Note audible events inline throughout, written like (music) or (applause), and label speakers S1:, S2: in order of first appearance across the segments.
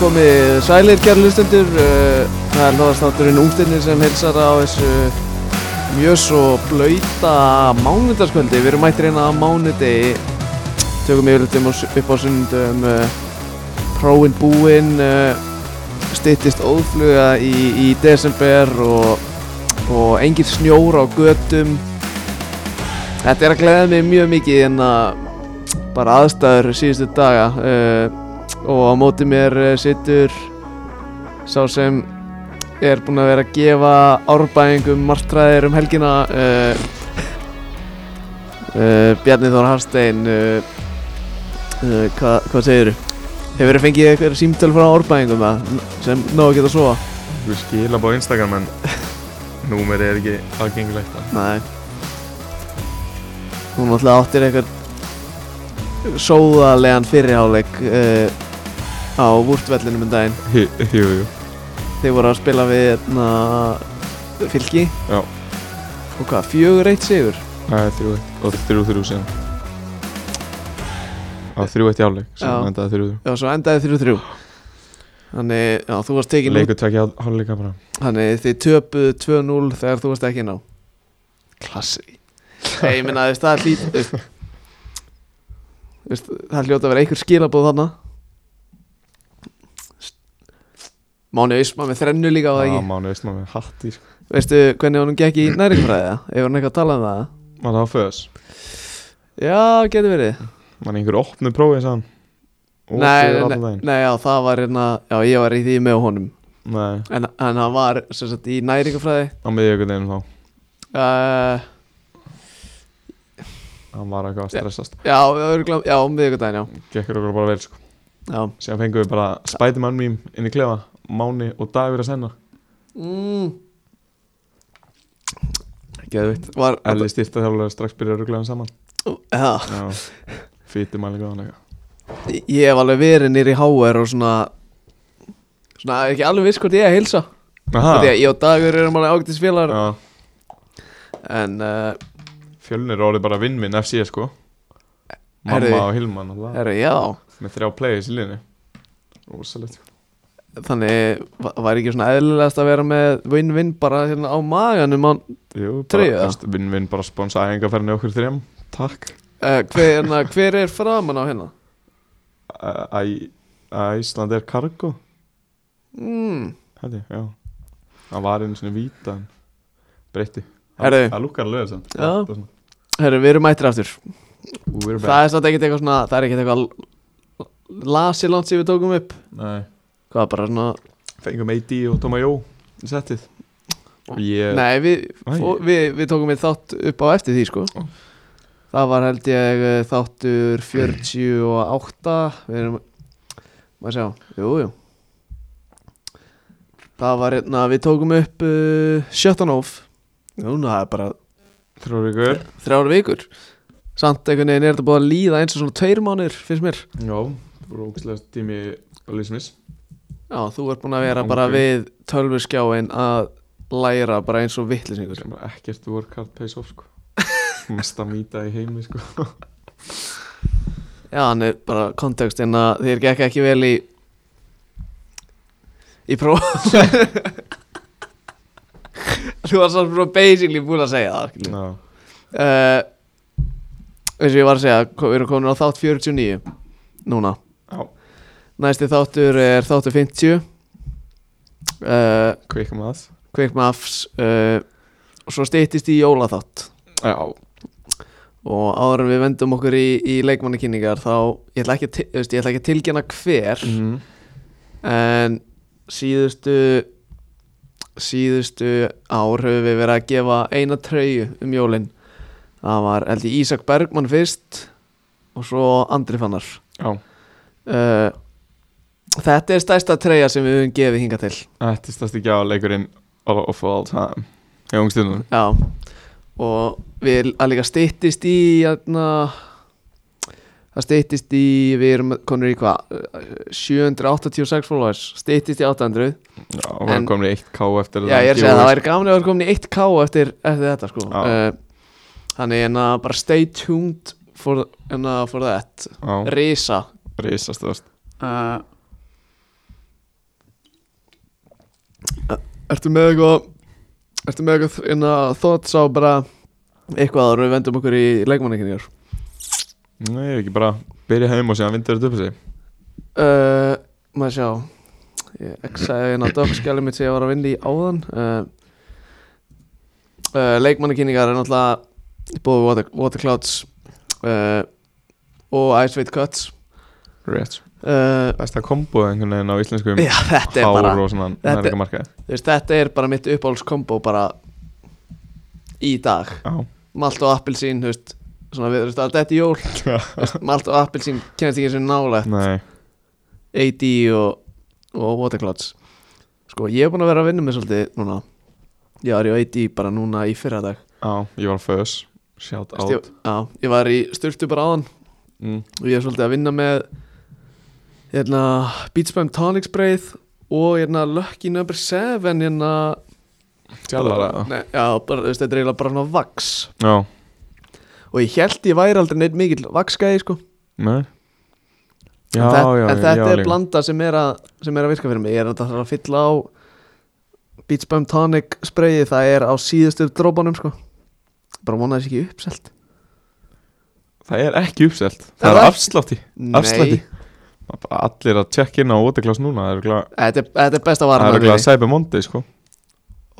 S1: komið sælir kjæru hlustendur eh, það er hlóðastátturinn útinnir sem hilsar á þessu mjög svo blöyta mánudarskvöldi við erum mættir hérna á mánudegi tökum yfirleitum upp á sunnundum próin búinn eh, styttist óðfluga í, í desember og, og engin snjór á götum þetta er að gleða mig mjög mikið hérna en að bara aðstæður síðustu daga uh, og á móti mér uh, situr sá sem er búinn að vera að gefa árbæðingum martræðir um helgina uh, uh, Bjarni Þór Harstein uh, uh, hva, hvað segirðu? Hefur þið fengið eitthvað símtöl frá árbæðingum það sem ná að geta að sofa?
S2: Þú skila bara á Instagram en númer er ekki aðgengilegt það.
S1: Nei Hún náttúrulega áttir eitthvað sóðalegan fyrirháleik uh, á vúrtvellinum um daginn
S2: Jú, jú, jú.
S1: Þeir voru að spila við na, fylki
S2: Já.
S1: Og hvað, fjögur eitt sigur?
S2: Það er þrjú eitt og þrjú þrjú síðan. Á þrjú eitt í áleik,
S1: Já.
S2: sem endaði þrjú þrjú.
S1: Já, svo endaði þrjú þrjú Þannig, já, þú varst tekin
S2: Leikur tvekja hálfleika bara.
S1: út Þannig þið töpuð 2-0 þegar þú varst ekki ná Klassi Nei, ég minna, það er hlýt þú veist- þú veist, Það hljóta að vera einhver skilabóð þarna Máni Ísma með þrennu líka á það
S2: Já,
S1: ekki
S2: mánu veist maður með hatt í sko.
S1: Veistu hvernig honum gekk í næringfræðið? Ef hann eitthvað að tala um það?
S2: Maður það á föðs.
S1: Já, getur verið
S2: Maður einhver opnu prófið sann.
S1: nei, nei, nei, nei, já, það var hérna Já, ég var í því með honum
S2: Nei,
S1: En, en hann var sem sagt í næringafræði
S2: á miðjögundeginum þá.
S1: uh,
S2: Hann var eitthvað að stressast.
S1: Já, örgulega, já, um miðvikudaginn, já
S2: Gekkur okkur bara vel sko.
S1: Já,
S2: Síðan fengum við bara Spiderman mým inn í klefa. Máni og Dagur að senna.
S1: mm. Geðvitt Var,
S2: Elli styrta strax byrja að ruggla hann saman.
S1: já,
S2: Já. Fítimæli góðan eitthvað.
S1: Ég hef alveg verið nýri háar og svona Svona, ekki alveg viss hvort ég er að hilsa
S2: Aha.
S1: Því að ég og Dagur erum alveg ágættis félagar
S2: Já,
S1: En, uh,
S2: fjölnir er orðið bara vinn-vinn FC sko Mamma
S1: Herri.
S2: og Hilman alltaf
S1: herri, já
S2: Með þrjá players í liðinni Rósalegt sko.
S1: Þannig va- var ekki svona eðlilegast að vera með vinn-vinn bara hérna á maganum á,
S2: Jú, bara
S1: Treyja?
S2: veist, vinn-vinn bara sponsa æfingarferðinni okkur þrjum Takk
S1: uh, hver, hérna, hver er framan á hérna?
S2: Æ, Æ- Ísland er kargo
S1: Mm.
S2: Hætti, já Það var einu svona víta en Breytti
S1: Herri.
S2: Það lukkar alveg þess
S1: Já. Herri, við erum mættir aftur
S2: We're back
S1: Það er samt ekkert eitthvað svona Það er ekkert eitthvað Lasi langt sem við tókum upp
S2: Nei
S1: Hvað bara svona
S2: Fengum AD og Toma Jó í Settið Ég
S1: Nei, við,
S2: Æ.
S1: fó, við, við tókum eitt þátt upp á eftir því sko
S2: Ó.
S1: Það var held ég eh, þáttur 48 Við erum Maður sjá Jú, jú Það var hérna Við tókum upp uh, 17 óf Núna það er bara
S2: Þrjóður ykkur
S1: þrjár vikur Samt einhvern veginn er þetta búið að líða eins og svona tveir mánir finnst mér
S2: Já Rókslega tími Lísmis
S1: Já, þú ert búin að vera
S2: Já,
S1: bara
S2: ok.
S1: við tölvuskjáin að læra bara eins og vittlisingur
S2: sem bara ekkert work hard pays off
S1: (laughs)
S2: sko mesta mýta í heimi sko
S1: Já, hann er bara kontekst en að þér gekk ekki vel í í próf (laughs) Þú var samt bara basically búin að segja það skilur.
S2: no.
S1: uh, eins og ég var að segja ko- við erum komin á þátt 49 núna
S2: já,
S1: næsti þáttur er þáttur 50 uh,
S2: quick math
S1: kveikmafs uh, og svo steytist í jólaþátt
S2: já,
S1: og áður en við vendum okkur í, í leikmannakynningar þá ég ætla ekki, að til- þú veist, ég ætla ekki að tilgjana hver
S2: mm.
S1: en síðustu síðustu ár höfum við verið að gefa eina treyju um jólin það var held ég Ísak Bergmann fyrst og svo Andri Fannar
S2: já,
S1: uh, þetta er stærsta treyja sem við höfum gefið hinga til
S2: þetta er stærsti gjáleikurinn of all time ég ungst innan
S1: Já um og við að líka styttist í jæna, það styttist í við erum konur í hvað eh, 786 followers styttist í 800
S2: já, og hann
S1: En-
S2: komin í 1k eftir
S1: Já ég er að segja það væri gaman að vera komin í 1k eftir, eftir þetta sko
S2: Já.
S1: uh, Þannig en að bara stay tuned for, en að for that
S2: það
S1: Risa Eh,
S2: risastöðast
S1: uh, Ertu með eitthvað Ertu með eitthvað inn að þótt sá bara eitthvað áður en við vendum okkur í leikmannekinningar
S2: Nei, ég er ekki bara byrja heim og síðan vindur þetta upp sig
S1: uh, Maður sjá Ég exaði inn á dogskjali mitt sem ég var að vinna í áðan uh, uh, Leikmannekinningar er náttúrulega búið water, Waterclouds uh, og Ice Weight Cuts
S2: Rétt
S1: uh,
S2: Besta kombo einhvern veginn á íslenskum
S1: Já, þetta er bara
S2: Hár og svona
S1: þetta-
S2: nærleika markaði
S1: þú veist, Þetta er bara mitt uppáhaldskombo bara í dag
S2: Já
S1: malt og appelsín þú veist, svona við, þú veist, allt þetta í jól Þú veist, malt og appelsín kennast ekki eins og nálægt
S2: Nei
S1: AD og, og Waterclouds sko, ég er búin að vera að vinna með svolítið núna ég var í AD bara núna í fyrra dag
S2: Já, ég var föðs Shout
S1: Þú veist,
S2: out
S1: ég, á, ég var í styrtu bara áðan
S2: mm.
S1: og ég er svolítið að vinna með hérna, Beach Bam Tonic Sprayð og hérna, Lucky Number 7 hérna,
S2: Tjallara
S1: Nei, já, bara, þú veist, þetta er eiginlega bara svona vaks
S2: Já
S1: og ég held ég væri aldrei neitt mikill vaksgæði sko
S2: Nei Já,
S1: en, þet,
S2: já,
S1: en
S2: já,
S1: þetta er
S2: líka.
S1: blanda sem er, að, sem er að virka fyrir mig ég er að það þarf að fylla á Beach Bum Tonic sprayið það er á síðustu dropanum sko bara vonaði sér ekki uppselt
S2: Það er ekki uppselt
S1: Er
S2: Það er
S1: það?
S2: afslátti Afslætti Bara Allir að tjekka inn á Waterclass núna Það er glæð
S1: þetta er, þetta er besta
S2: Það
S1: varan
S2: er glæð Cyber Monday sko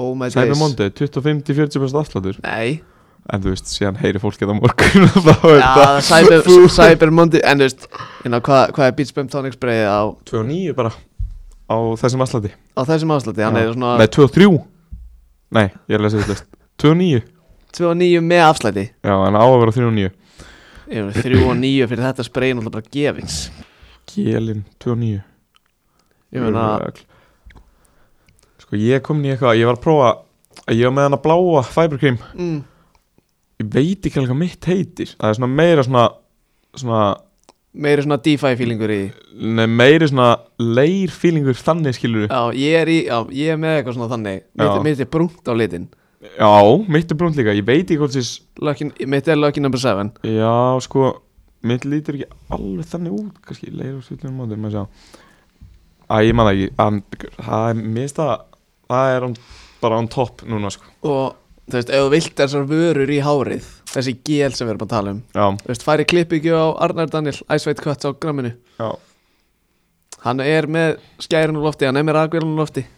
S1: oh my
S2: Cyber
S1: days
S2: Monday 25-40% afsláttur
S1: nei
S2: En þú veist, síðan heyri fólk þetta á morgun (laughs) og Þá er
S1: ja, cyber, cyber Monday en þú veist hérna, hvað hvað er Beach Bum Tonic sprayið á,
S2: 29 bara Á þessum afslátti
S1: á þessum afsluti hann
S2: Já.
S1: er svona
S2: Nei, 23 Nei, ég er að lesa þetta 29
S1: 2 og 9 með afsluti
S2: Já, en á að vera 39
S1: 3 og 9 fyrir þetta sprayið náttúrulega bara gefins
S2: Gélin, 29
S1: ég meina
S2: Rugl. Sko, ég kom inn í eitthvað Ég var að prófa að Ég var með hana bláa fibercream
S1: mm,
S2: Ég veit ekki alveg hvað mitt heitir Það er svona meira svona Svona
S1: meiri svona DeFi feelingur í því
S2: Nei, meiri svona leir feelingur þannig skilur
S1: Já, ég er, í, já, ég er með eitthvað svona þannig mitt,
S2: Já.
S1: mitt er brúnt á litin
S2: Já, mitt er brúnt líka, ég veit ekki hvort þess
S1: Lucky, Mitt er Lucky number 7
S2: Já, sko, mitt lítur ekki alveg þannig út Kannski leir og svillinum móti, maður sjá Æ, ég man það ekki, en, það er mist að Það er on, bara on top núna, sko
S1: Og þú veist, ef þú vilt þessar vörur í hárið Þessi gél sem við erum að tala um
S2: Já,
S1: Þú veist, færi klippingju á Arnar Daniel Æsveit Kött á gramminu
S2: já
S1: Hann er með skærun úr lofti, hann er með rakvélun úr lofti (laughs)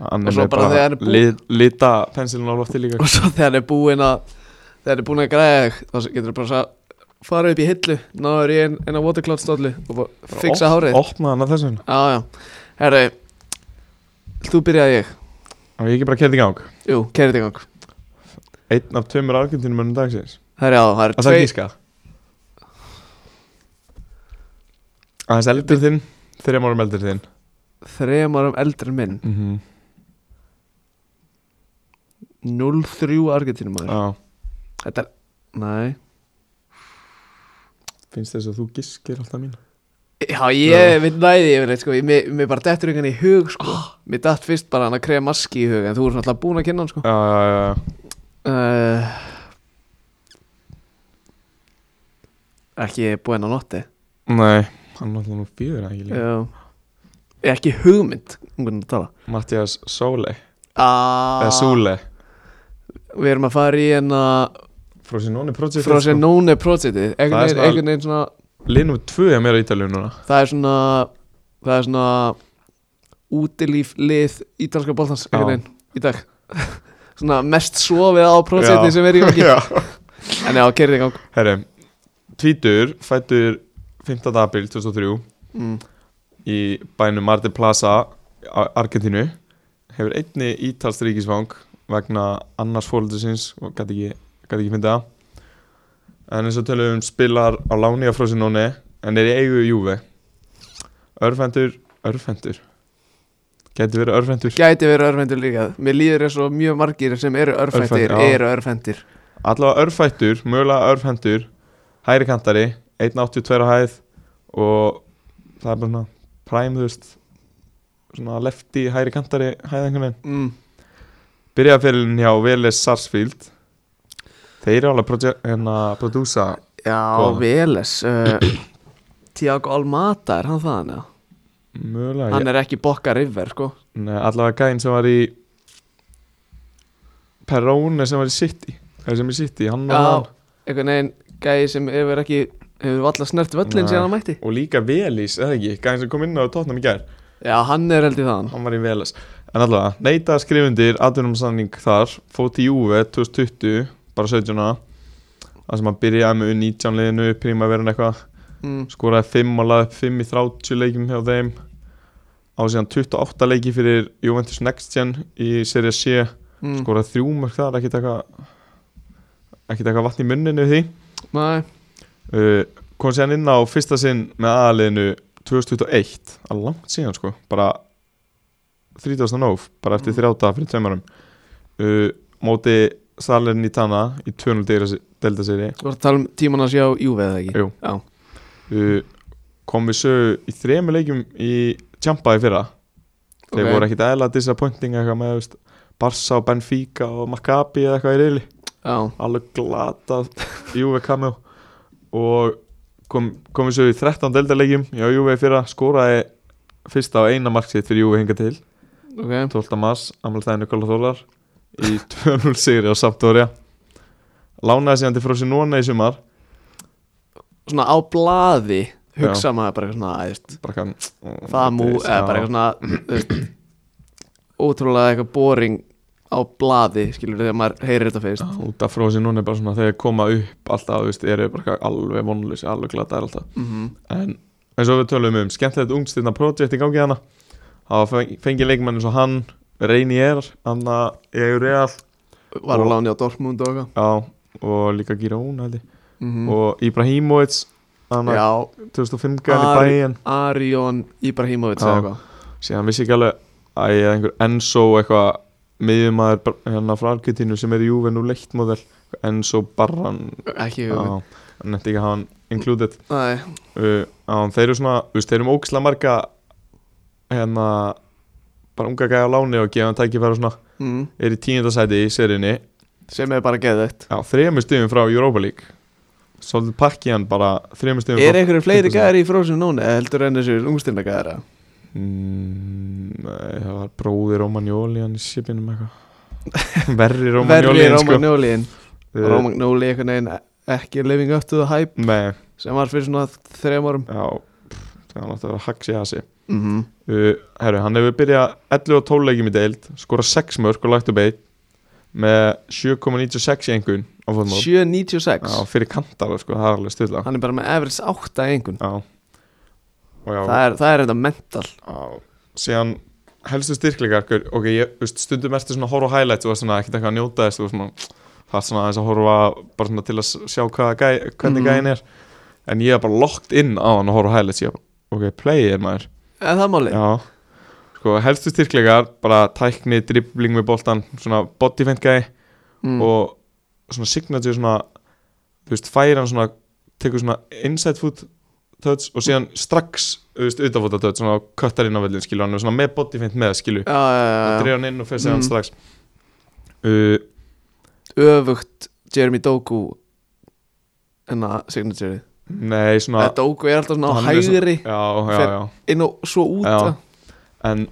S2: Hann
S1: Og svo
S2: er
S1: bara þegar hann er bú-
S2: lit, Lita pensilin á lofti líka
S1: Og svo þegar hann er búinn að Þegar hann er búinn að græða þig Þá getur þú bara að fara upp í hillu Náður í ein- eina watercloud stólu Og bara fiksa
S2: Op-
S1: hárið
S2: Opna hann að þessu
S1: Já, já Herru, þú byrjaði ég
S2: Og ég ekki bara kerði í gang
S1: Jú, kærið í gang
S2: Einn af tveimur argentinum önum dagsins
S1: Herru, já, það er
S2: Að það er gíska Aðeins eldur þinn Þreim árum eldur þinn
S1: Þrem árum eldri en minn
S2: mm -hmm.
S1: 0-3 Argentínum maður
S2: Já
S1: Þetta er, nei
S2: Finnst þess að þú giskir alltaf mín
S1: Já, ég veit næði yfir þetta sko Ég- Mér mér bara dettur einhvern í hug sko Mér datt fyrst bara hann að krefa maski í hug En þú er svona alltaf búin að kynna hann sko
S2: Já, já, já já.
S1: uh, Ekki búinn á notti
S2: Nei, hann alltaf nú býður það ekki líka
S1: Já Ekki hugmynd um hvernig að tala
S2: Mattias Sóle
S1: Ah,
S2: Eða Súle
S1: Við erum að fara í en að
S2: Frosinone Project
S1: Frá sér nóni projectið Einhvern
S2: Það er
S1: veginn-
S2: svona-
S1: einhvern veginn svona
S2: Linum 2 er meira í Ítalíu núna
S1: það er svona það er svona útilíf lið ítalska boltans einhvern
S2: Já.
S1: veginn í dag (laughs) svona mest sofið á prósenti sem er í gangi
S2: Já
S1: en (laughs) já, kerði í gang
S2: Herri Tvítur Fættur 15. april 2003
S1: mm.
S2: Í bænum Marte Plaza Ar- Argentínu Hefur einni ítalst ríkisfang Vegna annars fóruldisins Og gæti ekki, gæti ekki fyndið það En eins og tölum um spilar á láni á Frosinone En er í eigu Júve Örfendur Örfendur Gæti verið örfendur
S1: gæti verið örfendur líka mér líður eins og mjög margir sem eru örfendir
S2: Örfendir, já.
S1: eru örfendir
S2: Allavega örfættur, mögulega örfendur Hæri kantari, 1.82 á hæð Og það er bara svona Prime, þú veist Svona lefty, hæri kantari, hæð einhvern veginn
S1: mm.
S2: Byrjaðferðin hjá Veles Sarsfield Þeir eru alveg proje- hérna, prodúsa
S1: já,
S2: Góðan.
S1: Veles uh, (clears throat) Tiago Almada er hann það hann
S2: Mögulega,
S1: hann er ekki Boca River sko
S2: Nei, allavega gæinn sem var í Perone sem var í City eða sem í City, hann var
S1: Já.
S2: hann
S1: einhvern veginn gæði sem hefur ekki hefur valla snert völlin
S2: Nei.
S1: síðan hann mætti
S2: og líka Velis, eða ekki, gæinn sem kom inn á tóttnum í gær,
S1: já, hann er held í þaðan
S2: hann var í Velis en allavega, neita skrifundir, atvinnum sanning þar, fótt í Juve 2020 bara 17 ára það sem hann byrjaði með 19 liðinu prímaverin eitthvað,
S1: mm.
S2: skoraði 5 og laði upp 5 í 30 leikjum hjá þeim á síðan 28 leiki fyrir Juventus Next Gen í Serie C
S1: Mm.
S2: skoraði þrjú mörg þar, ekkert eitthvað ekkert eitthvað vatn í munninu við því
S1: Nei,
S2: uh, kom sér inn á fyrsta sinn með aðaliðinu 2021 að langt síðan sko, bara 30. nóf, bara eftir
S1: Mm.
S2: þrjáta fyrir tveimarum uh, móti Salern í Tana í 200 delta seri
S1: þú voru að tala um tíman hans hjá Júve eða ekki
S2: Jú. uh, kom við sögu í þremu leikjum í Champa í fyrra þeir
S1: Ok.
S2: voru ekkit eðla disappointing eitthvað með þú veist, Barca og Benfica og Maccabi eða eitthvað í reyli
S1: Já,
S2: alveg glatað (laughs) Júve kamjó og kom, kom við svo í 13 deildarleikjum já Júve fyrra skoraði fyrsta og eina marksitt fyrir Júve hinga til
S1: ok
S2: 12. mars, ammaltæði Nikola Þólar
S1: (laughs)
S2: í 2-0 sigri á Sampdoria lánaði síðan til frósi Nóna í sumar
S1: Svona á blaði hugsa maður bara eitthvað svona æ, veist,
S2: bara "Mm, kann
S1: það mú, eða bara eitthvað svona þú veist, ótrúlega eitthvað boring á blaði, skilur þegar maður heyrir þetta fyrst
S2: út af frósi Nóna er bara svona þegar þeir koma upp alltaf, þú veist, eru bara alveg vonlösi, alveg glataðir alltaf
S1: Mhm.
S2: en eins og við tölum um skemmtilegt ungstirna projekt í gangi hana hafa feng- fengið leikmenn eins og hann Reinier, hann að ég er real
S1: Var á
S2: Og-
S1: láni á Dortmund og eitthvað
S2: já, og líka Girón held ég
S1: Mhm.
S2: og Ibrahimovic hann að
S1: Já,
S2: 2005 gæði
S1: Ari-
S2: bæinn
S1: Arion Ibrahimovic
S2: Já.
S1: eða eitthvað
S2: síðan vissi ekki alveg að ég er einhver Enzo eitthvað miðjumæður br- hérna frá Argentínu sem er í Juve nú leiktmóðel Enzo Barran
S1: Ekki
S2: já,
S1: hugmynd.
S2: hann nefndi ekki að hafa hann included
S1: Nei,
S2: uh, á, þeir eru svona, þú veist, þeir eru með ógislega marga hérna bara unga gæja á láni og gefa hann tækifæra og svona
S1: mm.
S2: er í tíundasæti í seriðinni
S1: sem er bara geðveitt
S2: á þremur stöðum frá Europa League svolítið pakki hann bara þremur stöðum
S1: Er
S2: frá
S1: einhverju fleiri
S2: Þetta er
S1: gæðar í Frozen Nóni eða heldur enn þessu ungstinna gæðara?
S2: mm, nei, það var bróði Romagnoli hann í sipinum eitthvað (laughs) verri Romagnoli
S1: Verri
S2: en sko
S1: Rómagnólin
S2: Eh,
S1: Rómagnóli einhvern veginn ekki living up to the hype
S2: nei,
S1: sem var fyrir svona þrejum árum
S2: já pff, það var náttúrulega að haksi hasi
S1: mm -hmm.
S2: uh, herru, hann hefur byrjað 11 og 12 leikjum í deild, skorað 6 mörg og lagt upp eitt með 7,96 í engun á fótmál
S1: 7.96
S2: Já, fyrir kantara sko, það er alveg stilla
S1: Hann er bara með average 8 einhvern
S2: Já Og já,
S1: það er, það er þetta mental
S2: já Síðan helstu styrkleikar Gaur, Ok, ég, veist, stundum ertu svona að horfa á highlights og svona ekkert eitthvað að njóta þess og svona, það er svona aðeins að horfa bara svona til að s- sjá hvaða gæ, hvernig
S1: Mhm.
S2: gæin er en ég er bara locked inn á hann að horfa á highlights ég, bara, ok, play er maður
S1: En það máli
S2: Já Sko, helstu styrkleikar, bara tækni, dribbling með boltan, svona body feint gæi
S1: mm.
S2: og svona signature svona þú veist, færi hann svona tekur svona inside foot touch og síðan strax, þú veist, utanfóta touch svona köttar inn á vellin, skilur hann er svona með body feint með, skilur,
S1: já, já,
S2: og
S1: já, já.
S2: dreif hann inn og fyrir sig hann
S1: Mm.
S2: strax uh,
S1: Öfugt Jeremy Doku enna signature
S2: Nei, svona
S1: Þetta Eh, Doku er alltaf svona á
S2: hann er svona-
S1: hægri
S2: Já, já,
S1: Fer-
S2: já,
S1: inn og svo út
S2: Já.
S1: já.
S2: en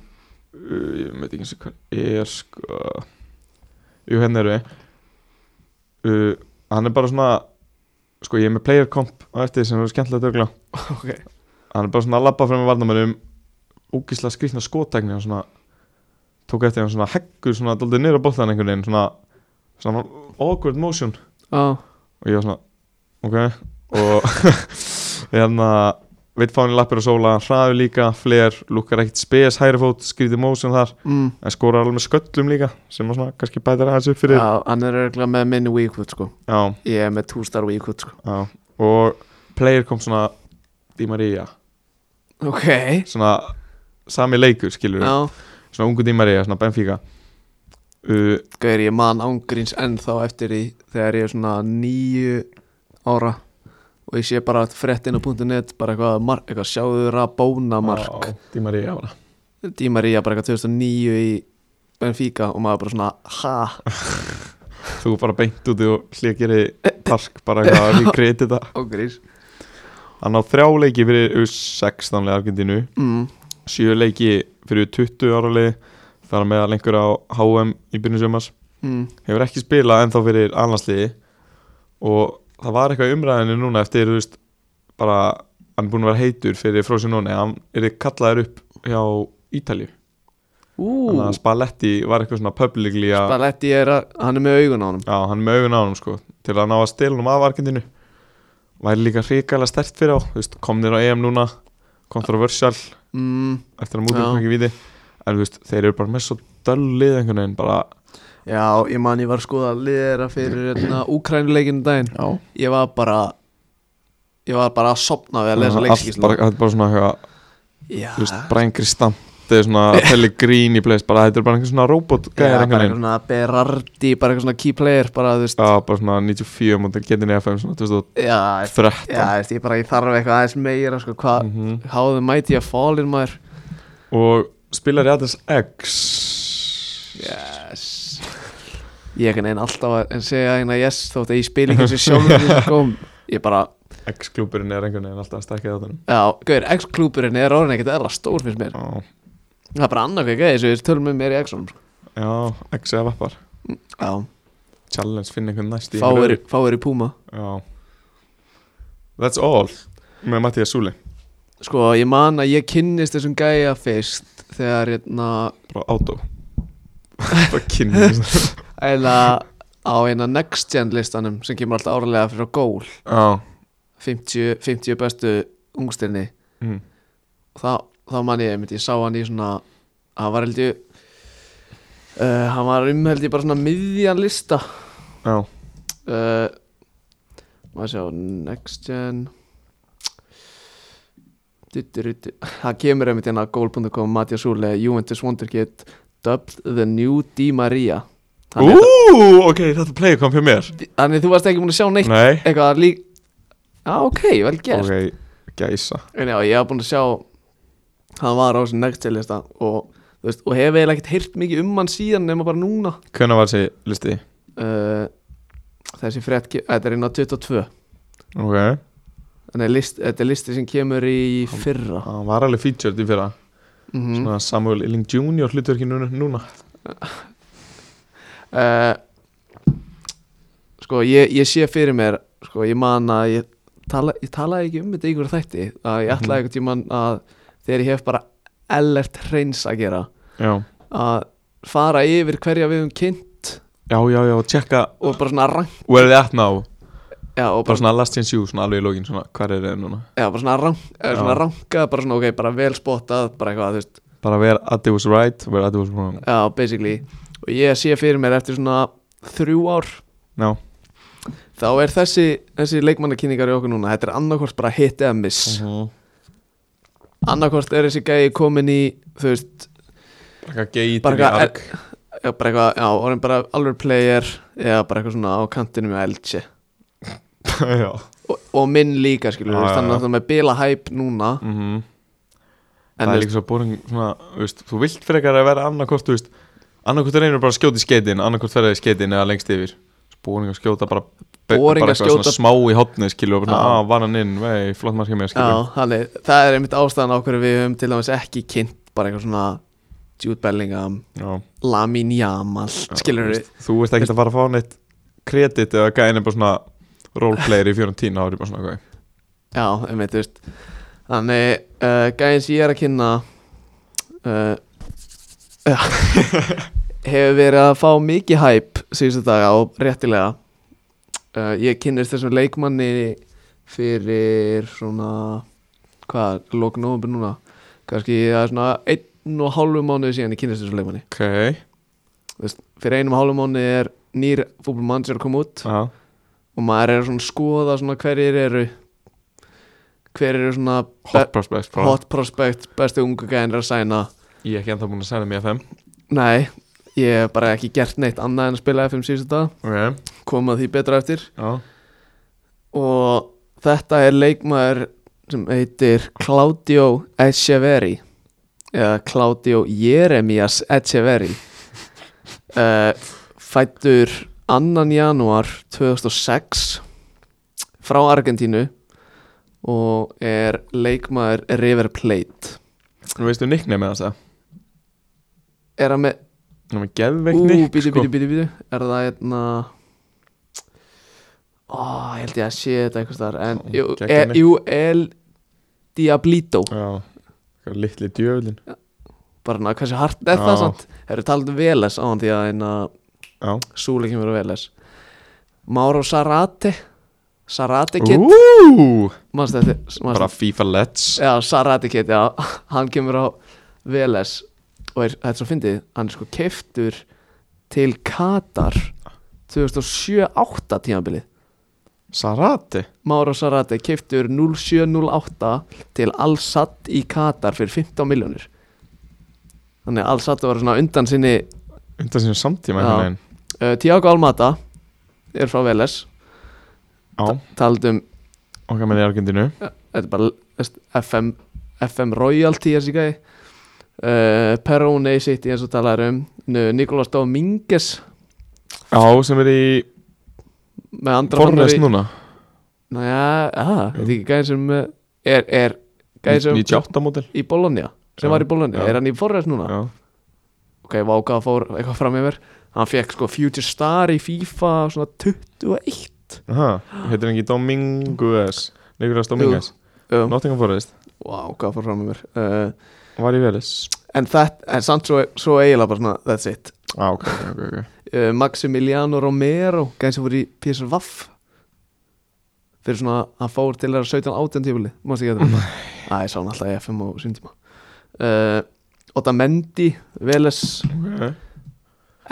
S2: uh, ég veit ekki eins og hvað er sko Jú, hérna eru við uh, Hann er bara svona sko, ég er með player comp á eftir sem er skemmtilegt örgla
S1: Ok
S2: hann er bara svona að labba frá með varnamönnum ógíslega skrýtna skótækni hann svona tók eftir hann svona heggur svona daldið niður á boltan einhvern veginn svona, svona awkward motion
S1: Já,
S2: og ég var svona ok og (laughs) hérna veit fáin í lappir og sóla hann hraður líka, fler, lukkar ekkert spes hægri fót, skrýti motion þar
S1: mm.
S2: en skorar alveg með sköllum líka sem að svona kannski bætir aðeins upp fyrir já,
S1: já hann er örgulega með minni weak foot sko
S2: já,
S1: Ég er með 2 star weak foot sko
S2: og player kom svona Di Maria
S1: Ok
S2: svona sami leikur skilur
S1: Já
S2: svona ungu dímari, svona Benfica uh,
S1: Gauðir ég man ángríns ennþá eftir því þegar ég er svona nýju ára og ég sé bara fréttin á .net bara eitthvað, mark, eitthvað sjáður að bóna mark
S2: á, dímari, já,
S1: Díma Ría bara eitthvað 2009 í Benfica og maður bara svona ha
S2: þú bara beint út og hlikir í park bara eitthvað að við kreiti þetta (laughs)
S1: ángríns
S2: hann á þrjá leiki fyrir 16 leið Argentínu
S1: mm.
S2: 7 leiki fyrir 20 ára leið þar með að lengur á HM í byrjun sumars
S1: mm.
S2: hefur ekki spilað ennþá fyrir annarsliði og það var eitthvað í umræðinu núna eftir, þú veist, bara hann er búin að vera heitur fyrir Frosinone hann er kallaður upp hjá Ítalju, þannig að
S1: Ú,
S2: Spalletti var eitthvað svona publicly að
S1: Spalletti er að, hann er með augun á hann
S2: Já, hann er með augun á hann sko til að ná að stela hann af Argentinu væri líka hrikalega stert fyrir á þú veist, komnir á EM núna kontroversial
S1: mm.
S2: eftir að mútið
S1: Já.
S2: kom ekki víti en þú veist, þeir eru bara með svo döllið einhvern veginn bara
S1: Já, ég man ég var að skoða liðera fyrir hérna, Úkrænuleikinu daginn
S2: Já,
S1: Ég var bara Ég var bara að sopna við að lesa leikskísla
S2: bara, Þetta er bara svona eitthvað,
S1: Já,
S2: þú veist, bara einhver stamp þetta er
S1: (laughs)
S2: svona Pellegrini place bara þetta er bara einhver svona robot
S1: Já,
S2: gæðir
S1: bara
S2: einhvern
S1: eitthvað
S2: veginn
S1: svona Berardi, bara eitthvað svona key player bara, þú veist,
S2: Já, bara svona 94 mútið getin FM svona
S1: já,
S2: 2013
S1: já, þú veist, ég bara ég þarf eitthvað aðeins meira, sko, hvað
S2: mm
S1: How the mighty have fallen, maður
S2: og spilar í aðeins X
S1: Yes Ég er einhvern veginn alltaf að en segja hérna yes þótt að ég spil ekki þessu sjálfur (laughs) í skóm Ég bara,
S2: X-klúburinn er einhvern veginn alltaf að stækja þetta
S1: já, gauður, X-klúburinn er orðin ekkert eðla stór finnst mér
S2: Já,
S1: Það er bara annað hvað gæði, þessu tölum við mér í X-unum sko.
S2: Já, X eða vappar
S1: Já,
S2: Challenge, finn einhvern næst í
S1: fáir,
S2: einhverju öðru.
S1: fáir í Puma
S2: Já That's all Með Mattias Súli
S1: Sko, ég man að ég kynnist þessum gæja fyrst Þegar, hérna,
S2: Frá Auto (laughs) Bara kynni
S1: eiginlega á eina next gen listanum sem kemur alltaf árlega fyrir á gól
S2: Já
S1: 50, 50 bestu ungstirni
S2: mm.
S1: þá, þá man ég, einmitt, ég sá hann í svona hann var held ég uh, hann var um held ég bara svona miðjan lista
S2: Já
S1: uh, maður sjá next gen Dutturutu. það kemur einmitt hérna á goal.com Matja Súle, Juventus Wonderkid dubbed the new Di Maria þannig, að-
S2: Ú, ok, þetta play kom fyrir mér
S1: þannig að þú varst ekki múin að sjá neitt
S2: Nei
S1: eitthvað lík Já, ok, vel gert
S2: Ok, gæsa
S1: En já, ég haf búin að sjá hann var á þessu next til lista og, þú veist, og hef eiginlega ekkert heyrt mikið um hann síðan nema bara núna
S2: Hvernig var þessi listi?
S1: uh, Þessi frétt, ke- þetta er inn á 22
S2: Ok
S1: Þannig að list, þetta er listi sem kemur í fyrra
S2: Hann var alveg featured í fyrra
S1: mm
S2: Svona Samuel Illing Jr. hlutverkinu núna
S1: uh, Sko, ég, ég sé fyrir mér sko, ég man að ég, tala, ég talaði ekki um þetta í ykkur þætti að ég ætlaði eitthvað tímann að þegar ég hef bara ellert hreins að gera
S2: Já
S1: að fara yfir hverja við höfum kynnt
S2: Já, já, já, tjekka
S1: og bara svona rank
S2: Where they at now
S1: já, og
S2: Bara
S1: bara,
S2: svona last chance you Svona alveg í lógin Svona, hvar er þeir núna?
S1: já, bara svona, rank, já.
S2: Já.
S1: svona ranka bara svona ok, bara vel spottað bara eitthvað, þú veist,
S2: Bara where Addy was right Where Addy was wrong
S1: já, basically og ég sé fyrir mér eftir svona þrjú ár
S2: Já,
S1: þá er þessi, þessi leikmannakynningar í okkur núna, þetta er annarkvort bara hit eða miss uh
S2: -huh.
S1: annarkvort er þessi gæi komin í þú veist,
S2: Bara geit
S1: Bara eitthvað- e- já, bara eitthvað já, orðin bara alveg player eða bara eitthvað svona á kantinu með eldsje
S2: (laughs) Já
S1: og, og minn líka, skilur,
S2: Já,
S1: þú veist,
S2: já,
S1: þannig
S2: já.
S1: að það með bila hæp núna,
S2: mm
S1: en
S2: Það er líka svo boring svona, þú veist, Þú vilt frekar að vera annarkort þú veist, Annarkort reynir bara að skjóta í skeitin Annarkort ferða í skeitin eða lengst yfir Boring að skjóta bara be-
S1: Boring
S2: bara
S1: að
S2: eitthvað
S1: skjóta-
S2: svona smá í hotni skilur og bara
S1: Já.
S2: svona, ah, var hann inn, vei, flott markið mér skilur
S1: Já, þannig, það er einmitt ástæðan á hverju við höfum til dæmis ekki kynnt bara eitthvað svona Jude Bellingham,
S2: Já,
S1: Lamin Jamal,
S2: já,
S1: skilur
S2: þú
S1: við
S2: veist, Þú veist ekki að fara að fá neitt kredit eða gæðin er bara svona roleplayer í 14 ári bara svona, ok.
S1: Já, einmitt, þú veist Þannig, uh, gæðin sem ég er að kynna uh, ja, (laughs) hefur verið að fá mikið hæp síðustu daga og réttilega uh, Ég kynnist þessum leikmanni fyrir svona, hvað, lókn og núna kannski það er svona einn og hálfu mánuði síðan ég kynnist þessum leikmanni
S2: ok
S1: Þú veist, fyrir einum hálfum mánu er nýr fútbolmann sem er að koma út
S2: Já,
S1: og maður er svona að skoða svona hverjir eru hverjir eru svona
S2: Hot prospects
S1: be
S2: bara.
S1: hot prospect, bestu ungu gæðin er að sæna
S2: Ég er ekki enda búin að sæna mér FM
S1: nei, ég hef bara ekki gert neitt annað en að spila FM síðustu dag
S2: Ok,
S1: koma því betra eftir
S2: já
S1: og þetta er leikmaður sem heitir Claudio Echeveri eða Claudio Jeremias Echeveri uh, fættur 2. janúar 2006 frá Argentínu og er leikmaður River Plate
S2: Nú veistu nickname með það
S1: er hann með
S2: Nú með sko. geðveikni
S1: Ú, bíti, bíti, bíti, bíti Er það hérna Ó, ég held ég að sé þetta einhvers þar En,
S2: Ó,
S1: jú, e,
S2: geggjað nafn.
S1: jú, El Diablito
S2: Já, eitthvað litli djöflin
S1: Bara hann að hversu hart er
S2: Já.
S1: það samt Það eru talað um Veles á hann því að einna
S2: Já
S1: Súli kemur á Veles Mauro Sarate Sarate Kid
S2: Ú,
S1: Manstu þetta?
S2: bara
S1: Manstu
S2: FIFA Let's
S1: Já, Sarate Kid, já (laughs) Hann kemur á VLS Og er, þetta er svo fyndið Hann er sko keiftur til Katar 2007-08 tímabilið
S2: Sarate
S1: Mára Sarate keiftur 07-08 Til Al-Sadd í Katar Fyrir 15 miljónir Þannig að Al-Sadd var svona undan sinni
S2: Undan sinni samtíma
S1: Já.
S2: einhvern veginn
S1: uh, Tiago Almata Er frá VLS
S2: Já,
S1: Taldum,
S2: okkar með í Argentínu
S1: þetta er bara veist, FM, FM Royalty þessi gæði uh, Perone City eins og talaður um Nikolas Dominguez
S2: Já, sem er í
S1: með andra
S2: Forrest núna
S1: Næja, aha, þetta er ekki gæðin sem uh, er, er gæðin sem
S2: 98 mótil
S1: í Bologna sem
S2: Já,
S1: var í Bologna,
S2: já.
S1: er hann í Forrest núna?
S2: Já,
S1: Ok, váka að fór eitthvað fram yfir hann fekk sko Future Star í FIFA svona 21
S2: aha, heitir hann ekki Dominguez Nikolas Dominguez
S1: um,
S2: Nottingham Forrest
S1: váka að fór fram yfir uh,
S2: Var í Velis
S1: en þetta, en samt svo, svo eiginlega bara svona, that's it
S2: Já, Ah, ok, ok, ok, ok
S1: uh, Maximiliano Romero gæðin sem voru í PSV fyrir svona, hann fór til þeirra 17-18 tífili, mást ekki að það Æ, ég sá hann alltaf í FM og síndíma uh, Otta Mendi Veles
S2: Ok.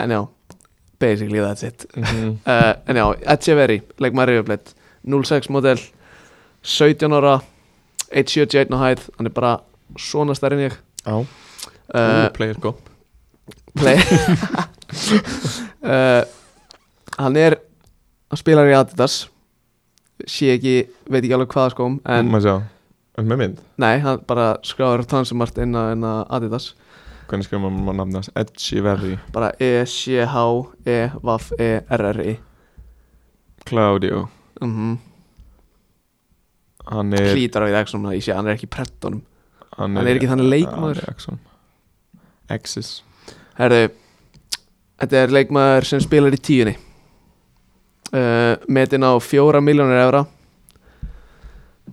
S1: En já, basically that's it
S2: Mhm.
S1: uh, En já, Etcheveri, leikmaður yfirblett 06 model 17 ára 1.71 á hæð, hann er bara svona stærri en ég
S2: Já,
S1: uh,
S2: Ú, player sko. go
S1: play uh, Hann er hann spilar í Adidas sé ekki, veit ekki alveg hvaða skóm en
S2: Maður sjá Er með mynd
S1: nei, hann bara skráður transumart inn á inn á Adidas
S2: Hvernig skrifum maður maður nafnast Edgy Verri
S1: bara E E-C-H-E-V-E-R-R-I
S2: Claudio
S1: mm -hmm.
S2: Hann er
S1: hlýtar á því ekki svona, ég sé að hann er ekki í prettunum
S2: Hann
S1: Hann er ekki þannig leikmaður.
S2: Jackson Axis
S1: Herðu, þetta er leikmaður sem spilar í tíunni uh, Metin á fjóra miljónir evra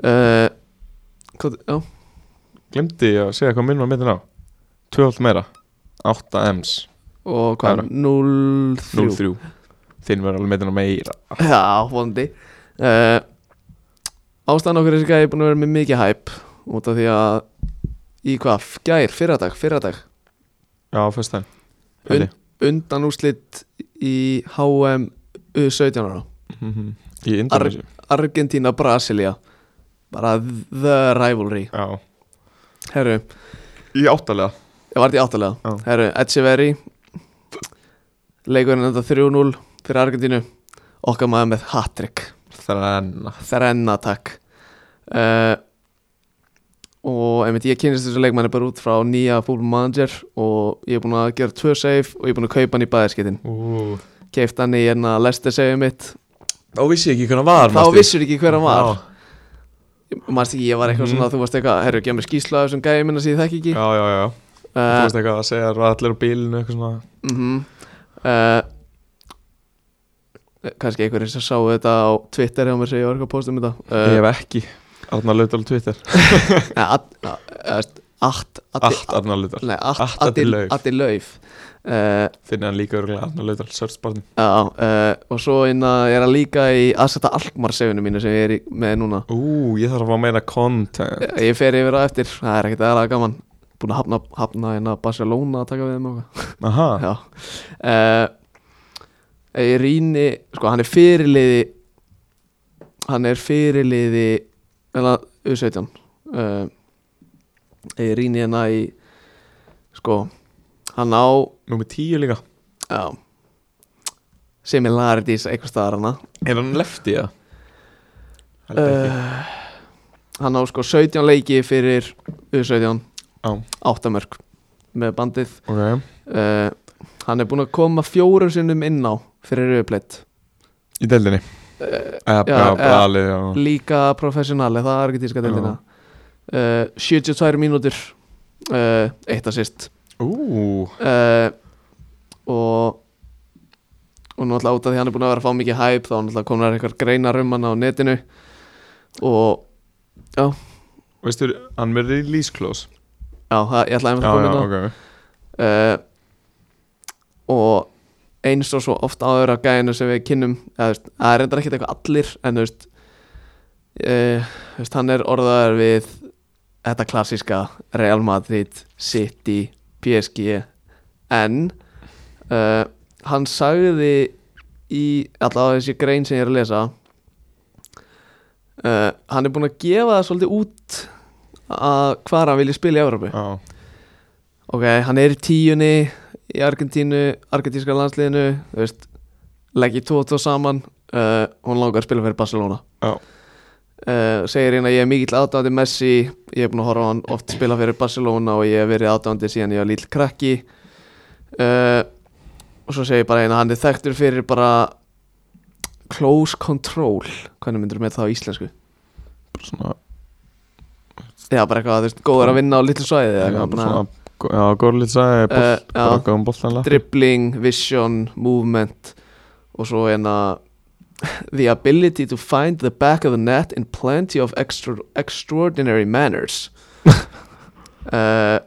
S1: uh, hvað, Já,
S2: Glemdi að segja hvað minn var myndin á 12 meira 8 M's
S1: og hvað,
S2: Evra.
S1: 0-3
S2: 0-3 Þinn var alveg myndin á meira
S1: Já, vonandi uh, Ástæðan okkur þessi gæði búin að vera með mikið hæp út af því að í hvað, gær, fyrradag, fyrradag
S2: Já, fyrst það
S1: Und, undan úrslit í HM U17 ára
S2: Í Indonesia
S1: Argentina-Brasilia bara the rivalry
S2: Já
S1: Herru,
S2: Í áttalega
S1: ég var þetta í áttalega
S2: Já.
S1: Herru, Echeveri Leikurinn enda 3-0 fyrir Argentínu Okkar maður með hat-trick
S2: Þrenna
S1: Þrenna takk uh, Og einmitt ég kynist þessu leikmanni bara út frá nýja fútbolmanager og ég er búinn að gera tvö save og ég er búinn að kaupa hann í bæðarskittin
S2: Ú
S1: Keift hann í hérna lester save mitt
S2: Þá vissi ég ekki hvernig var
S1: Þá vissur ekki hver hann var
S2: Já,
S1: Márst ekki, ég var eitthvað
S2: Mhm.
S1: svona, þú varst eitthvað Herru, gemur skýsla af þessum gæði minna sem ég þekki ekki
S2: já, já, já. Þú
S1: uh,
S2: veist eitthvað að segja að allir á bílinu eitthvað svona
S1: mm uh, kannski einhverjir sem sáu þetta á Twitter hjá mér sem ég var eitthvað að posta um þetta
S2: Ég
S1: uh,
S2: hef ekki Arnar Laudal Twitter
S1: nei, at- a- eh, veist, Att
S2: Allt Arnar Laudal
S1: nei,
S2: Att
S1: Att
S2: Addi Lauf.
S1: Addi Lauf uh,
S2: Þinn er hann líka örgulega Arnar Laudal Sörtsbarn
S1: já, uh, og svo inna, er hann líka í aðsetta Alkmar sefinu mínu sem ég er í, með núna
S2: Ú, ég þarf að fá meira content
S1: Eh, ég fer yfir á eftir, það er ekkert aðra gaman búin að hafna, hafna hérna Barcelona að taka við þeim og eitthvað
S2: Aha
S1: Já uh, Rýni, sko hann er fyrirliði Hann er fyrirliði Þannig að U17 uh, Rýni hérna í Sko Hann á
S2: Númer tíu líka
S1: já, Similarities Eitthvað staðar hana
S2: Er hann lefti, já? Held ekki
S1: uh, Hann á sko 17 leiki Fyrir U17
S2: Já.
S1: Áttamörk Með bandið
S2: Ok
S1: uh, Hann er búinn að koma fjórum sinnum inn á Fyrir rauðbleitt
S2: Í deildinni Já,
S1: já,
S2: já,
S1: eh,
S2: brali já.
S1: líka professionali, það Eh, er ekki tíska deildina uh, 72 mínútur uh, Eh, eitt að sýst
S2: Ú,
S1: uh, og og náttúrulega út af því hann er búin að vera að fá mikið hæp þá náttúrulega komnar eitthvað greinar um hann á netinu og
S2: veistu, hann með release close
S1: já, það- ég ætlaði einmitt
S2: Já,
S1: að koma
S2: já,
S1: inn á
S2: ok
S1: uh, og eins og svo oft áður af gæðinu sem við kynnum eða, þú veist, það er reyndar ekkert eitthvað allir en þú veist, uh, þú veist hann er orðaður við þetta klassíska Real Madrid City, PSG en uh, hann sagði í allavega þessi grein sem ég er að lesa uh, hann er búinn að gefa það svolítið út að hvar hann vilja spila í Evropu
S2: Já,
S1: Ok, hann er í tíunni í Argentínu, argentínska landsliðinu þú veist, legg í tvo og tvo saman uh, hún langar að spila fyrir Barcelona
S2: Já.
S1: Uh, segir hérna ég er mikill aðdáðandi Messi ég er búin að horfa á hann oft spila fyrir Barcelona og ég hef verið aðdáðandi síðan ég var lítill krakki uh, og svo segir bara hérna hann er þekktur fyrir bara close control hvernig myndur með það á íslensku
S2: bara svona,
S1: já bara eitthvað, þú veist, góður að vinna á litlu svæði eða
S2: já,
S1: eitthvað,
S2: bara
S1: na-
S2: svona gó- Já, góðlít sagði,
S1: Eh,
S2: bolt,
S1: já.
S2: bara góðum boltanlega
S1: dribbling, vision, movement og svo hérna the ability to find the back of the net in plenty of extra, extraordinary manners uh,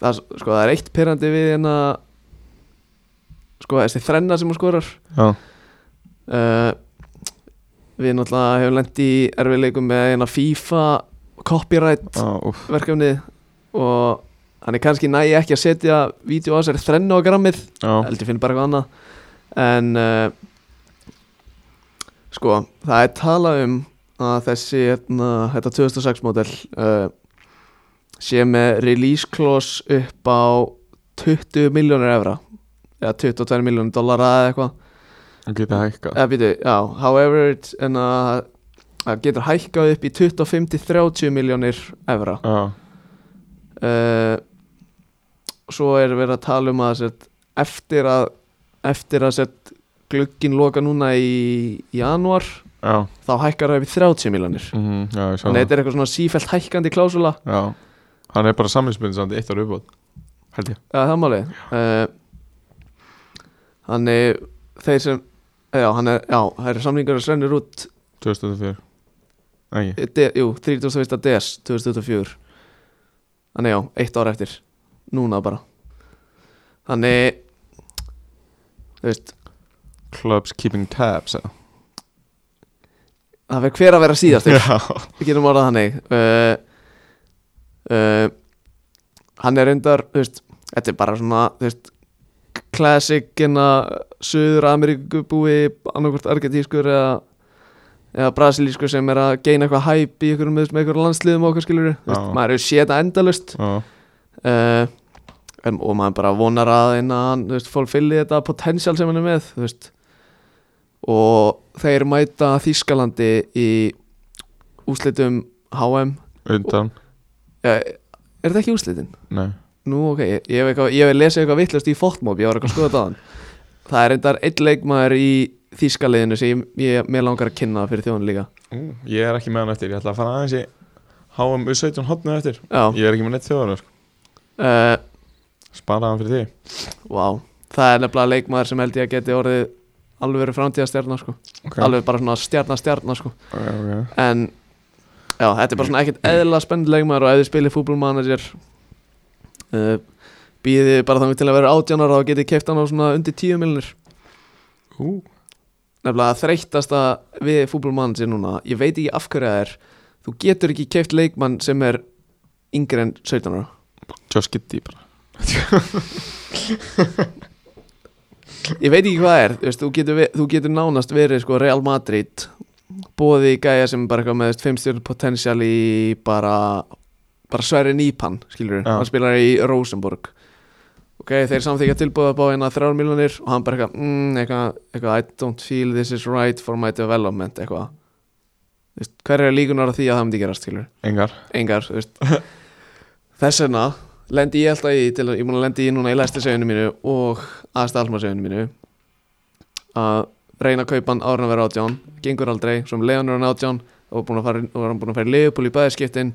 S1: það, er- sko, það er eitt pyrrandi við hérna sko þessi þrenna sem hún skorar
S2: Já,
S1: uh, við náttúrulega hefum lent í erfiðleikum með hérna FIFA copyright
S2: já, úff
S1: verkefnið og hann er kannski nægi ekki að setja vídeo á sér þrenna á grammið
S2: Já,
S1: heldur finn bara eitthvað annað en uh, sko, það er talað um að þessi hérna, þetta 2006 módel uh, sé með release clause upp á 20 miljónur evra eða 22 miljónur dollara eða eitthvað
S2: hann geta hækkað
S1: eða býtu, já, however it, en að það getur hækkað upp í 25 til 30 miljónir evra
S2: Já,
S1: uh, svo er verið að tala um að set, eftir að eftir að set, glugginn loka núna í janúar
S2: já,
S1: þá hækkar það upp í 30 miljonir
S2: mhm, já,
S1: þannig að
S2: ég sá það
S1: þetta er eitthvað svona sífælt hækkandi klásula
S2: Já, hann er bara samvinsbundsandi eitt ára uppbót Held ég
S1: eða það máli uh, hann er þeir sem já, hann er, já, það eru samlingar að srennir út
S2: 2004 Ægji
S1: de, jú, 31. des 2024 þannig já, eitt ár eftir núna bara þannig þú veist
S2: Clubs Keeping Tabs eða?
S1: það verður hver að vera síðast
S2: Já,
S1: við getum orðað þannig uh, uh, hann er reyndar þú veist, þetta er bara svona þú veist, classic hérna, söður Ameríkubúi annarkvort argentískur eða, eða brasilískur sem er að geina eitthvað hæp í ykkur með, með ykkur landsliðum og okkur skilur veist,
S2: Já.
S1: maður er séta endalust
S2: já,
S1: uh, en, og maður bara vonar að hérna, hann, þú veist, fólk fyllir þetta potensial sem hann er með þú veist og þeir mæta Þískalandi í úslitum HM
S2: undan
S1: ja, er þetta ekki úslitin?
S2: Nei,
S1: Nú ok, ég, ég hef eitthvað, ég hef lesið eitthvað vittlust í fótmóp, ég var eitthvað að skoða þaðan það er reyndar einn leikmaður í Þískaliðinu sem ég, ég mér langar að kynna fyrir þjóðan líka
S2: Ú, ég er ekki með hann eftir Ég ætla að fara aðeins í HM U17 hotnið eftir
S1: Já,
S2: Ég er ekki með neitt þjóðanar
S1: uh,
S2: Sparaði hann fyrir því
S1: vá, það er nefnilega leikmaður sem held ég að geti orðið alveg framtíðastjarnar sko
S2: Ok,
S1: alveg bara svona stjarnar-stjarnar sko
S2: ok, ok.
S1: en já, þetta er bara svona ekkert eðla spennileg maður og ef þið spilir fútbolmanager uh, býðið bara þannig til að vera átjánar og getið keift hann á svona undir 10 miljonir
S2: Ú,
S1: nefnilega að þreytast að við fútbolmanager núna ég veit ekki af hverju það er þú getur ekki keift leikmann sem er yngri en 17 ára
S2: Josh Giddy bara
S1: ég veit ekki hvað það er, þú, veist, þú, getur, ve- þú getur nánast verið sko Real Madrid bóði í gæja sem er bara eitthvað með 5 stjórn potensial í bara bara Sverri Nýpan, skilur
S2: Já.
S1: hann spilar í Rosenborg ok, þeir samþykja tilbúða upp á hérna 3 miljonir og hann bara eitthvað, mm, eitthvað, eitthvað I don't feel this is right for my development eitthvað Þú veist, hver er líkunar á því að það myndi gerast, skilur
S2: Engar
S1: engar þú veist. (laughs) þess vegna lendi ég alltaf í til, að- ég er múin að lendi í núna í læstiseginu mínu og aðstalmaseginu mínu að reyna að kaupa hann ára að vera átján gengur aldrei, sem Leon er hann átján og, búin að fara, og var hann búin að fara í Leopold í bæðiskiptin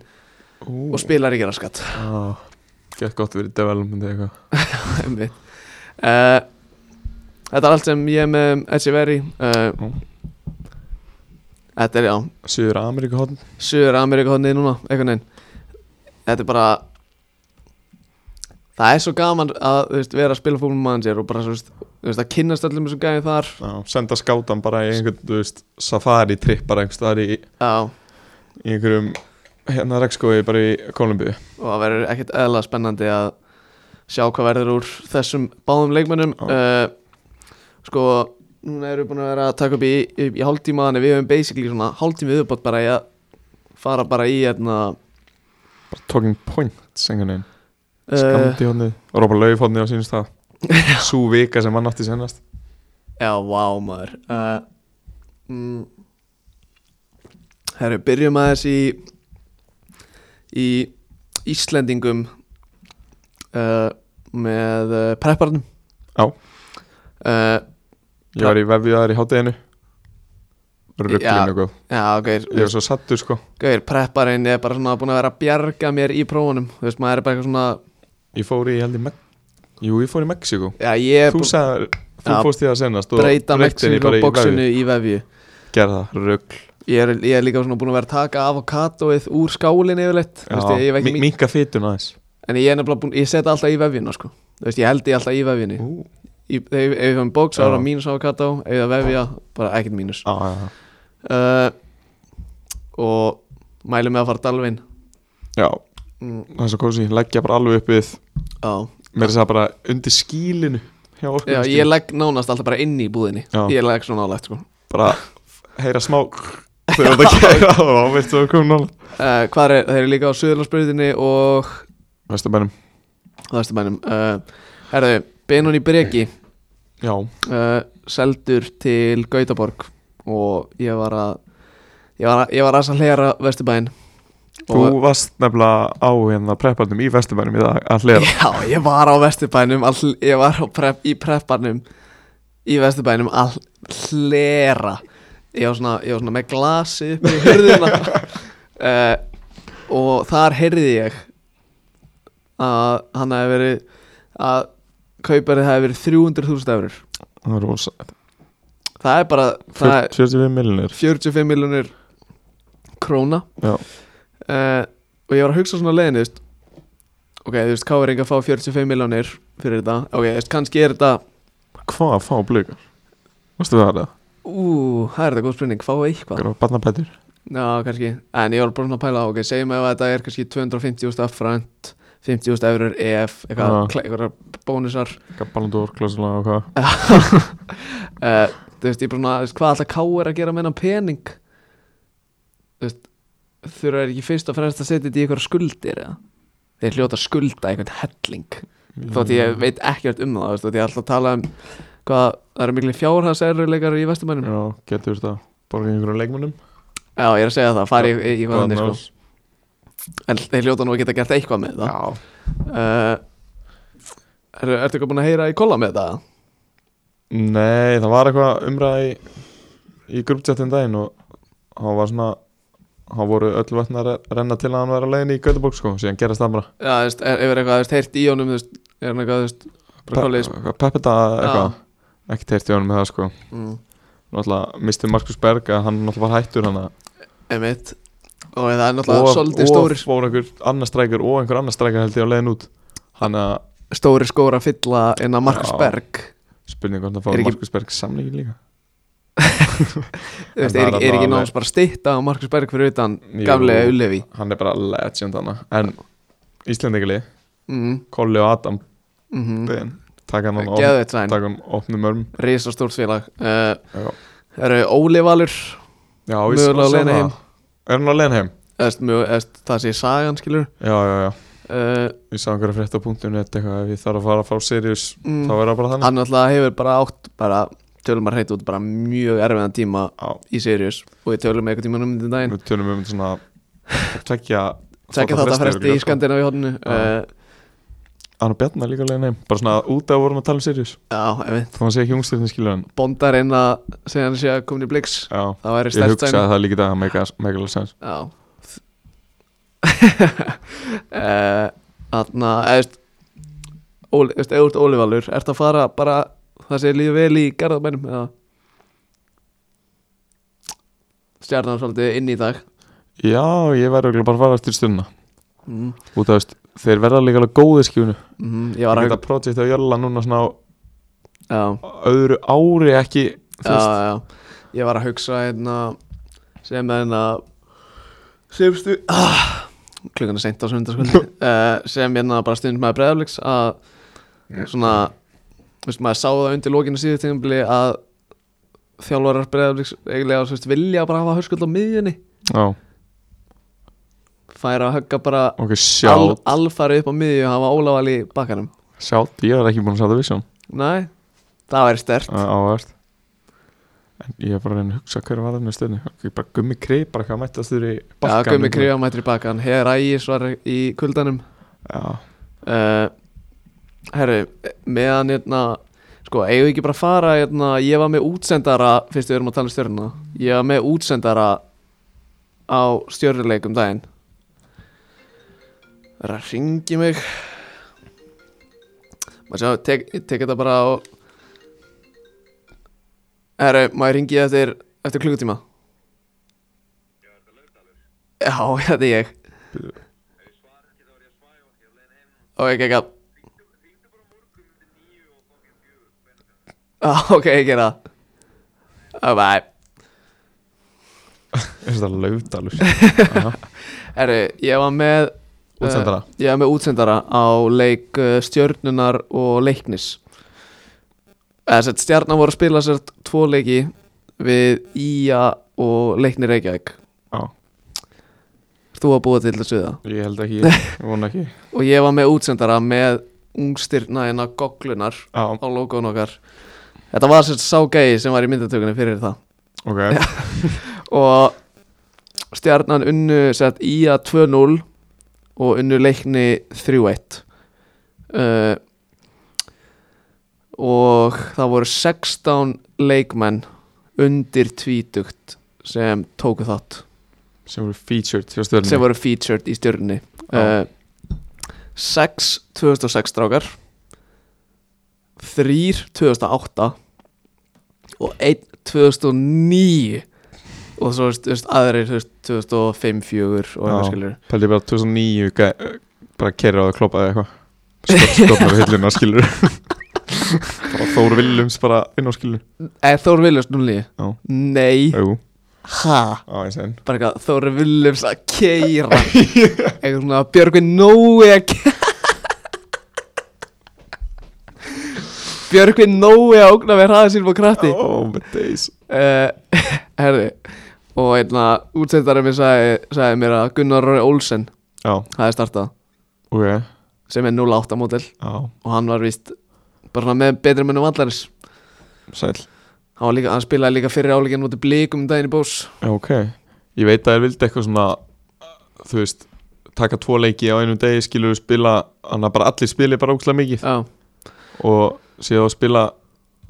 S2: Ú,
S1: og spilar ekki raskat
S2: á, Gett gott verið development eða eitthvað
S1: (laughs) Einmitt. Eh, Þetta er allt sem ég er með um Echeverri uh,
S2: Já.
S1: Þetta er já
S2: Suður Ameríku hotn
S1: Suður Ameríka hodnið núna einhvern veginn Þetta er bara Það er svo gaman að þú veist, vera að spila fólum mann sér og bara þú veist, þú veist, að kynnast öllum þessum gæði þar
S2: Já, Senda skátan bara í einhvern, þú veist, safari trip bara einhvers staðar í,
S1: Já,
S2: í einhverjum hérna regnskói bara í Kolumbíu
S1: og það verður ekkert eðla spennandi að sjá hvað verður úr þessum báðum leikmönnum
S2: Já.
S1: uh, sko núna erum við búin að vera að taka upp í, í, í hálftíma þannig við höfum basically svona hálftíma viðbót bara í að fara bara í hérna
S2: Bara talking points einhvern veginn
S1: uh,
S2: Eh. Skandi hotnið Rópa lauf hotnið á sínum (laughs) stað Sú vika sem hann átti sennast
S1: já, vá maður uh, mm, herru, byrjum aðeins í í Íslendingum uh, með uh, prepparnum
S2: Já.
S1: uh,
S2: Ég var í vefjaðar í hátteginu
S1: Já.
S2: Rugglinu góð
S1: Já, ok,
S2: Ég var svo sattur sko
S1: Gauðir, prepparinn er bara svona búin að vera að bjarga mér í prófunum Þú veist, maður er bara eitthvað svona
S2: Ég fór í, ég held í Mek Jú, ég fór í Mexíku
S1: Já, ég er
S2: Þú
S1: búin
S2: sagði, þú
S1: Já,
S2: fórst í það sennast
S1: að breyta
S2: henni
S1: Mexíku
S2: bara í
S1: boxinu í vefju
S2: vefju. Gerð það, rugg
S1: ég er, ég er líka svona búin að vera að taka avokadoið úr skálinn yfirleitt Þú veist, ég, ég
S2: Mi-
S1: ekki,
S2: Minka fytuna aðeins
S1: En ég er nefnilega búin, ég seti alltaf í vefjuna, sko Þú veist, ég held ég alltaf í vefjunni
S2: Ú,
S1: í, Ef ef ég fann bóks, þá er
S2: Já.
S1: það mínus avokado Ef það vefja, bara ekkert mínus
S2: á, já,
S1: uh, Og mælum með að fara dalvin
S2: já,
S1: mm,
S2: það er svo kósi Leggja bara alveg upp við
S1: Já,
S2: Mér er það bara undir skílinu Hjá orkunni
S1: já ég legg nánast alltaf bara inn í búðinni
S2: Já.
S1: Ég legg svona nálægt, sko
S2: Bara
S1: (laughs)
S2: heyra smá Þegar þetta gera það Þá veistu það komum nála
S1: uh, hvað er, þeir eru líka á Suðurlandsbröðinni og
S2: Vestu bænum
S1: Þaðstabænum uh, herðu, Benoni Breki
S2: Já,
S1: uh, seldur til Gautaborg og ég var að ég var, að- ég var að að hlera Vesturbæn
S2: þú varst nefnilega á hérna prepparnum í Vesturbænum í dag að hlera
S1: já, ég var á Vesturbænum all, ég var á prep, í prepparnum í Vesturbænum að hlera ég var svona, ég var svona með glasi upp í hurðina uh, og þar heyrði ég að hann hefði verið að kauparið hefði verið 300.000 eurur
S2: Það er rosa
S1: það er bara það er
S2: 45 millinir
S1: 45 miljonir króna
S2: Já.
S1: Eh, og ég var að hugsa svona leiðin þú veist, ok, þú veist, hvað er að fá 45 miljonir fyrir þetta ok, þú veist, kannski er þetta
S2: Hvað að fá blíkar? Vestu það er það?
S1: ú, það er þetta góð spurning, fá eitthvað
S2: Það er barnabætur
S1: já, kannski, en ég var bara svona að pæla ok, segjum ef þetta er kannski 250.000 upfront 50.000 eurur ef eitthvað,
S2: Já.
S1: kle- eitthvað bónusar
S2: Ballandur, klásula og hvað
S1: Eh, þú veist, ég bara svona, þú veist, hvað alltaf ká er að gera með hennan pening þú veist, þurfa er ekki fyrst og fremst að setja þetta í eitthvað skuldir eða þeir hljóta að skulda einhvern helling þótt
S2: Mm.
S1: ég veit ekkert um það, þú veist, þótt ég er alltaf að tala um hvað, það eru miklu fjárhagserruleikar í vestumænum,
S2: Já, getur þetta Borgið einhverjum leikmönnum
S1: já, ég er að segja það fari í, í, í hvað þannig,
S2: sko
S1: sko en þeir hljóta nú að geta gert eitthvað með það
S2: Já,
S1: uh, er, ertu eitthvað búin að heyra í kolla með það?
S2: Nei, það var eitthvað umræði í, í grúptjáttin daginn og hann var svona hann voru öll vatn að re- renna til að hann væri að leiðin í Göteborg sko, síðan gerast það bara
S1: Já, þú veist, er, er eitthvað, þú veist, heyrt í honum, þú veist, er hann eitthvað, þú veist, bara
S2: Pe-
S1: kollið,
S2: eitthvað Peppita eitthvað, ekki teirti honum með það sko
S1: mm.
S2: náttúrulega misti Markus Berg að hann náttúrulega var hættur hann og,
S1: Einmitt Og það er náttúrulega svolítið
S2: og
S1: stórir
S2: fór einhver annar strækjur og einhver annar strækjur held ég á leiðin út hann að
S1: Stórir skóra að fylla inn að Markus
S2: Já.
S1: Berg
S2: spurning hvort það
S1: Er
S2: fór
S1: ekki-
S2: Markus Berg samlíkin líka
S1: Þú veist,
S2: En
S1: er,
S2: það
S1: er,
S2: er
S1: er ekki
S2: alveg-
S1: náms bara stitta á Markus Berg fyrir utan
S2: Jú.
S1: gamlega Ullevi
S2: hann er bara legend hann en Íslendingli,
S1: mm,
S2: Kolli og Adam
S1: mm -hmm.
S2: Ben taka hann á
S1: Geðu þetta sæn
S2: taka hann opnum örm
S1: Rísastórt félag uh,
S2: Já,
S1: Það eru Óli Valur
S2: já ég
S1: Mögulega
S2: sá-
S1: á
S2: sá
S1: leiðinni
S2: það.
S1: heim.
S2: Er hann á leiðin heim?
S1: eðst, mjög, eðst, Það sé sagan skilur
S2: Já, já, já
S1: uh,
S2: Ég sá einhverja frétt á punktunni Þetta eitthvað Ef ég þarf að fara frá Sirius
S1: mm,
S2: Þá er það bara þannig
S1: Hann náttúrulega hefur bara átt bara, Tölum að hreita út bara mjög erfiðan tíma
S2: Já
S1: í Sirius Og við tölum eitthvað tíma um þetta daginn
S2: Við tölum um svona Tvekja
S1: Tækja
S2: þátta
S1: þetta fresti
S2: örugglega,
S1: í
S2: sko.
S1: Skandinavíu hodnu
S2: Já.
S1: uh,
S2: Hann og Bjarnar líka á leiðin heim Bara svona út af vorum að tala um Sirius
S1: Já, einmitt
S2: Þá hann sé ekki ungstirðin skilur hann
S1: bondar inn að segja hann sé að komin í bliks
S2: Já
S1: það væri
S2: Ég
S1: stærst
S2: hugsa
S1: sæn
S2: að það líka í dag að
S1: (laughs)
S2: make a- make a lot of sense
S1: já uh, Þarna, eða veist Óli, veist, eða úr Ólivalur, ertu að fara bara það sé líður vel í garðabænum eða stjarnan svolítið inn í dag
S2: Já, ég væri örugglega bara að fara eftir stundina
S1: mm.
S2: Út af veist, þeir verða líka alveg góðir skjúnu
S1: Mm, ég var
S2: Mhm,
S1: að
S2: Ég geta projektið á Jörla núna svona á
S1: já,
S2: öðru ári ekki þú
S1: já,
S2: veist,
S1: já, ég var að hugsa hérna sem er hérna sem stu ah, klukkan er seint á sundarskvöldi
S2: (laughs)
S1: uh, sem hérna bara stund með breðafliks að svona veist, maður sá það undir lókinu síðu tíðanbili að þjálfarar breðafliks eiginlega þú veist, vilja bara hafa hörskuld á miðjunni
S2: já,
S1: færa að högga bara
S2: ok,
S1: al,
S2: sjátt
S1: alfari upp á miðju og hafa ólafal í bakkanum
S2: Sjátt, ég var ekki búin að sjá það vissum
S1: Nei, það væri stert
S2: Ávært En ég er bara að reyna að hugsa hver var það með stöðni Ok, bara gummi krið, bara hvað mættast þurr í
S1: Já,
S2: bakkanum hérna.
S1: Gummi Kríamættir í bakkan Heðar Ægis var í kuldanum
S2: Já,
S1: uh, Herru, meðan hérna Sko, eigum við ekki bara að fara hérna Ég var með útsendara, fyrst við erum að tala um stjörnuna Ég var með útsendara Á stjörnuleikum daginn Það er að ringi mig Maður sjá, tek, ég tek þetta bara á Herru, maður ringi eftir Eftir klukkutíma Já, (laughs) þetta er ég Ok, ekki ekki Ah, Ok, ég gera það Bye
S2: er þetta
S1: (laughs)
S2: laufdalur Jæja,
S1: Herru, ég var með
S2: Útsendara.
S1: Eh, Ég var með útsendara á leik uh, stjörnunar og leiknis Eh, Þess að stjarnar voru að spila sér tvo leiki við Ía og leikni Reykjavík
S2: Já,
S1: Ert Þú að búa til þessu það
S2: ég held ekki, ég vona ekki
S1: Og ég var með útsendara með ungstirna hérna goglunar
S2: Já,
S1: á logoðun okkar Þetta var sér sá gæi sem var í myndatökunni fyrir það
S2: ok
S1: og stjarnan unnu sett í að 2-0 og unnu leikni 3-1 uh, og það voru 16 leikmenn undir tvítugt sem tóku þátt
S2: Sem voru featured hjá stöðni
S1: sem voru featured í stjörnunni uh,
S2: Já.
S1: 6 2006 strákar 3 2008 og 1 2009 og svo þú veist, aðrir þú veist, 2005 fjögur og
S2: Já.
S1: eitthvað skilur
S2: Pældi bara 2009 gæ- eh, bara kerra á það kloppaði eitthvað Skott, skotnar á hilluna skilur (laughs) Bara Þór Viljums bara inn á skilur
S1: eða Eh, Þór Viljus 09
S2: Já.
S1: nei,
S2: Jú,
S1: ha
S2: á eins enn
S1: bara eitthvað Þór Viljus að
S2: (laughs)
S1: keira eitthvað svona Björgvin Nói að keira (laughs) Björgvin Nói að ógna með hraða sínum á kratti
S2: Oh my days
S1: uh, (laughs) herði og einna útsendari mér sagði, sagði mér að Gunnar Róri Olsen
S2: Já,
S1: hafi startað
S2: ok,
S1: sem er 08 mótel
S2: já,
S1: og hann var víst bara svona með betri mönnum vallarins
S2: sæl
S1: hann, var líka, hann spilaði líka fyrir áleikin mútið blíkum um daginn í bós
S2: Já, ok. Ég veit að þér vildi eitthvað svona, þú veist, taka tvo leiki á einu degi, skilur við spila, hann að bara allir spili bara ókslega mikið
S1: já,
S2: og síðan að spila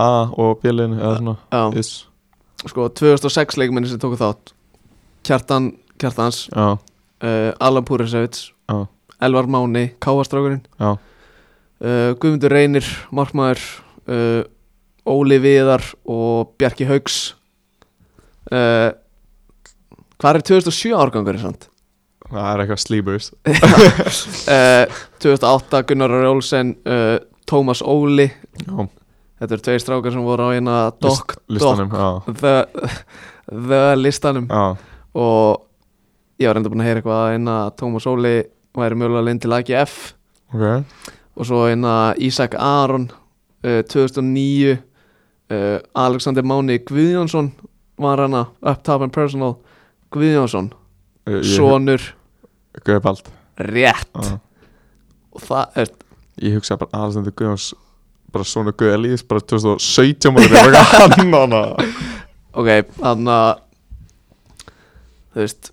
S2: A og B-leginu eða svona,
S1: já,
S2: is.
S1: sko 2006 leikmenni sem tóku þátt Kjartan Kjartans
S2: Já,
S1: uh, Alan Púrisevits
S2: Já.
S1: Elvar Máni, Káastrákurinn
S2: já,
S1: uh, Guðmundur Reynir, Markmaður uh, Óli Viðar og Bjarki Haugs uh, Hvað er 2007 árgangur samt?
S2: það er eitthvað sleepers.
S1: uh, 2008 Gunnar Ari Olsen uh, Tómas Óli
S2: Já,
S1: Þetta eru tveir strákar sem voru á eina Dokk, dokk
S2: listanum, já,
S1: the, the listanum
S2: já,
S1: Og ég var enda búin að heyra eitthvað að eina Tómas Óli væri mjögulega leinn til AGF
S2: ok,
S1: og svo hérna Ísak Aron uh, 2009 uh, Alexander Máni Guðjónsson var hana Up Top and Personal Guðjónsson,
S2: Ég- ég-
S1: sonur
S2: Guðbald,
S1: rétt
S2: já.
S1: og það er
S2: Ég hugsa bara aðalstendur Guðjóns, bara svona Guð Elíðis, bara 2017 múlið, eitthvað
S1: (laughs)
S2: hann hana.
S1: ok, þannig að þú veist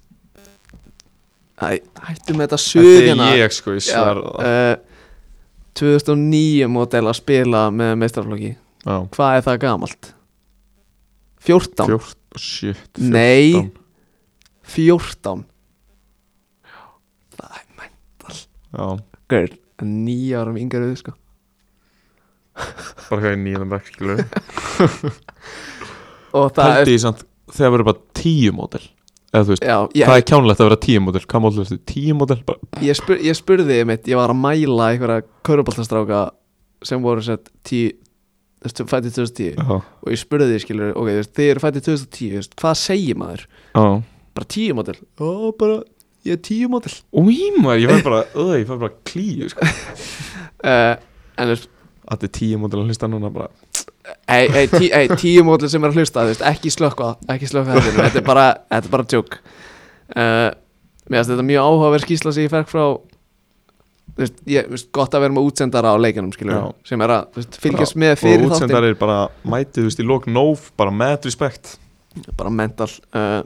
S1: Æ, hættum með þetta
S2: Þetta
S1: suðina
S2: er ég, sko, ég
S1: hérna. Já,
S2: sver það.
S1: uh, 2009 mótel að spila með meistarflokki
S2: Já,
S1: hvað er það gamalt? 14?
S2: 14, shit, 14.
S1: Nei 14 Það er mænt
S2: Já,
S1: gaur nýja árum yngaröðu sko
S2: bara hvað er nýjum bekk skilur
S1: og (laughs) það
S2: Pældi ég samt þegar verður bara tíu mótel eða þú veist,
S1: já,
S2: hvað
S1: ég,
S2: er kjánlegt að vera tíu mótel hvað mótel ertu, tíu mótel bara,
S1: ég, spur, ég spurði mitt, ég var að mæla einhverja kauruboltastráka sem voru sett tí, fættið 2010
S2: já,
S1: og ég spurði því skilur, ok, þú veist, þið eru fættið 2010 þú veist, hvað segir maður?
S2: já
S1: Bara tíu mótil, ó bara ég er tíu mótil
S2: Újímar, ég fær bara, (laughs) öð, ég fær bara klíu sko.
S1: uh, en þú veist,
S2: Þetta er tíu mótel að hlusta núna bara
S1: Ei, ei, tí, ei, tíu mótli sem er að hlusta þú veist, ekki slökka, ekki slökka þetta þetta
S2: (laughs)
S1: er bara, þetta er bara tjók uh, mér finnst þetta mjög áhugaverð skýsla sem ég fekk frá þú veist, ég, þú veist, gott að vera með útsendara á leikinum skilur,
S2: Já.
S1: sem er að þú veist, fylgjast
S2: Bara-
S1: með fyrir
S2: Og
S1: þáttin
S2: útsendari er bara mætið, þú veist, í lók nóf bara með respekt
S1: bara mental uh,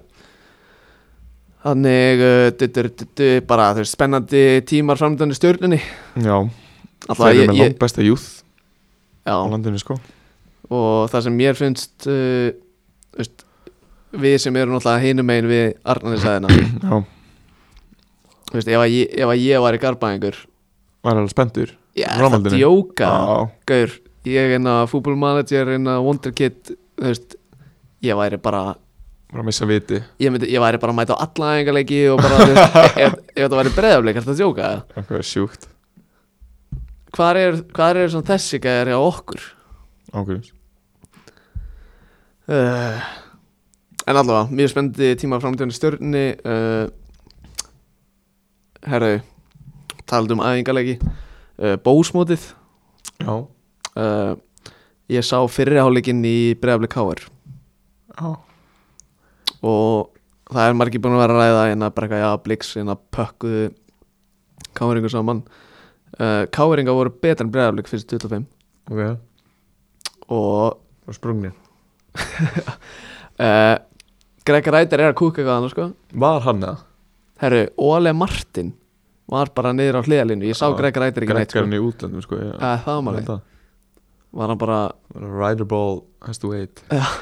S1: þannig uh, du, du, du, du, bara þú veist, spennandi tímar framdöndi stjórnunni
S2: Já,
S1: Alla,
S2: þeir eru
S1: ég,
S2: með
S1: ég,
S2: langt besta júð
S1: já,
S2: á landinu sko
S1: og það sem mér finnst uh, þú veist, við sem erum náttúrulega hinum megin við Arnarnesæðina
S2: Já,
S1: Þú veist, ef að ég, ef að ég var í garbaðingur
S2: var alveg spenntur
S1: Ég er það
S2: Framhaldinu.
S1: djóka
S2: Já,
S1: Gaur, ég er hérna einna fútbolmanager einna wonderkid hérna Þú veist, ég væri bara
S2: bara að missa viti
S1: Ég, myndi, ég væri bara að mæta á alla æfingarleiki og bara, þú
S2: (laughs)
S1: veist, ef, ef, ef þetta væri breiðafleik, er þetta að djóka?
S2: Eitthvað er sjúkt
S1: Hvar er, hvar er svona þessi gæðar hjá okkur?
S2: Ákveðis Eh.
S1: Uh, en allavega, mjög spennandi tíma framtíðan í stjörnni uh, Herru, talandi um æfingarleiki uh, Bósmótið
S2: Já,
S1: uh, ég sá fyrirháleikinn í Breiðabli Káar
S2: já,
S1: og það er margir búin að vera að ræða en að bara eitthvað, já, blíks, en að pökkuðu Káaringu saman uh, Káaringa voru betur en Breiðablik fyrst 25
S2: ok Bara
S1: og
S2: sprungnir
S1: uh, Greg Ræder er að kúka eitthvað annars sko
S2: Var hann eða?
S1: herru, Ole Martin var bara niður á hliðalínu, ég sá
S2: Já,
S1: Greg Ræder ekki neitt sko.
S2: Greggarinn í útlandum sko já.
S1: uh, það var
S2: Ég
S1: málið,
S2: held að.
S1: var hann bara
S2: Rider ball has to wait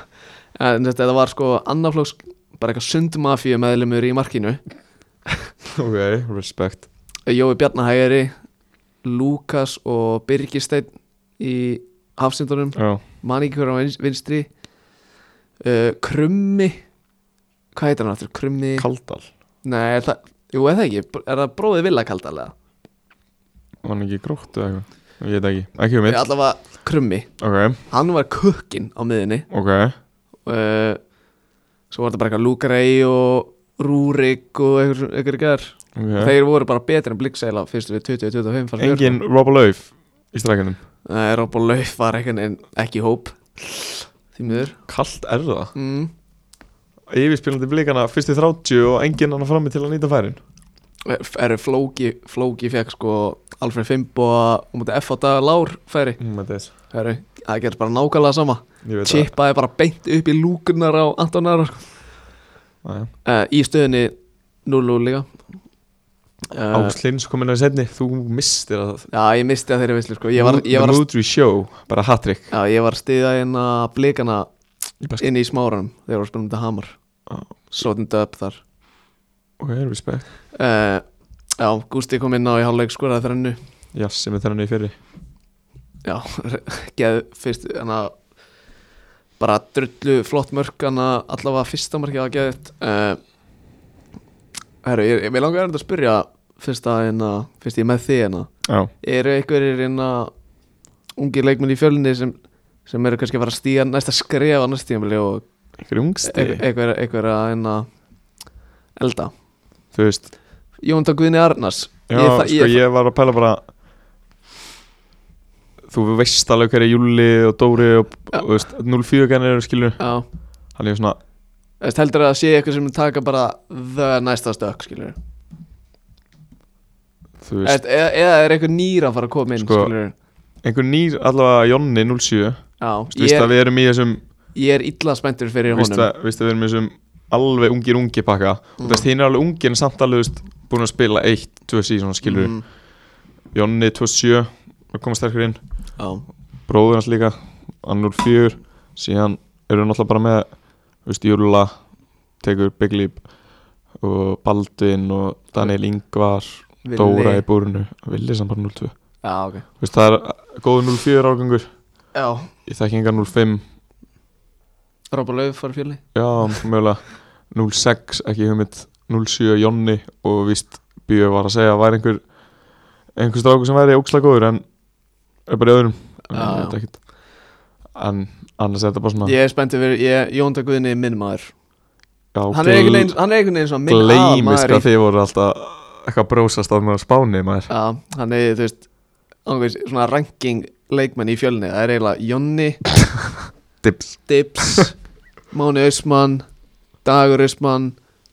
S1: (laughs) en þetta þetta var sko annaflóks bara eitthvað sundmafíu meðlumur í markinu
S2: Ok, respect
S1: Jói Bjarnahægari Lukas og Birgisteinn í hafsindunum
S2: Já,
S1: man ekki hver á vins- vinstri uh, Krummi hvað heitir hann aftur? Krummi
S2: Kaldal
S1: Nei, er það, jú, er það ekki, Br- er það bróðið villakaldalega?
S2: Var hann ekki í gróttu eða eitthvað Ég veit ekki, ekki um mitt
S1: Allavega Krummi,
S2: Ok,
S1: hann var kukkin á miðinni
S2: ok
S1: uh, Svo var þetta bara eitthvað Lúgrei og Rúrik og einhver, einhver gær
S2: okay.
S1: Þeir voru bara betri en blikkseila fyrstu við 20-25 fannst mér.
S2: Engin Rob Lauf í strækjunum
S1: Nei, Rob og Lauf var einhvern veginn ekki í hóp Því miður
S2: Kalt er það
S1: mm.
S2: Yfirspilandi blikana fyrstu 30 og engin annar frammi til að nýta færin
S1: Eru Flóki Flóki fekk sko Alfred Fimbo og mútið F á dag Lár færi
S2: mm, þetta er-
S1: Heru, Það gerst bara nákvæmlega sama
S2: Ég veit það
S1: Chipaði bara beint upp í lúkunar á Antonar sko.
S2: Jæja.
S1: uh, Í stöðinni 0-0 líka uh,
S2: Áslins komin að setni, þú mistir að
S1: Já, ég misti að þeirri visslu sko. ég, var,
S2: The
S1: ég, var, að-
S2: Moodry Show, bara hat-trick
S1: já, ég var að stiða hérna blikana
S2: Í basket.
S1: inn í smáranum þegar voru spilum þetta hamar
S2: Já.
S1: Sotnum döp þar
S2: Ok, respect
S1: uh, Já, Gústi kom inn á í hálfleik skoraði þrennu
S2: Jass sem er þennan í fyrri
S1: Já, (laughs) geð fyrst hana, bara drullu flott mörk hana, allavega fyrsta markið að geðið uh, Herru, ég, ég mig langar þetta að spyrja fyrst að hérna, fyrst ég er með þig hérna
S2: Já,
S1: eru einhverjir hérna ungir leikmenn í fjölinni sem, sem eru kannski að fara að stíga næsta skref á næsta tímabili og
S2: einhver ungsti
S1: einhver, einhver, einhver að hérna elda
S2: Þú veist,
S1: Jón Tókvinni Arnars
S2: já,
S1: Ég þa-
S2: sko, ég var að pæla bara Þú veist alveg hverja Júli og Dóri og,
S1: Já.
S2: og þú veist, 04 gennir eru skilur
S1: Já
S2: Hann er svona,
S1: Þú veist, heldur að það sé eitthvað sem mun taka bara the næsta stökk, skilur
S2: þú
S1: Eða,
S2: veist
S1: eða eða er eitthvað nýr að fara að koma inn,
S2: Sko,
S1: skilur
S2: Einhver nýr, allavega Jonni 07
S1: Já,
S2: Vist
S1: ég
S2: að
S1: er,
S2: við erum í þessum
S1: ég er illa spenntur fyrir
S2: Vist
S1: honum
S2: að, víst að við erum í þessum alveg ungir ungi pakka
S1: Mm.
S2: Og þess hinn er alveg ungir en samt alveg þú veist, búin að spila eitt, tvö síðan skilur
S1: Mm,
S2: Jonni 27 að koma sterkur inn
S1: Já,
S2: bróður hans líka hann 04 síðan eru náttúrulega bara með þú veist, Júla tekur Big Leap og Baldvin og Daniel Ingvar
S1: Villi-
S2: Dóra í búrinu Villi samt bara 0-2
S1: Já, ok
S2: Þú veist, Það er góð 0-4 árgangur
S1: Já,
S2: Ég þekki enga 0-5
S1: Rópa Lauf fór í fjöli
S2: Já, mögulega 0-6, ekki hugmynd 0-7 Jonni og víst Bíu var að segja að væri einhver einhver stráku sem væri ókslega góður en er bara í öðrum en,
S1: Já,
S2: ég veit ekkert. en annars er þetta bara svona
S1: Ég er spenntið fyrir, ég, Jón Daguðinni er minn maður
S2: já,
S1: Hann er einhvern veginn, hann er einhvern veginn svona minn
S2: Gleimis
S1: aðalmaður í-
S2: hvað þið voru alltaf eitthvað brósast á mér á spáni maður
S1: Já, hann er, þú veist ángveðis, svona ranking leikmenn í fjölni það er eiginlega Jonni,
S2: Dips (laughs)
S1: Dips Máni Ösmann, Dagur Ösmann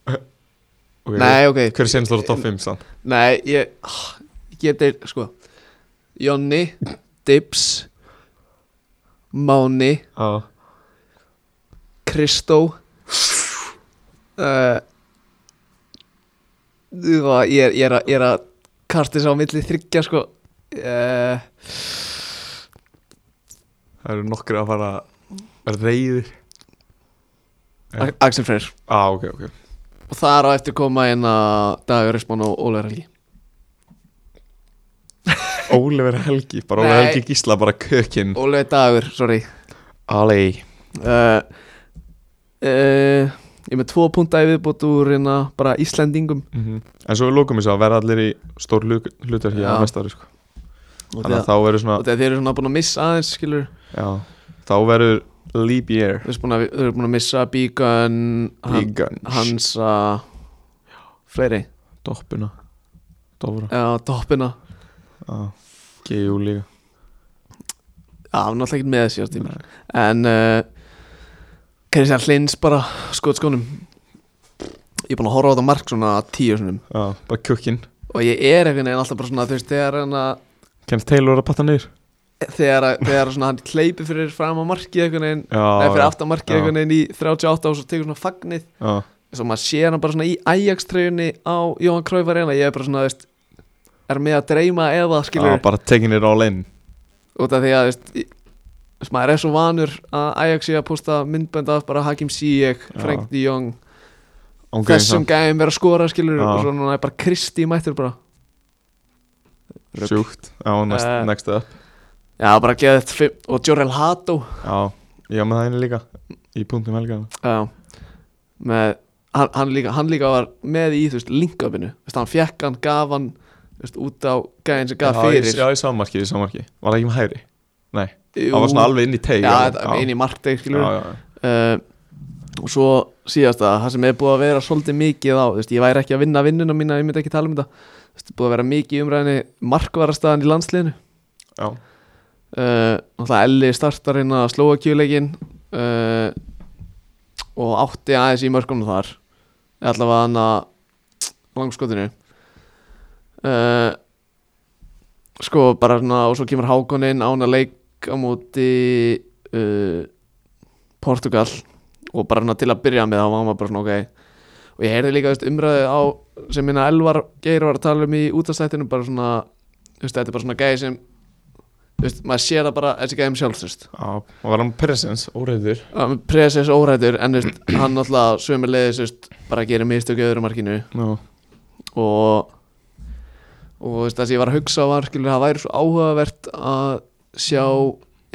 S2: Ok,
S1: Nei, ok,
S2: Hver er sínst þú á top 5 sann?
S1: Nei, ég ah, Ég gef þeir, sko Jonni, Dibs Máni
S2: Já
S1: Kristó uh, Þú var, ég er, ég er, að- ég er að Kartis á milli þryggja, sko uh,
S2: Það eru nokkri að fara reyðir
S1: A- Axel Freyr
S2: Á, ah, ok, ok
S1: Og þar á eftir koma inn að Dagur Rismann og Óleir Helgi
S2: Ólefur Helgi, bara Ólefur
S1: Nei.
S2: Helgi Gísla, bara kökin
S1: Óleir Dagur, sorry
S2: Alei
S1: uh, uh, Ég er með tvo punta í viðbót úr hérna bara Íslendingum
S2: En svo við lókum þess að verða allir í stór hlutar hér
S1: Já.
S2: að mestari sko.
S1: Og
S2: Þannig
S1: það-
S2: að þá verður svona
S1: og þegar þeir eru svona búin að missa aðeins skilur,
S2: já, Þá verður leap year
S1: þeir eru búin að, þeir eru búin að missa Bíkan, han,
S2: Bígans
S1: Hansa fleiri,
S2: Doppuna Dofra
S1: já, toppina
S2: G.U. líka
S1: já, hann er náttúrulega ekki með þessi ástíma en uh, Kristján Hlins bara skotskónum ég er búin að horfa á þetta mark svona tíu sinum
S2: já, Bara kökin
S1: og ég er einhvern veginn alltaf bara svona þú veist, þegar hann að
S2: Kennst Taylor að patta niður
S1: þegar, að- þegar svona hann hleypi fyrir fram á markið einhvern veginn,
S2: Já,
S1: eða fyrir
S2: já,
S1: aftan markið
S2: já.
S1: einhvern veginn í 38 og svo tekur svona fagnið
S2: já,
S1: svo maður sé hana bara svona í Ajax-treyjunni á Jóhann Kræfar reyna ég er bara svona, þú veist, er með að dreyma eða skilur,
S2: já, bara taking it all in
S1: út af því að, þú veist, í- þú veist, maður er svo vanur að Ajax sé að posta myndbönd af bara Hakim Ziyech,
S2: Já.
S1: Frank de Jong
S2: Án gríns,
S1: þessum gæðum vera að skora, skilur
S2: Já.
S1: og svo núna er bara Kristi mættur bara
S2: já. Sjúkt Já, next,
S1: Eh.
S2: next up
S1: já, bara geða þetta fimm, og Jorel Hato
S2: Já, ég var með það einu líka Í punktum helgana
S1: já, með hann, hann, líka, hann líka var með í, þú veist, linkupinu, þú veist, hann fekk hann, gaf hann þú veist, út á gæðin sem gaf
S2: Já,
S1: fyrir
S2: ég- Já, í sammarki, í sammarki Var það ekki með hægri? Nei,
S1: Jú.
S2: það var svona alveg inn í teig
S1: já, þetta- inn í markteg, skilur
S2: Já, já, já
S1: uh, og svo síðast að það sem er búið að vera svolítið mikið á, þú veist, ég væri ekki að vinna vinnuna mína, ég myndi ekki tala um þetta Þú veist, búið að vera mikið í umræðinni markvarastaðan í landsliðinu
S2: Já,
S1: uh, og það Elli startar hérna að slóa kjuleikin uh, og átti aðeins í mörkunum þar Eða allavega hann að langskotinu uh, sko bara svona og svo kemur Hákon inn ána leik á móti uh, Portugal og bara svona til að byrja með þá var maður bara svona ok og ég heyrði líka þú veist, umræðu á sem minna Elvar Geir var að tala um í útastættinu bara svona þú veist, þetta er bara svona gæði sem þú veist, maður sér það bara þessi gæði um sjálfsust
S2: já Og var hann presence, óreiður
S1: presens óræður en þú veist, hann náttúrulega sömulegis veist, bara gerir mistök í öðru markinu
S2: Já,
S1: og og þú veist, það sem ég var að hugsa var skilur það væri svo áhugavert að sjá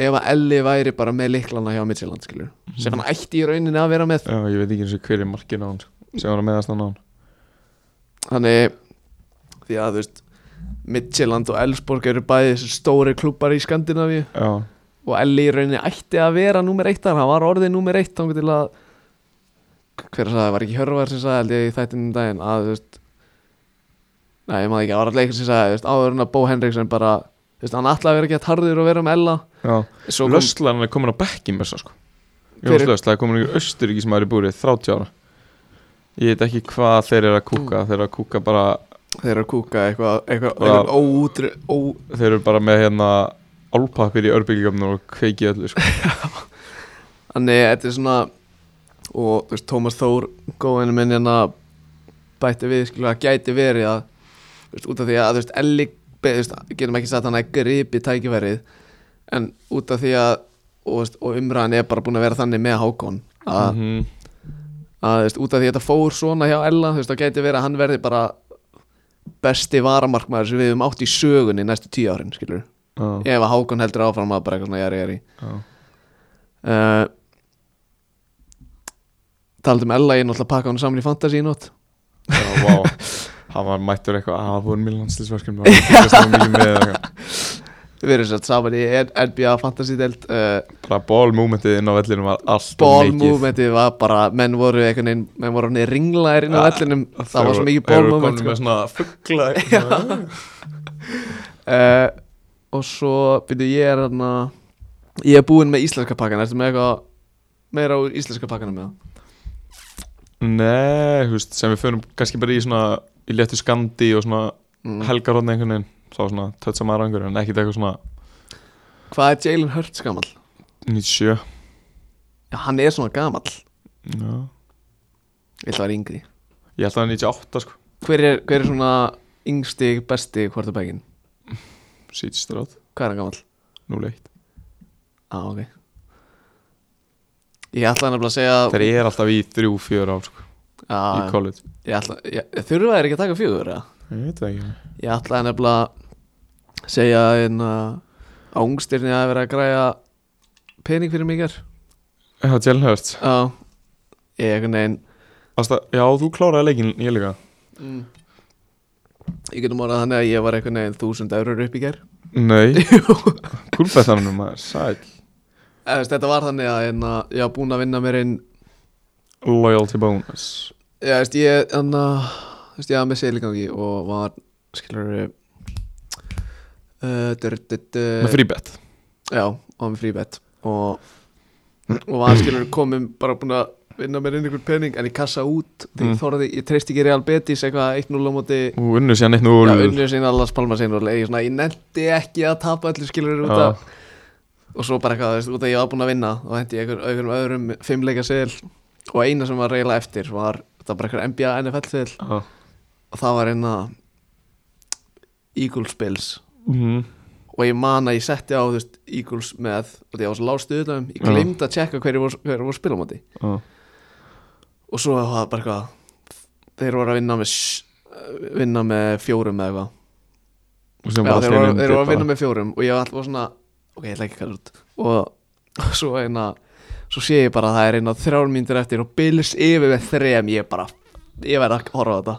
S1: ef að Elli væri bara með liklana hjá Midtjylland skilur sem hann ætti í rauninni að vera með
S2: já ég veit ekki eins og hver er markin á hann sko, Sem var að meðast hann á hann
S1: Þannig Því að þú veist Midtjylland og Ellsborg eru bæði þessi stóri klubbar í Skandinavíu
S2: Já,
S1: Og Elli í rauninni ætti að vera númer eitt þar Hann var orðið númer eitt Þannig til að Hver sagði, var ekki Hjörvar sem sagði held ég í þættinum um daginn Að þú veist Nei, ég maður ekki, það var alltaf eitthvað sem sagði þú veist, Áður en að Bó Henriksen bara Þú veist, hann ætlaði að vera ekki að tarður og vera með Ella
S2: já
S1: Svo kom,
S2: Löslan er komin á bekkin með þess sko
S1: Hver
S2: Jóns
S1: er-
S2: Lösla er komin í Östuríki sem er í búrið 30 ára Ég veit ekki hvað þeir eru að kúka Þeir eru að kúka bara
S1: þeir eru að kúka eitthvað Eitthvað,
S2: Já.
S1: eitthvað óútri ó,
S2: Þeir eru bara með hérna Álpappir í örbyggjumnum og kveiki öllu sko.
S1: Þannig, þetta er svona og þú veist, Tómas Þór góðinu minn hérna bætti við, skilur, það gæti verið að þú veist, út af því að, þú veist, Elli be- þú veist, getum ekki sagt hann að gripi tækifærið en út af því að og, þú veist, og umræðan er bara búin að vera þannig með Hákon að,
S2: mm -hmm.
S1: að þú veist, út af því að þetta fór svona hjá Ella, þú veist, það gæti verið að hann verði bara besti varamarkmaður sem við höfum átt í sögunni næstu tíu árin, skilur
S2: já,
S1: ef að Hákon heldur áfram að bara eitthvað svona jari jari
S2: já,
S1: uh, Talandi um Ella, ég er náttúrulega að pakka hann saman í Fantasí í nótt
S2: já, vá hann var mættur eitthvað, að það voru mjög (laughs) landslisverkjum og það var mikið með eða eitthvað
S1: Við erum satt saman í NBA Fantasí delt uh,
S2: bara ballmomentið inn á vellinum var alltaf
S1: Ball
S2: mikið
S1: movementið var bara menn voru einhvern veginn, menn voru hann ringlaðir inn á
S2: Ja,
S1: vellinum, það var svo mikið
S2: Þeir
S1: ball
S2: voru
S1: movement sko.
S2: komnir með svona (laughs) fuggla eitthvað.
S1: uh, og svo byrju ég er hérna ég er búinn með íslenska pakkan ertu með eitthvað meira úr íslenska pakkanum með það
S2: Nei, þú veist, sem við förum kannski bara í svona í léttu skandi og svona
S1: mm.
S2: helgaróðni einhvern veginn þá svona tötsa maður á einhverju en ekkert eitthvað svona
S1: hvað er Jalen Hurts gamall?
S2: 97
S1: Já, hann er svona gamall
S2: Já.
S1: ég ætla að vera yngri
S2: Ég held að það er 98 sko
S1: hver er, hver er svona yngstig besti kvartabækin?
S2: Sýt stráð,
S1: hvað er hann gamall?
S2: 01
S1: ah, ok ég ætla nefnilega að segja
S2: Þeir eru alltaf í 3-4 ár sko í
S1: ah,
S2: college
S1: ég ætla, ég, þurfa þeir ekki að taka fjögur eða?
S2: Ég veit það ekki
S1: Ég ætlaði nefnilega að hérna, segja en að ángstirni að vera að græja pening fyrir mig hér
S2: Já, Jalen Hurts
S1: Já, ég einhvern veginn
S2: Ásta, Já, þú kláraði leikin, ég líka
S1: mm, Ég getum orðað þannig að ég var einhvern veginn þúsund eurur upp í hér
S2: (laughs) Nei Kúlbættanum maður, sæl
S1: Þetta var þannig að en, ég var búinn að vinna mér inn
S2: Loyalty bonus
S1: Já, veist, ég, en, uh, veist, ég var með seilingangi og var, skilur uh, dur, dur, dur,
S2: Með fríbett
S1: Já, og var með fríbett og, og var skilur komum bara búin að vinna mér inn einhvern pening en ég kassa út því
S2: Mm.
S1: ég þorði, ég treysti ekki Real Betis eitthvað 1-0 á móti
S2: Ú, unnu síðan eitt
S1: Já,
S2: 0
S1: unnur sinna, Las Palmas sinna og ég, svona, ég nefndi ekki að tapa öllu skilur út
S2: Já.
S1: af og svo bara eitthvað, þú veist, út af ég var búin að vinna og hendi ég einhver- einhverjum öðrum fimmleika segil og eina sem var reyla eftir var, það var bara einhver NBA NFL segil
S2: Já
S1: og það var einna Eagles Bills
S2: Mhm.
S1: og ég man að ég setti á þú veist, Eagles með og því ég var svo lást auðvitaðum ég
S2: Já.
S1: glemd að checka hverju voru, hverju voru spila á móti
S2: Já.
S1: og svo var það bara eitthvað þeir voru að vinna með s- vinna með fjórum eða eitthvað
S2: Og sem
S1: Já,
S2: var
S1: þeir
S2: allt í
S1: voru,
S2: einu
S1: þeir voru að
S2: bara-
S1: vinna með fjórum og ég var alltaf svona ok, ég ætla ekki að kalla út og, og svo eina svo sé ég bara að það er eina þrjár mínútur eftir og Bills yfir með þrejum ég bara, ég verð að horfa á þetta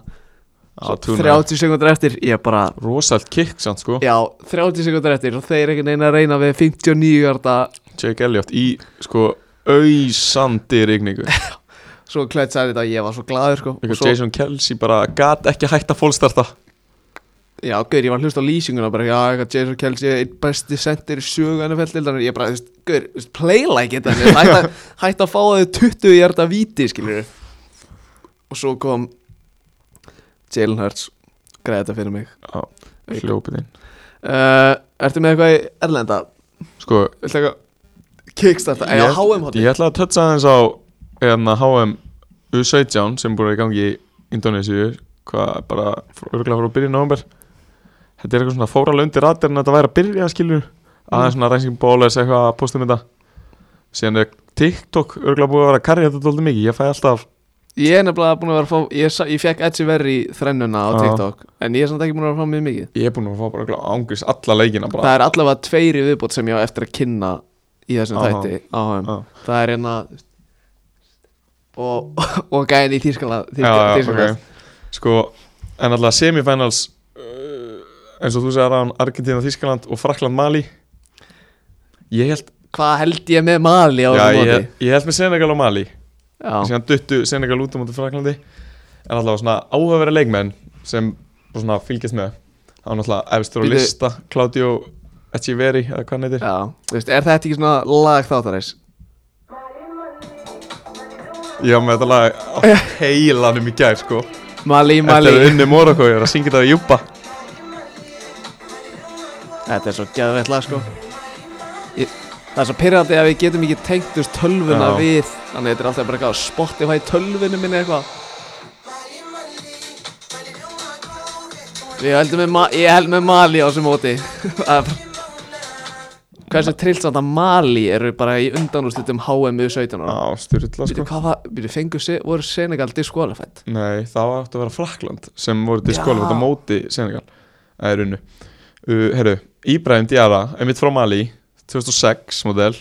S2: Já,
S1: Svo
S2: tuna.
S1: 30 sekundur eftir, ég bara
S2: Rosalt kick samt sko
S1: já, 30 sekundur eftir og þeir ekki neina að reyna við 59 hjarta
S2: Jake Elliot í sko
S1: (laughs)
S2: auðsandi rigningu
S1: svo klætt sæði þetta að ég var svo glaður sko.
S2: Eitthvað
S1: og svo,
S2: Jason Kelsey bara gat ekki hægt að fólkstarta
S1: já, gauður, ég var að hlusta á lýsinguna bara, já, eitthvað Jason Kelsey er einn besti sendir í sögana fæltildar ég bara, þú veist, gauður, þú veist, play like it
S2: (laughs)
S1: þannig, hætt, að, hætt að fá þau 20 hjarta víti, skilur og svo kom Jalen Hurts græði þetta fyrir mig
S2: Já, hljópið inn
S1: uh, Ertu með eitthvað í Erlenda?
S2: Sko,
S1: Viltu eitthvað kickstarta? Eða
S2: Ég-
S1: HM hotið?
S2: ég ætla að tötsa aðeins á hérna HM U17 sem búið í gangi í Indonésiu hvað bara, örgulega frá byrja í november Þetta er eitthvað svona fóra lundi ratir en þetta væri að byrja skilur
S1: Mm.
S2: aðeins svona rænsing bóles eitthvað að postum þetta síðan er TikTok örgulega búið að vera að karja þetta dóldi mikið ég fæ alltaf
S1: Ég er nefnilega búin að vera að fá Ég, sa- ég fekk Edgy Verri þrennuna á
S2: Já.
S1: TikTok En ég er samt ekki búin að vera að fá mjög mikið
S2: ég er búin að fá bara örgulega ángus alla leikina bara
S1: Það er allavega tveiri viðbót sem ég á eftir að kynna í þessum
S2: Aha.
S1: þætti á HM
S2: Já.
S1: Það er hérna og, (laughs) og gæðin í Þýrskaland
S2: já, já,
S1: Þýrskaland
S2: ok Sko, en alltaf semifinals uh, eins og þú segir aðan Argentina, Þískaland og Frakland, Mali Ég held
S1: Hvað held ég með Mali á
S2: Já,
S1: þessum móti?
S2: ég, ég held með Senegal og Mali
S1: Já,
S2: síðan duttu Senegal út á móti Fraklandi en alltaf svona áhugavera leikmenn sem bara svona fylgjast með það var náttúrulega efstur á
S1: Bíddu.
S2: lista Claudio Echiveri, eða hvað hann heitir
S1: já, þú veist, er þetta ekki svona lag þáttarins?
S2: Já, með þetta lag
S1: (laughs)
S2: á heilanum í gær, sko
S1: Mali,
S2: Þetta
S1: Mali
S2: er unni Morocco, ég er að syngja þetta í júpa
S1: Þetta er svo gæðveitt lag sko ég, Það er svo pyrrandi að við getum ekki tengtust tölvuna
S2: Já.
S1: við Þannig að þetta er alltaf bara eitthvað á Spotify tölvunum minni eitthvað (laughs) Ég held með, Ma- ég held með Mali á þessu móti Það er bara- Hversu trillt samt að Mali eru bara í undanúrslitum HM við 17 ára
S2: á styrla
S1: Býtu,
S2: sko
S1: hvað var, býtu, fengu, se, voru Senegal diskvalifætt?
S2: Nei, það var átt að vera Frakland sem voru
S1: Já.
S2: diskvalifætt á móti Senegal Það er unnu uh, Herru, Íbrahim Diara, einmitt frá Mali 2006 model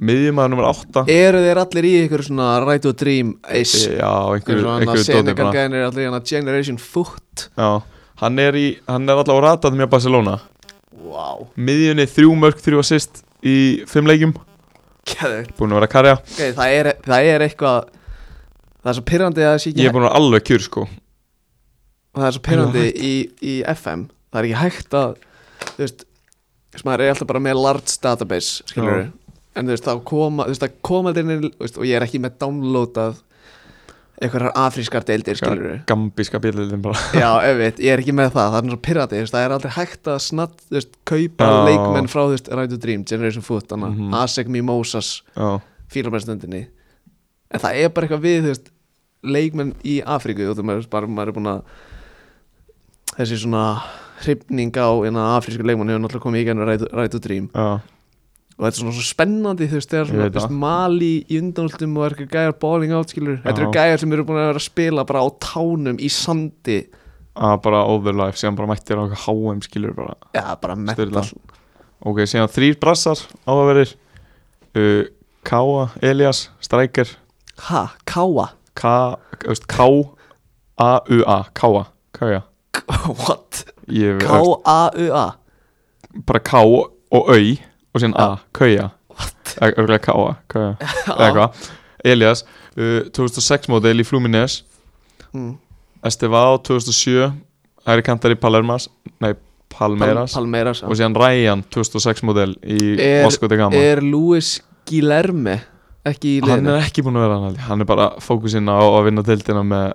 S2: miðjumæður nummer 8
S1: Eru þeir allir í ykkur svona right to dream ace?
S2: Eh, Já, einhver,
S1: Ykkur svona
S2: einhver dóttir
S1: Senegal
S2: bara
S1: gæðin eru allir í hana generation foot
S2: Já, hann er, í, hann er allavega ratað með Barcelona
S1: Wow,
S2: Miðjunni þrjú mörg, þrjú assist í fimm leikjum
S1: geður
S2: Búin að vera að karja
S1: okay, það, er, það er eitthvað Það er svo pyrrandi að það sé
S2: Ég
S1: ekki
S2: er búin að vera alveg kjur sko
S1: það er svo pyrrandi í, í FM það er ekki hægt að þú veist, sem maður er alltaf bara með large database, skilur við en þú veist, þá koma, þú veist, það koma þeir inn þú veist, og ég er ekki með downloadað einhverjar afrískar deildir, skilur við
S2: Gambíska bílildin bara
S1: já, auðvitað, ég er ekki með það, það er svo pyrrandi þú veist, það er aldrei hægt að snatt, þú veist, kaupa
S2: Já.
S1: leikmenn frá, þú veist, Right to Dream Generation Foot, þannig, mm
S2: Mhm.
S1: -hmm. Asek Mimosas
S2: Já,
S1: fílabæðstundinni en það er bara eitthvað við þú veist, leikmenn í Afríku og þú veist bara maður er búin að þessi svona hrifning á eina afrísku leikmann hefur náttúrulega komið í genið rætu, rætu drým
S2: já,
S1: og þetta er svona svo spennandi þú veist þegar
S2: Ég
S1: svona
S2: veit
S1: þú veist,
S2: það.
S1: mali í undanultum og er eitthvað gæjar bowling out skilur þetta eru
S2: Já.
S1: gæjar sem eru búin að vera að spila bara á tánum í sandi
S2: að bara over life síðan bara mættir á eitthvað HM skilur bara
S1: já bara
S2: Sturla.
S1: mental
S2: Ok, síðan þrýr brassar áverðir uh, Káa, Elias, Stryker
S1: ha, káa
S2: K, veist, K A, U, A, Káa Káa,
S1: (laughs) what?
S2: ég veist
S1: K-A-U-A
S2: bara K og Au og síðan A, Kauja
S1: what?
S2: örgulega Káa, Kauja, eða eitthvað Elias, uh, 2006 model í Fluminense
S1: Mm.
S2: Estevao 2007 Hæri kantar í Palermas nei, Palmeiras
S1: Palmeiras já.
S2: og síðan Ryan 2006 model í
S1: Er-
S2: Vasco de Gama
S1: Er Luis Guilherme ekki í
S2: hann
S1: liðinu?
S2: er ekki búin að vera hann held ég. hann er bara fókusinn á að vinna deildina með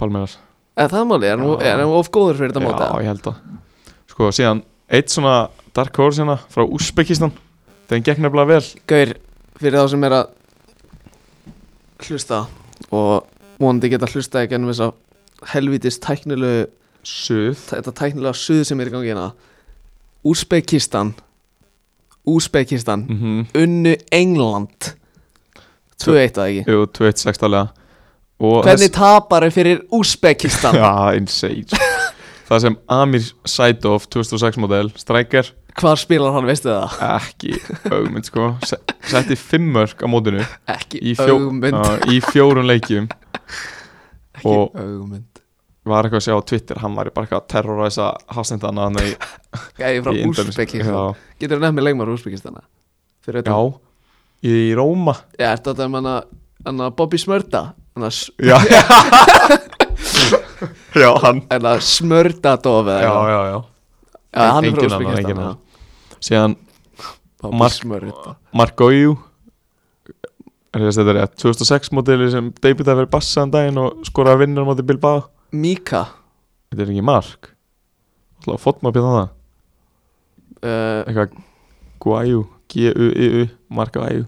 S2: Palmeiras
S1: Er það máli? Er hann-
S2: Já.
S1: er hann of góður fyrir þetta móta?
S2: já, ég held það sko, síðan eitt svona dark horse hérna frá Uzbekistan þeim gekk nefnilega vel
S1: Gaur, fyrir þá sem er að hlusta og vonandi geta hlusta ekki ennum þess að helvitis tæknilegu
S2: suð
S1: þetta tæknilega suð sem er í gangi hérna Úsbekistan Úsbekistan
S2: mm -hmm.
S1: Unnu England 2-1 að ekki
S2: jú, 2-1-6 alveg og
S1: Hvernig tapar er
S2: (laughs)
S1: fyrir Úsbekistan?
S2: já, insane sko. (laughs) það sem Amir Saidov 2006 model, strækjar
S1: Hvar spilar hann, veistu það?
S2: ekki augmynd sko Se- setti fimm mörg á mótinu
S1: Ekki
S2: í, fjó
S1: augmynd
S2: á, í fjórun leikjum
S1: Ekki
S2: og-
S1: augmynd
S2: var eitthvað að sjá á Twitter hann var bara eitthvað að terroræsa hafsendana hann í,
S1: Gæði frá
S2: í Indónesíu.
S1: Úsbekistan Getur þú nefnir leikmar úr Úsbekistana? Fyrir
S2: já,
S1: þetta
S2: já, í Róma
S1: Já, er þetta um hana, hana Bobby Smörda Hana, s-
S2: (laughs) já já, hann
S1: hana Smördadof eða
S2: já,
S1: eitthvað.
S2: já, já.
S1: já, hann er frá
S2: Enginn annar, enginn
S1: Úsbekistana
S2: annar. síðan
S1: Bobby
S2: Mark-
S1: Smörda
S2: Margoju er þess að þetta er rétt 2006 mótili sem debutaði fyrir bassaðan daginn og skoraði að vinna á móti Bilbao
S1: Mika
S2: þetta er ekki mark alltaf fótmapið þannig
S1: uh,
S2: hérna eitthvað Guayu, G-U-I-U, Mark Guayu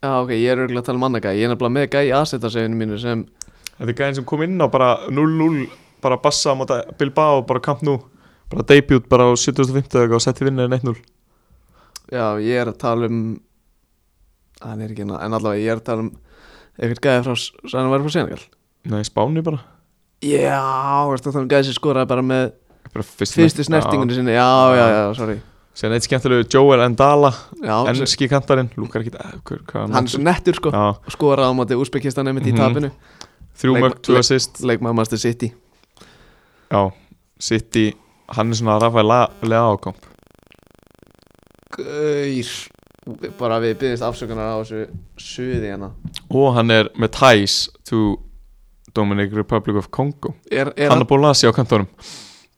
S1: Já, ok, ég er örgulega að tala um annað gæ Ég er nefnilega með gæ í aðsettarsefinu mínu sem
S2: Þetta er gæðin sem kom inn á bara 0-0 bara bassa á móta Bilbao bara kamp nú bara debut bara á 75 eða eitthvað og setti vinnaðin 1-0
S1: Já, ég er að tala um Hann er ekki hana En allavega, ég er að tala um Eitthvað gæði frá Sænum var frá Senegal
S2: Nei, Spáni bara
S1: Já, veist það tala um gæði sem skoraði bara með
S2: Bara fyrst
S1: Fyrstu snertingunni sinni Já, já, já, sorry
S2: Sen eitt skemmtilegu Joel Endala
S1: Já, sem-
S2: ennski kantarinn lúkar ekki eh, hver- hvað er
S1: hann er svo nettur sko
S2: Já,
S1: skoraði á móti Úsbekistan einmitt í
S2: Mhm.
S1: tapinu
S2: þrjú
S1: Leik-
S2: mörg, tvö
S1: leik-
S2: assist
S1: leikmaður Master City
S2: Já, City hann er svona rafæði lega ákomp
S1: Gaur bara við byggjumst afsökunar á þessu suði hérna
S2: og hann er með ties to Dominic Republic of Congo
S1: er, er
S2: hann er Bólasi á kantorum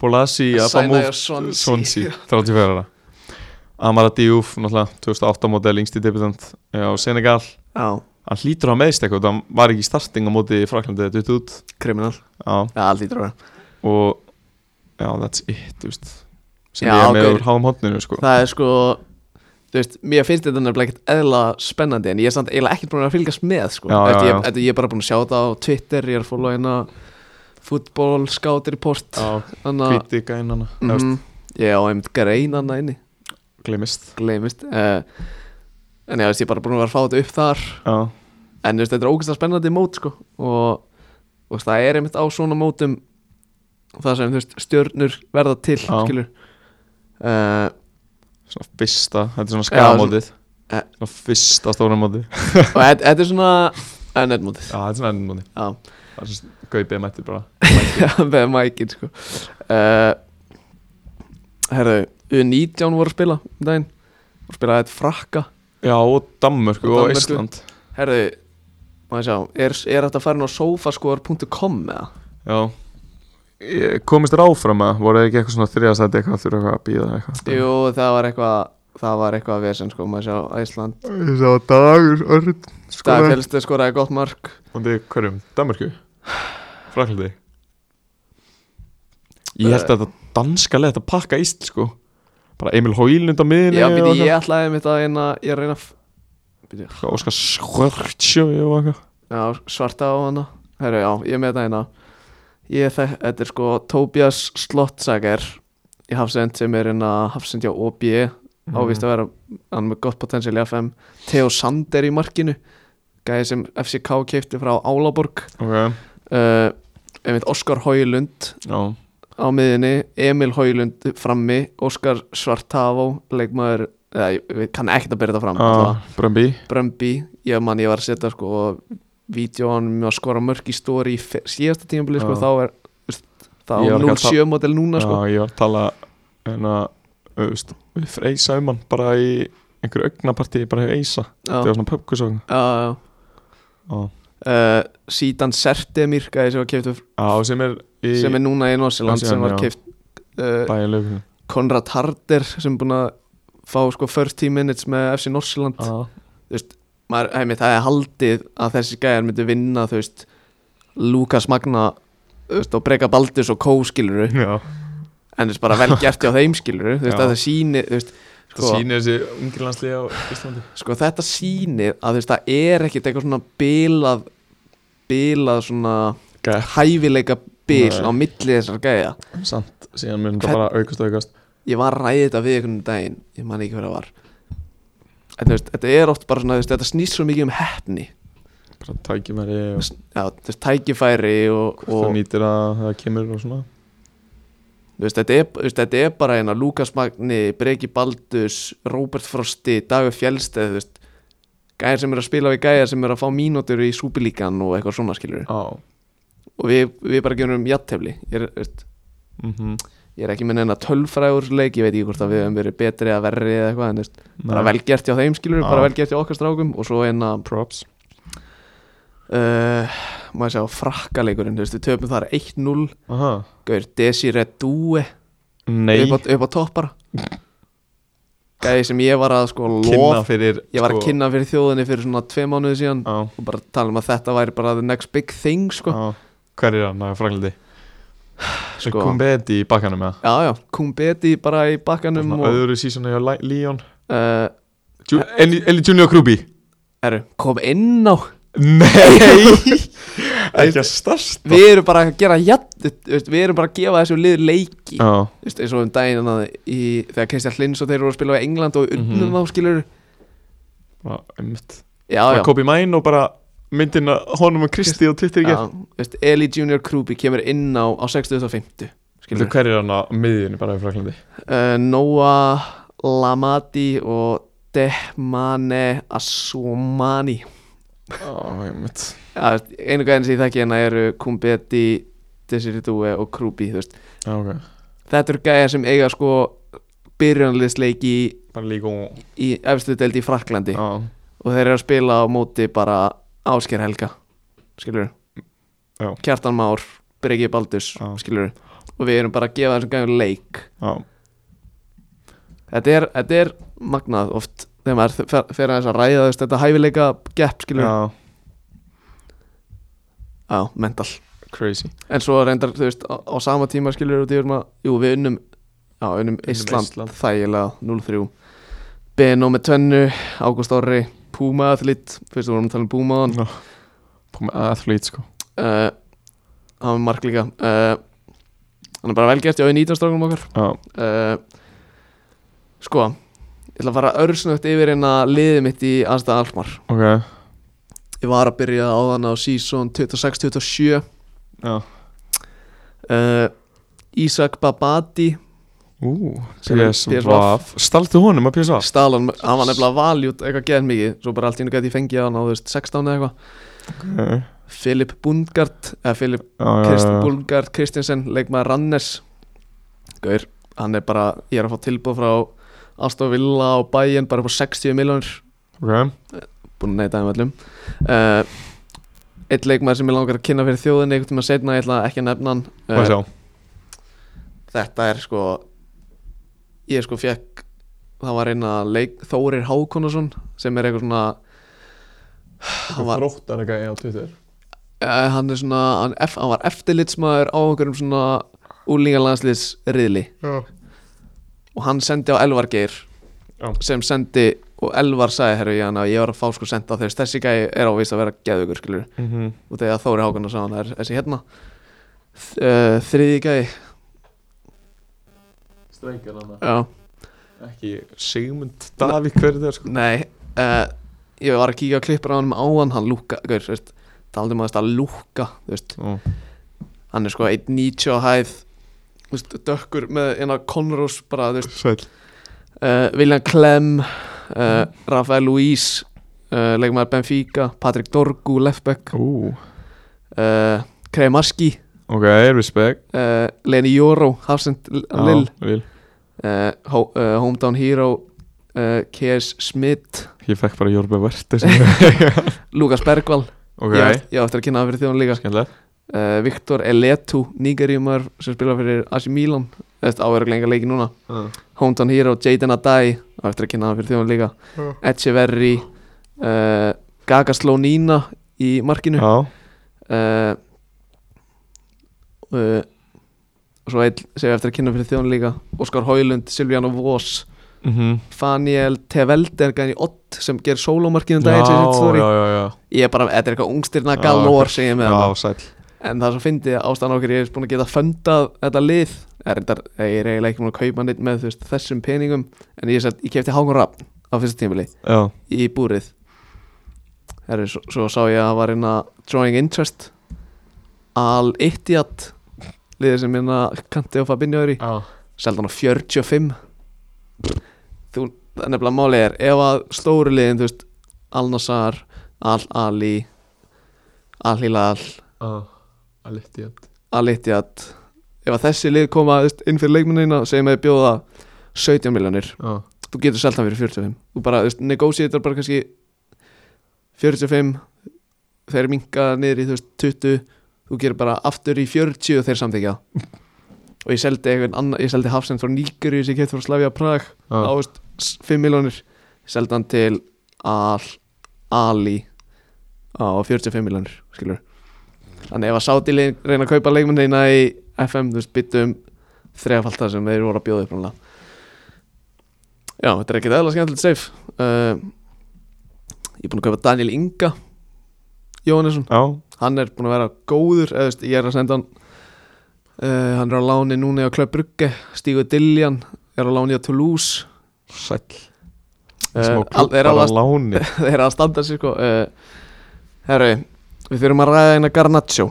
S2: Bólasi að fá múf
S1: sænaði Swansea
S2: Swansea, 34 ára Amara Diouf, náttúrulega 2008 mótel yngsti debutant eh, á Senegal
S1: já,
S2: hann hlýtur að hafa meiðst eitthvað, hann var ekki í starting á móti Fraklandi eða dutt út
S1: kriminal
S2: já,
S1: já, allt lítur að vera
S2: og já, that's it, þú veist sem
S1: Já,
S2: ég er með
S1: ok.
S2: úr háum hóttninu sko.
S1: það er sko þú veist, mér finnst þetta nefnilega ekkert eðla spennandi en ég er samt eiginlega ekkert búin að fylgast með sko.
S2: Já, já,
S1: Eftir
S2: já.
S1: ég, eftir ég er bara búin að sjá þetta á Twitter ég er að fóla hérna Football Scout Report
S2: já,
S1: þannig að
S2: hvíti gænana mm
S1: mhm, ég á einmitt grein hann inni
S2: glemist
S1: gleymist uh, en já, veist, ég er bara búin að vera að fá þetta upp þar
S2: Já,
S1: en þú veist, þetta er ógeðslega spennandi mót sko og þú veist, það er einmitt á svona mótum það sem þú veist, stjörnur verða til
S2: Já.
S1: skilur uh,
S2: svona fyrsta, þetta er svona
S1: Já, svona-
S2: skamótið
S1: Eh.
S2: Svona fyrsta stóra mótið Já,
S1: og þetta- þetta er svona eh, netmótið
S2: þetta er svona ennum mótið
S1: já,
S2: Það er svona gaupið mættir bara
S1: (laughs) með mækin sko uh, herðu U19 voru að spila um daginn voru að spila þetta frakka
S2: Já, og Danmörku
S1: Og
S2: og,
S1: Danmörku.
S2: Ísland
S1: herðu, maður sjá er, er þetta að fara inn á sofaskor.com eða?
S2: Já Ég- Eh, Komist þér áfram að voru þið ekki eitthvað svona þriðastæti eitthvað þurfa eitthvað að býða eitthvað
S1: jú, það var eitthvað það var eitthvað að vesen sko, maður sjá Ísland
S2: Ég sá dagur örn
S1: Dag Fjölste skoraði gott mark
S2: Og þið hverjum? Danmörku? Fraklandi? Ég held að þetta danska leið að pakka Ísland sko Bara Emil Hóilund á miðinni
S1: Eh, Já, býti, ég ætlaði mitt að reyna Ég reyna að- býti,
S2: Óskar Skvörtsjó og eitthvað
S1: já, svarta á hana Herru, já, ég er með þetta hérna Ég er þekk, þetta er sko Tobias Slottsager í Hafsend sem er hérna Hafsend hjá OB
S2: Mhm.
S1: ávist að vera hann er með gott potensiál í FM Theo Sander í markinu gæði sem FCK keipti frá Álaborg
S2: Ok,
S1: uh, einmitt Óskar Hóilund
S2: já
S1: á miðinni, Emil Hóilund frammi, Óskar Svartavó leikmaður, eða ég veit- kann ekki að byrja þetta fram allavega.
S2: ah, Brömbi
S1: Brömbi, ég man ég var að setja sko vídjóanum að skora mörg í stóri í fe- síðasta tímabili sko,
S2: Já.
S1: þá er veist, þá
S2: Ah. Ég var ekki að Ah,
S1: 07 model núna sko.
S2: Já, ég var að tala en að, þú veist, við freysa um hann bara í einhverju augnapartí bara hefur eisa,
S1: Já,
S2: þetta var Ah. svona pubkusögn
S1: já, já.
S2: Já,
S1: Uh, síðan Sertemir gæði sem var keift
S2: Já, sem er í
S1: sem er núna í Norsiland
S2: Já,
S1: sem var
S2: já.
S1: keift uh,
S2: bæjarlegu
S1: Konrad Harder sem er búin að fá sko 30 minutes með FC Norsiland
S2: Já,
S1: maður, heimi, það er haldið að þessi gæjar myndi vinna þú veist Lukas Magna þú veist, og Breka Baldus og Kó skiluru
S2: Já.
S1: en þess
S2: (laughs)
S1: bara vel gert hjá þeim skiluru þú veist
S2: Já.
S1: að það síni þú veist,
S2: það
S1: sko,
S2: sýnir þessi ungir landslið á Íslandi
S1: sko þetta sýnir að þú veist það er ekkert eitthvað svona bilað bilað svona
S2: Gæja.
S1: hæfileika bil
S2: Nei.
S1: á milli þessar gæja
S2: Samt, síðan mun
S1: Hvern-
S2: þetta bara aukast og aukast
S1: ég var að ræði þetta við einhvern daginn ég man ekki hver það var en, þú veist, þetta er oft bara svona þú veist, þetta snýst svo mikið um hefni
S2: bara tækjumæri og
S1: Já, þú veist, tækifæri og,
S2: hvort það
S1: og
S2: nýtir að það kemur og svona
S1: Þú veist, þetta, er, þú veist, þetta er bara hérna Lukas Magni, Breki Baldus Robert Frosti, Dagur Fjellsteð þú veist, gæjar sem eru að spila við gæjar sem eru að fá mínútur í súpilíkan og eitthvað svona skilur
S2: Já,
S1: og við, við bara gerum um jattefli ég er, þú veist,
S2: mhm,
S1: ég er ekki með neina tölfrægur leik, ég veit ekki hvort að við höfum verið betri að verri eða eitthvað, en þú veist, bara
S2: Nei.
S1: vel gert hjá þeim skilur,
S2: Já.
S1: bara vel gert hjá okkar strákum og svo hérna,
S2: Props
S1: uh, maður sjá frakkaleikurinn, þú veist, við töpum þar 1-0
S2: Aha.
S1: Gaur, Desiree Due
S2: Nei,
S1: upp á, upp á toppara Gæði sem ég var að sko
S2: kynna
S1: lof
S2: fyrir
S1: Ég var að
S2: sko,
S1: kynna fyrir þjóðinni fyrir svona tvei mánuði síðan
S2: Já,
S1: og bara tala um að þetta væri bara the next big thing sko,
S2: já Hver er hann að franglindi? Svo
S1: sko.
S2: kom Bedi í bakkanum eða?
S1: Já, já, Kumbeti bara í bakkanum
S2: Svona
S1: og
S2: öðru sísonu hjá Li- Leon
S1: uh,
S2: Ju- Eli Eli Junior Krúbi
S1: er, kom inn á
S2: Nei (laughs) Ekki að starsta
S1: Við erum bara að gera jafn, þú veist, við erum bara að gefa þessu lið leiki
S2: Já,
S1: Þú veist, eins og um daginn að í, þegar Kristján Hlins og þeir eru að spila á England og unnum mm
S2: Mhm.
S1: þá skilur
S2: bara ummitt
S1: Já, já,
S2: Bara kopi mæn og bara myndin að honum og Kristi og Twitter í
S1: já
S2: gerð
S1: þú veist, Eli Junior Krúbi kemur inn á á 60.50
S2: Veitu hver er hann á miðjunni bara í Fraklandi?
S1: uh, Noah Lamati og Dehmane Asomani
S2: Já, ummitt
S1: ja, þú veist, einu gæðin sem ég þekki hérna eru Kumbeti, Desiree Due og Krubi þú veist.
S2: Já, ok
S1: þetta eru gæðin sem eiga sko byrjunarliðsleiki í,
S2: Bara líka
S1: í efstu deild í Fraklandi
S2: Já
S1: og þeir eru að spila á móti bara Ásker Helga skilur
S2: Já.
S1: Kjartan Már, Breki Baldus
S2: Já.
S1: skilur og við erum bara að gefa þessum gæðin leik
S2: Já,
S1: þetta er, þetta er magnað oft þegar maður fer, fer aðeins að ræða þú veist, þetta hæfileika gap skilur
S2: já
S1: á, mental
S2: Crazy
S1: en svo reyndar þú veist á, á sama tíma skilur við um að, jú við unnum já, unnum Ísland,
S2: Ísland.
S1: þægilega 0-3 Benó með tvennu Ágúst Orri Puma atlit fyrst við vorum að tala um Puma hann
S2: Ná Pú með athlete sko
S1: uh, hann var mark líka uh, hann er bara velgert í auðvitað strákunum okkar
S2: Já,
S1: uh, Eh, sko Ég ætla að fara örsnögt yfir en að liðið mitt í Asta Alkmar
S2: Ok,
S1: Ég var að byrja á þann á season 26-27
S2: já
S1: uh, Ísak Babati
S2: Ú,
S1: Sem er
S2: PSVaf Staltu honum að PSVaf?
S1: Stalan, hann var nefnilega valjút eitthvað geðan mikið Svo bara allt í hennu gæti ég fengið hann á þú veist, 16 eða eitthvað eh,
S2: Já,
S1: Filip Bundgard eða Filip
S2: já,
S1: Krist,
S2: já
S1: Bundgard Kristjansen leikmaður Rannes Gaur, hann er bara ég er að fá tilbúð frá Aston Villa og Bayern bara upp á 60 miljónir
S2: Ok,
S1: búin að neyta þeim öllum uh, Eitt leikmaður sem ég langar að kynna fyrir þjóðinni einhvern tíma setna, ég ætla ekki að nefna hann Eh,
S2: hvað sjá
S1: þetta er sko ég sko fekk það var einn að leik Þórir Hákonarsson sem er eitthvað svona hann var,
S2: Þróttar eitthvað á Twitter
S1: eh, hann er svona hann, eff- hann var eftirlitsmaður á einhverjum svona úlingalandsliðs riðli
S2: Já
S1: og hann sendi á Elvar Geir
S2: Já.
S1: sem sendi og Elvar sagði herru ég hann að ég var að fá sko senda þegar þessi gæi er ávist að vera geðugur skilur
S2: Mhm.
S1: og þegar Þóri Hákonar sá hann er þessi hérna Þ- eh, þriðji gæi
S2: Strengar hana
S1: já
S2: Ekki Sigmund Davík hverju þeir sko
S1: Nei, uh, ég var að kíka að klippra á hann áðan, hann lúka, gaur, þú veist, taldi maður að lúka, þú veist,
S2: Ó,
S1: hann er sko 1.90 á hæð, þú veist, dökkur með eina Conros bara, þú veist,
S2: Sæll
S1: uh, William Clem, uh, Rafael Luís, uh, leikmaður Benfica, Patrick Dorgu, Lefbeck,
S2: Ú,
S1: uh, Kremaski,
S2: ok, respect
S1: uh, Leni Jóró, Hafsend
S2: Já,
S1: Lill,
S2: Lill
S1: uh, ho uh, Hometown Hero, uh, KS Smith,
S2: Ég fekk bara Jórbe Verti (laughs)
S1: Lukas Bergvall,
S2: Ok,
S1: ég, á- ég á eftir að kynna það fyrir þjóðan líka,
S2: skemmtilegt
S1: uh, Viktor Eletu Nigeríumar sem spila fyrir AC Milan Þetta áverður lengar leiki núna Hometown Hero, Jaden Adai á eftir að kynna hann fyrir þjóðan líka
S2: Já.
S1: Echeverri uh, Gaga Slónína í markinu Eh, uh,
S2: Já,
S1: uh, Svo einn sem ég á eftir að kynna fyrir þjóðan líka Óskar Hóilund, Silvíano Voss
S2: mhm
S1: Faniel Tevelde er gæðin í Ott sem ger sólómarkinu daginn sem ég set
S2: Já,
S1: story.
S2: já, já, já
S1: Ég er bara, þetta er eitthvað ungstirna
S2: Já,
S1: galor sem ég er með hana.
S2: Já, sæll
S1: En það er svo fyndið að ástæðan okkur ég er búin að geta fundað þetta lið er reyndar, ég er eiginlega ekki búin að kaupa neitt með þú veist, þessum peningum en ég, sett, ég kefti Hákon Rapp á fyrsta tímili
S2: Já,
S1: í búrið Herri, svo, svo sá ég að það var einna Drawing Interest Al Ittjat liðið sem hérna kanti og Fabinho er í
S2: já
S1: seldan á 45 þú, það er nefnilega málið er ef að stóru liðin, þú veist Al-Nassar, Al-Ali Al-Hilal
S2: að liti að
S1: að litja að ef að þessi lið koma þú veist, inn fyrir leikmennina segjum að þið bjóða 17 miljonir
S2: já,
S1: þú getur selta hann fyrir 45 þú bara, þú veist, negósiðar bara kannski 45 þeir minka niður í þú veist 20 þú gerir bara aftur í 40 og þeir samþykja og ég seldi einhvern annan, ég seldi Hafsend frá Níkeri sem ég kefti frá Slavia Prag á
S2: já,
S1: þú veist, s- 5 miljonir seldi hann til Al Ali á 45 miljonir skilur þannig ef að sáti reyna að kaupa leikmennina í FM þú veist byttum þrefaldar sem þeir voru að bjóða upp náttúrulega já þetta er ekkert eðla skemmtilegt safe uh, ég er búin að kaupa Daniel Inga Jóhannesson
S2: já,
S1: hann er búin að vera góður eða, þú veist, ég er að senda hann uh, hann er á láni núna á Klöpp Brugge Stígu Dilljan er á láni á Toulouse
S2: sæll
S1: Eh,
S2: smá
S1: al- þeir
S2: klubbar á
S1: alveg-
S2: láni
S1: þeir eru að standa sér sko uh, herru, við þurfum að ræða eina Garnaccio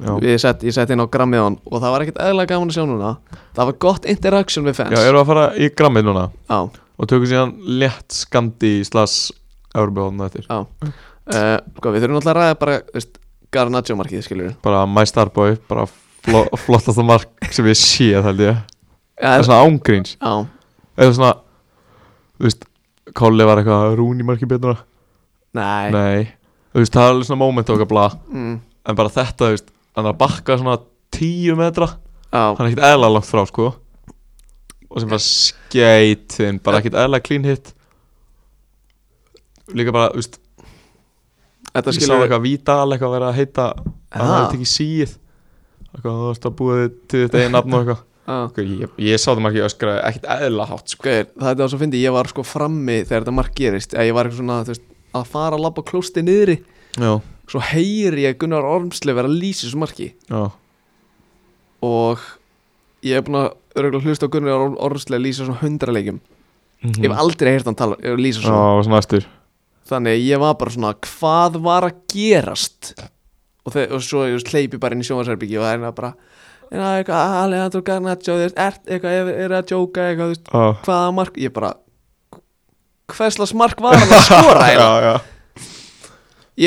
S2: já,
S1: ég sett, ég sett inn á grammið á hann og það var ekkert eðlilega gaman að sjá núna það var gott interaction við
S2: já
S1: fans
S2: erum við að fara í grammið núna
S1: já,
S2: og tökum síðan létt skandi í slags Örbjörn eftir,
S1: Eh, sko, við þurfum alltaf að ræða bara þú veist, Garnaccio markið skilur
S2: bara my starboy bara flo, (laughs) flottasta mark sem ég sé það held ég, það
S1: já,
S2: er svona ángríns
S1: já,
S2: eða svona, þú veist Kolli var eitthvað rún í marki betur
S1: nei
S2: nei, þú veist það er alveg svona moment okkar bla,
S1: mm,
S2: en bara þetta þú veist, hann er að bakka svona 10 metra
S1: já,
S2: hann er ekkert eðla langt frá sko og sem bara skeitin bara ekkert eðla clean hit líka bara, þú veist
S1: þetta
S2: ég sá
S1: skilur
S2: eitthvað vítal eitthvað verið að heita að það
S1: Ah.
S2: hefði tekið síð eitthvað þú veist að búa þig til þetta einn nafn og eitthvað
S1: já.
S2: Sko, ég, ég sá það margir öskra ekkert eðla hátt sko
S1: Gauðir, það er það sem fyndi, ég var sko frammi þegar þetta mark gerist, að ég var eitthvað svona þú veist, að fara að labba klósti niðri
S2: já,
S1: svo heyri ég Gunnar Ormsli vera að lýsa þessu marki
S2: já,
S1: og ég hef búin að örugglega hlusta á Gunnar Ormsli að lýsa svona hundra leikjum
S2: Mhm.
S1: Ég hef aldrei heyrt hann tala, eh, lýsa
S2: Mm. Já,
S1: svona
S2: og svona aftur
S1: Þannig að ég var bara svona Hvað var að gerast? Og, þau, og svo ég hleypi bara inn í sjónvarsherbyggi Og það er hérna bara "Já, eitthvað, Alejandro Garnaccio þú veist, ert- eitthvað, er, er að jóka eitthvað, þú veist,
S2: Já,
S1: Hvaða mark? Ég bara Hverslas mark var hann að
S2: (laughs)
S1: skora?
S2: já,
S1: eiginlega?
S2: já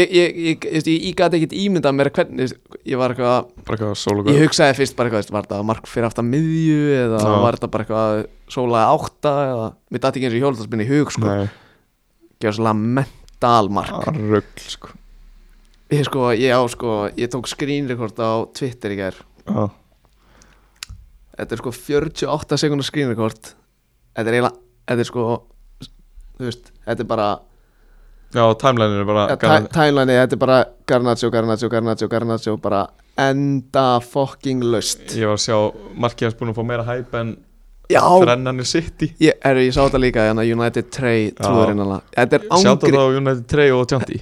S1: ég, ég, ég, ég, ég, ég gat ekkit ímyndað mér hvernig Ég var eitthvað
S2: Bara eitthvað sól og
S1: Ég hugsaði fyrst bara eitthvað, veist, var þetta mark fyrir aftan miðju eða
S2: Já.
S1: var þetta bara eitthvað sólaði átta eða, mér dætti ekki eins og hjólastarspinni í hug sko,
S2: Nei,
S1: gefur svolítið mental mark
S2: rögl sko
S1: ég sko, ég á sko, ég tók screen record á Twitter í gær,
S2: Já,
S1: þetta er sko 48 sekundar screen record þetta er eiginlega, þetta er sko þú veist, þetta er bara
S2: já timeline er bara gaman.
S1: tælanið, þetta er bara Garnaccio, Garnaccio, Garnaccio, Garnaccio bara enda fucking löst
S2: Ég var að sjá markið hans búin að fá meira hæp en
S1: já,
S2: þrennan er sitt í
S1: ég, herru, ég sá þetta líka hérna United Trey trúðurinn hana þetta er
S2: Sjáta
S1: ángri
S2: þá United 3 og Tjóndi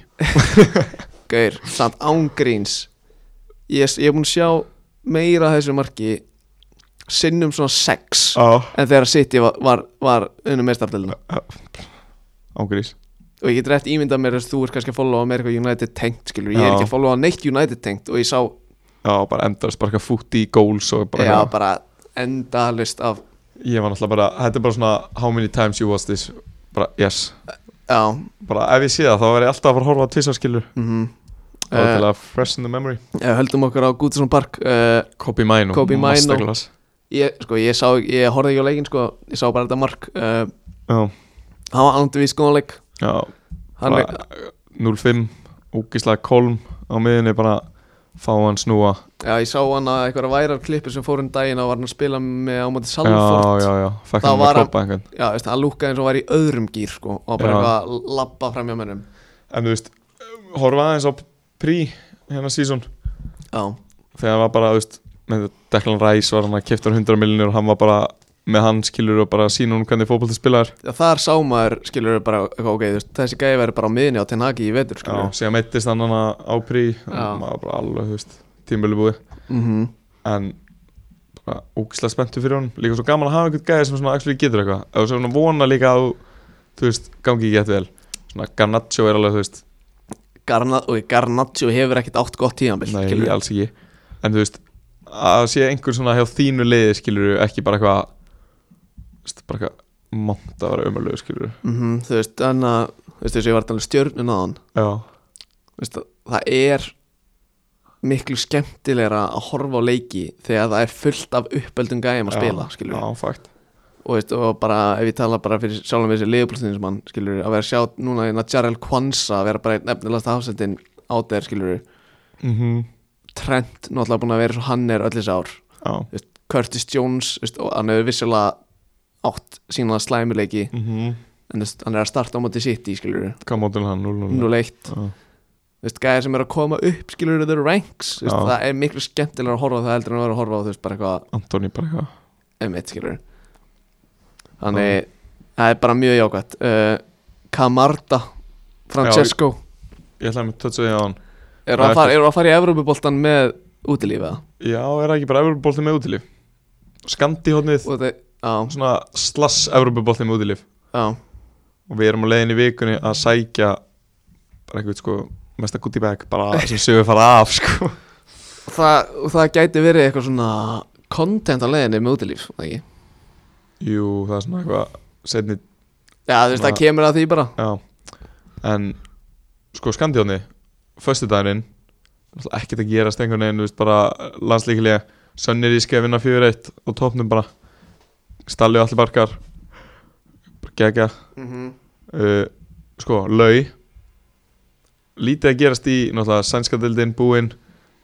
S1: Gaur, samt ángríns Ég, ég er búinn að sjá meira af þessu marki Sinnum svona sex
S2: Já,
S1: En þegar City var, var, var unum meðstafdelina
S2: ángurís
S1: Og ég get rétt ímyndað mér þess að þú ert kannski að followa mér eitthvað United tengt skilur Ég er
S2: Já.
S1: ekki að followa neitt United tengt Og ég sá
S2: Já, bara endast, bara eitthvað fútt í goals og bara, hérna.
S1: já,
S2: eitthvað.
S1: bara endalist af
S2: Ég var náttúrulega bara, þetta er bara svona How many times you watch this Bara, yes
S1: Já,
S2: Bara ef ég sé það, þá verð ég alltaf að fara að horfa á tvisarskilur
S1: mhm
S2: Það var til að freshen the memory
S1: Eh, höldum okkur á Gútsson Park uh,
S2: Kobe Mino
S1: Kobe Mino.
S2: Masterclass
S1: ég, sko, ég, sá, ég horfði ekki á leikinn sko, Ég sá bara þetta mark uh,
S2: Já,
S1: Hann var andvís góðan leik
S2: já
S1: Hann
S2: bara, 0-5 Úkislega kolm á miðinni bara Fá hann snúa
S1: Já, ég sá hann að einhverja værar klippu sem fór um daginn og var hann að spila með á móti
S2: Já,
S1: Salford Já,
S2: já, já Fekk
S1: Það
S2: hann
S1: var
S2: að
S1: hann-
S2: koppa einhvern
S1: já veist, hann lúkkaði eins og var í öðrum gýr sko, og var bara
S2: Já.
S1: eitthvað að labba fram hjá mönnum
S2: En þú veist, horfa aðeins á Pri Hérna season
S1: Já,
S2: þegar hann var bara, þú veist, með Declan Rice var hann að kipta 100 millinir og hann var bara með hann skilur og bara sína hún hvernig fótbolti spilaðar
S1: Já, þar sá maður skilur við bara, eitthvað, ok, þú veist, þessi gæði verður bara á miðinni á Tenhagi í vetur skilur
S2: og síðan meittist hann hann á prí og
S1: Já.
S2: maður var bara alveg, þú veist, tímbölu búið
S1: mm -hmm.
S2: en bara ógislega spenntu fyrir honum líka svo gaman að hafa einhvern gæði sem svona actually getur eitthvað eða svo svona vona líka að þú, þú veist, gangi ekki eftir vel svona Garnaccio er alveg, þú veist,
S1: Garna, og Garnaccio hefur ekkit átt gott tíðanbill
S2: nei, alls ekki en þú veist, að sé einhver svona hjá þínu liði skilur ekki bara eitthvað þú veist, bara eitthvað mont að vera umölu skilur
S1: mm Þú veist, þannig að þú veist, þessi ég var talað stjörnun á hann
S2: já
S1: veist, það- það er miklu skemmtilegra að horfa á leiki þegar það er fullt af uppöldum gæðum að spila skilur
S2: Já, fakt
S1: og, veist, og bara ef ég tala bara fyrir sjálfum þessi liðbúlstundismann skilur að vera að sjá núna hérna Jarrell Kwanza að vera bara einn efnilegasta hafsendin á þeir skilur
S2: mm
S1: Trent náttúrulega búin að vera svo hann er öll þessi ár
S2: Já
S1: veist, Curtis Jones veist, og hann hefur vissulega átt sína slæmileiki
S2: mm -hmm.
S1: en veist, hann er að starta á móti City skilur
S2: Hvað mótil hann? 0-0
S1: núleitt
S2: Já.
S1: veist, gæðir sem er að koma upp skilur the ranks veist,
S2: Já.
S1: það er miklu skemmtilega að horfa á það heldur en að vera að horfa á þú veist bara eitthvað
S2: Antoni bara eitthvað
S1: M1 skilur þannig það er bara mjög jákvæmt uh, Camarda Francesco
S2: Ég ætlaði að mér tötsa því á hann
S1: eru
S2: það
S1: að,
S2: er
S1: fara, eru að fara í Evrópuboltan með útilífiða
S2: Já, er það ekki bara Evropabolti með útilif? Skandi hóttnið
S1: og það, já,
S2: Svona slass Evropabolti með útilif
S1: já,
S2: Og við erum á leiðin í vikunni að sækja Bara eitthvað sko Mesta goodie bag Bara sem sögur fara af sko
S1: það, og það gæti verið eitthvað svona content á leiðinni með útilíf það ekki?
S2: Jú, það er svona eitthvað Setni
S1: já, þú veist,
S2: Svona-
S1: það kemur að því bara
S2: Já En sko skandi hóttnið Föstudagurinn Ekkert að gerast einhvern veginn Þú veist bara landslíkilega Sönnir í skefina 4-1 Og topnum bara Stalli og allir barkar Bara gegja
S1: mm
S2: uh, sko, lau lítið að gerast í náttúrulega sænska dildin búinn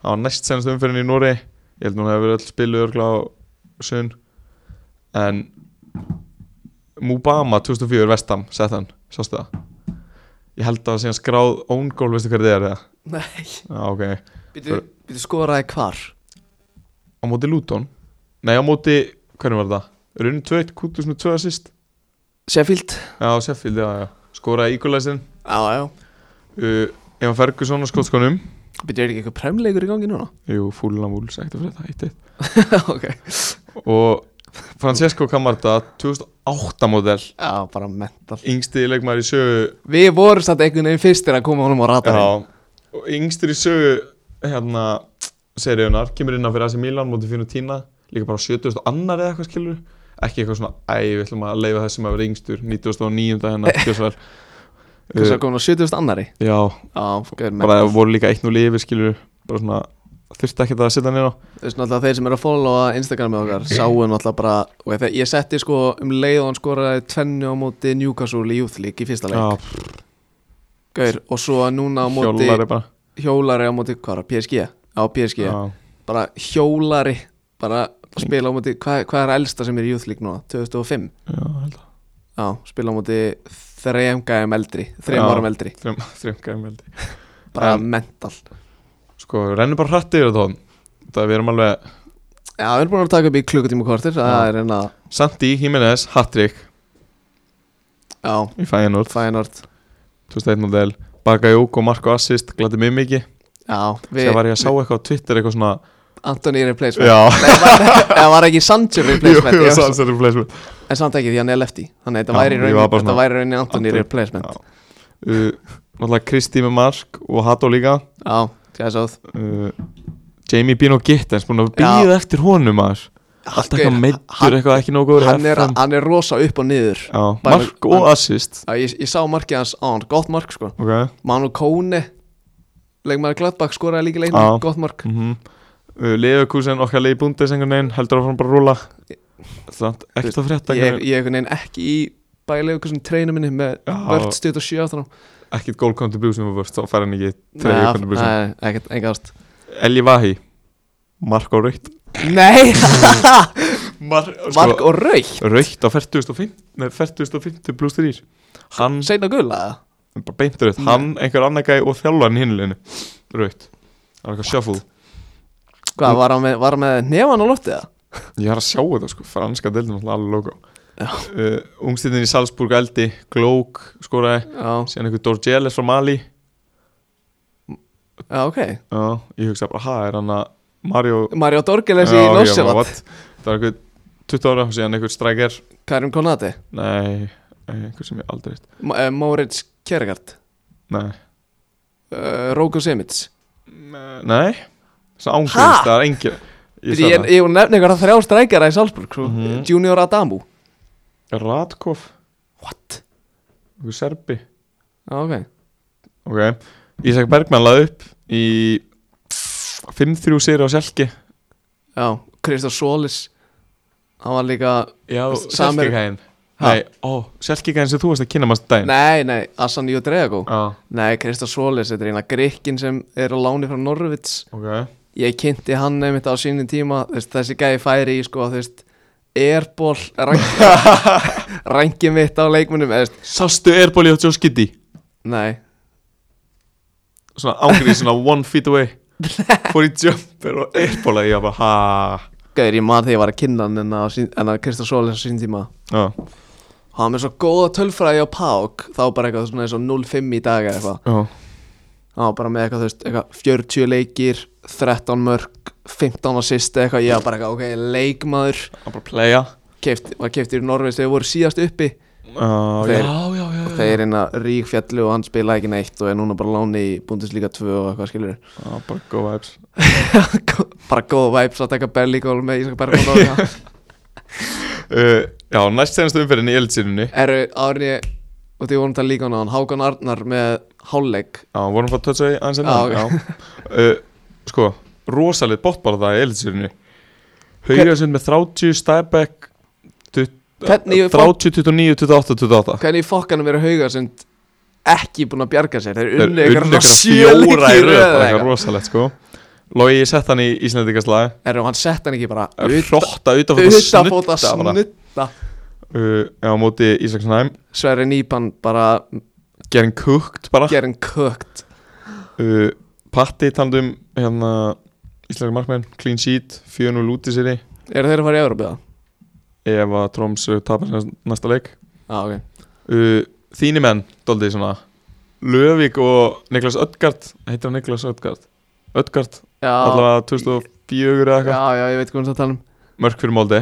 S2: það var næst senast umferðin í Nóri ég held núna að það verið öll spilu örgla á sunn en Mubama 2004 vestam, sett hann, sástu það ég held að það sé hann skráð own goal, veistu hverði það er það?
S1: nei,
S2: Já, ok,
S1: býtu, býtu skoraði hvar
S2: á móti Luton nei, á móti, hvernig var það? Runn 2, kútus með 2 assist
S1: Sheffield
S2: já, Sheffield, já, já, skoraði íkulæsin
S1: já, já,
S2: uh, Eva Ferguson á skótskonum
S1: býtu er ekki eitthvað (laughs) premleikur í gangi núna
S2: Jú, Fúlan Wools, ekkert að frétta, eitt eitt
S1: ok,
S2: Og Francesco Camarda 2008 model
S1: Já, bara mental
S2: yngsti leikmaður í sögu
S1: Við vorum samt einhvern veginn fyrstir að koma honum á radarinn
S2: já, og yngstir í sögu hérna seríunar kemur inn á fyrir AC Milan móti fyrir tína líka bara 70 annar eða eitthvað skilur ekki eitthvað svona, æ, við ætlum að leifa þessum að vera yngstur 99.
S1: (laughs)
S2: hennar kjösvar
S1: Hversu að koma á 70. annari
S2: Eh, já,
S1: Eh, Já, gauður
S2: bara
S1: mental
S2: voru líka 1-0 yfir skilur bara svona, þurfti ekki að setja hann inn á
S1: Þú veist náttúrulega þeir sem eru að followa Instagramið okkar Sáu náttúrulega bara Og þegar ég setti sko um leið og hann skoraði Tvennu á móti Newcastle í Youth League í fyrsta leik
S2: já,
S1: Gauður, og svo núna á móti
S2: hjólari bara
S1: Hjólari á móti, hvað er það, PSG? Á PSG,
S2: já,
S1: bara hjólari Bara spila á móti, hvað, hvað er elsta sem er í Youth League núna? 2005?
S2: já, held að
S1: Já, spila á móti þrejum gæjum eldri Þrejum
S2: Já.
S1: árum eldri
S2: (laughs) þrjum, þrjum gæmum held ég
S1: bara
S2: En-
S1: mental
S2: Sko, við rennum bara hrætti yfir það Það við erum alveg
S1: Já, við erum búin að taka upp í klukkutíma og kortir Það
S2: Já.
S1: er hérna,
S2: Santi, Jimenez, Hattrick
S1: já,
S2: í Feyenoord
S1: fænort
S2: 2001 model Bakayoko, Marko Assist, gladi mig mikið
S1: Já, við,
S2: Þegar var ég að sá eitthvað á Twitter eitthvað svona
S1: Antoni er replacement
S2: Já,
S1: Nei, var, það var ekki Sancho replacement
S2: jú,
S1: ég, var
S2: Sancho replacement
S1: svo- En samt ekki því hann er lefty Þannig að þetta
S2: Já,
S1: væri í
S2: ég
S1: rauninni-
S2: var bara
S1: þetta
S2: svona-
S1: væri í rauninni Antoni
S2: Antoni-
S1: replacement
S2: Já. Uh, Náttúrulega Kristi með Mark og Hato líka
S1: Já, sjæðsóð
S2: uh, Jamie Bino Gittens búin að býða eftir honum maður Alltaf eitthvað meittur, eitthvað ekki nógu góður
S1: hann, er-
S2: FM.
S1: hann er rosa upp og niður
S2: Já,
S1: Bara-
S2: Mark og Assist
S1: Já, ég, ég sá markið hans á hann, gott mark sko
S2: Ok
S1: Manu Kóni Leikmaður Gladbach skoraði líka leikna,
S2: Já.
S1: gott mark
S2: mm -hmm. uh, Leifakúsin okkar leiði búndis einhvern veginn heldur áfram bara að rúla Samt ekkert að frétta
S1: Ég
S2: einhvern
S1: ég er einhvern veginn ekki í bælega eitthvað treinu minni með
S2: Já.
S1: vörð stutt og sjö áttan á
S2: veginn. ekkert goal contribution og vörst þá fær hann ekki
S1: Nei,
S2: treyja
S1: af-
S2: contribution
S1: Nei, ekkert, ekkert ást
S2: Elji Vahi Mark og Raukt (laughs)
S1: Nei,
S2: Sko- Mar sko,
S1: mark og raukt
S2: Raukt á 40.5 Nei, 40.5 plus 3 Hann
S1: Seina gula
S2: bara beint raukt Hann, einhver annar gæi og þjálfarinn hinuleginu Raukt Það er eitthvað shuffle
S1: Hvað, var hann með, var hann með nefan á loftið það?
S2: Ég er að sjá þetta sko Franska deildin alltaf alveg logo
S1: Já.
S2: uh, Ungstinnin í Salzburg eldi Glók skoraði
S1: Já,
S2: Síðan einhver Dorgeles frá Mali
S1: já, ok
S2: Já, ég hugsa bara, ha, er hann að Mario
S1: Mario Dorgeles
S2: Já,
S1: í
S2: ég bara,
S1: Norsevat
S2: what? Það er einhver 20 ára og síðan einhver strækjar
S1: Karim Konati
S2: Nei, einhver sem ég aldrei veist
S1: Moritz Kjergard
S2: Nei,
S1: uh, Róko Simic
S2: nei Svo ángurist, það er engin
S1: Ég,
S2: Ég
S1: ég,
S2: sagði
S1: ég nefni ykkur að þrjá strækjara í Salzburg svo,
S2: Mhm.
S1: Junior Adamu
S2: það Radkov,
S1: What?
S2: einhver serbi
S1: Já, ok
S2: Ok, Ísak Bergmann laði upp í 5-3 sér á Selki
S1: Já, Kristof Solis Hann var líka
S2: Já,
S1: Samir-
S2: Selkikæðin
S1: Ha?
S2: Nei, ó, Selkikæðin sem þú varst að kynna maður daginn
S1: Nei, nei, Asan Jódreago
S2: Já,
S1: Nei, Kristof Solis, þetta er eina grikkin sem er á láni frá Norvits
S2: ok
S1: ég kynnti hann einmitt á sínum tíma þú veist, þessi gæði færi í sko þú veist, airball rangi mitt á leikmunum eða, þú veist,
S2: Sástu Erbóli á Joe Skiddy
S1: nei,
S2: svona ángríð, svona one feet away fór í jumper og airbóla ég var bara ha
S1: gæðir ég maður þegar ég var að kynna hann en að, sín- en að Kristján Sólis á sínum tíma
S2: já,
S1: og hann var með svo góða tölfræði á PAOK þá bara eitthvað svona eins og 0-5 í dag eða eitthvað
S2: já,
S1: hann var bara með eitthvað, þú veist, eitthvað 40 leikir 13 mörg, 15 assist eða eitthvað, ég var bara eitthvað, ok, leikmaður
S2: að bara playa
S1: keft, var keftir í Norvegs þegar voru síðast uppi
S2: uh,
S1: Þeir-
S2: já, já, já,
S1: og þeir er hérna rík fjallu og hann spila ekki neitt og er núna bara láni í Bundesliga 2 og eitthvað skilur
S2: já bara go vibes
S1: bara góð vibes að taka Bellíkól með Ísak Bergman og það
S2: uh, já, næst senast umferðin í eldsýrunni
S1: eru árin ég og því vorum það líka á hann Hákon Arnar með hálfleik
S2: já, vorum við að toucha í aðeins
S1: Já,
S2: enn uh, sko, rosalit bótt bara það í eldsýrunni Haugasund með eh, 30, Stæbæk
S1: Hvernig ég
S2: 30, 29, 28, 28
S1: hvernig í fokkanum eru hauga sem ekki búin að bjarga sér þeir
S2: Þeir
S1: unni
S2: unnu
S1: ykkur
S2: ykkur
S1: sjö
S2: fjóra
S1: leiki í
S2: í röð
S1: röð eða
S2: eitthvað
S1: eitthvað.
S2: rosalegt sko Logi sett hann í Íslandikaslag
S1: eru hann sett hann ekki bara
S2: Hrotta,
S1: utanfóta
S2: utafóta, snutta
S1: snutta
S2: uh, Já, á móti Ísaksnæm
S1: Sverri Nýpan bara
S2: Gerin Kukt bara
S1: gerin kökt
S2: uh, Patti talandum hérna Íslenska markmenn, clean sheet 4-0 út í séri
S1: eru þeir að fara í Európa það?
S2: ef að Troms uh, tapar sér næsta leik
S1: Já, ok
S2: uh, Þíni menn, doldið svona Löfvík og Niklas Ödgard heitir hann Niklas Ödgard Ödgard,
S1: Já,
S2: allavega 2004 eða eitthvað
S1: já, já, ég veit hvað hann það tala um
S2: Mörk fyrir Móldi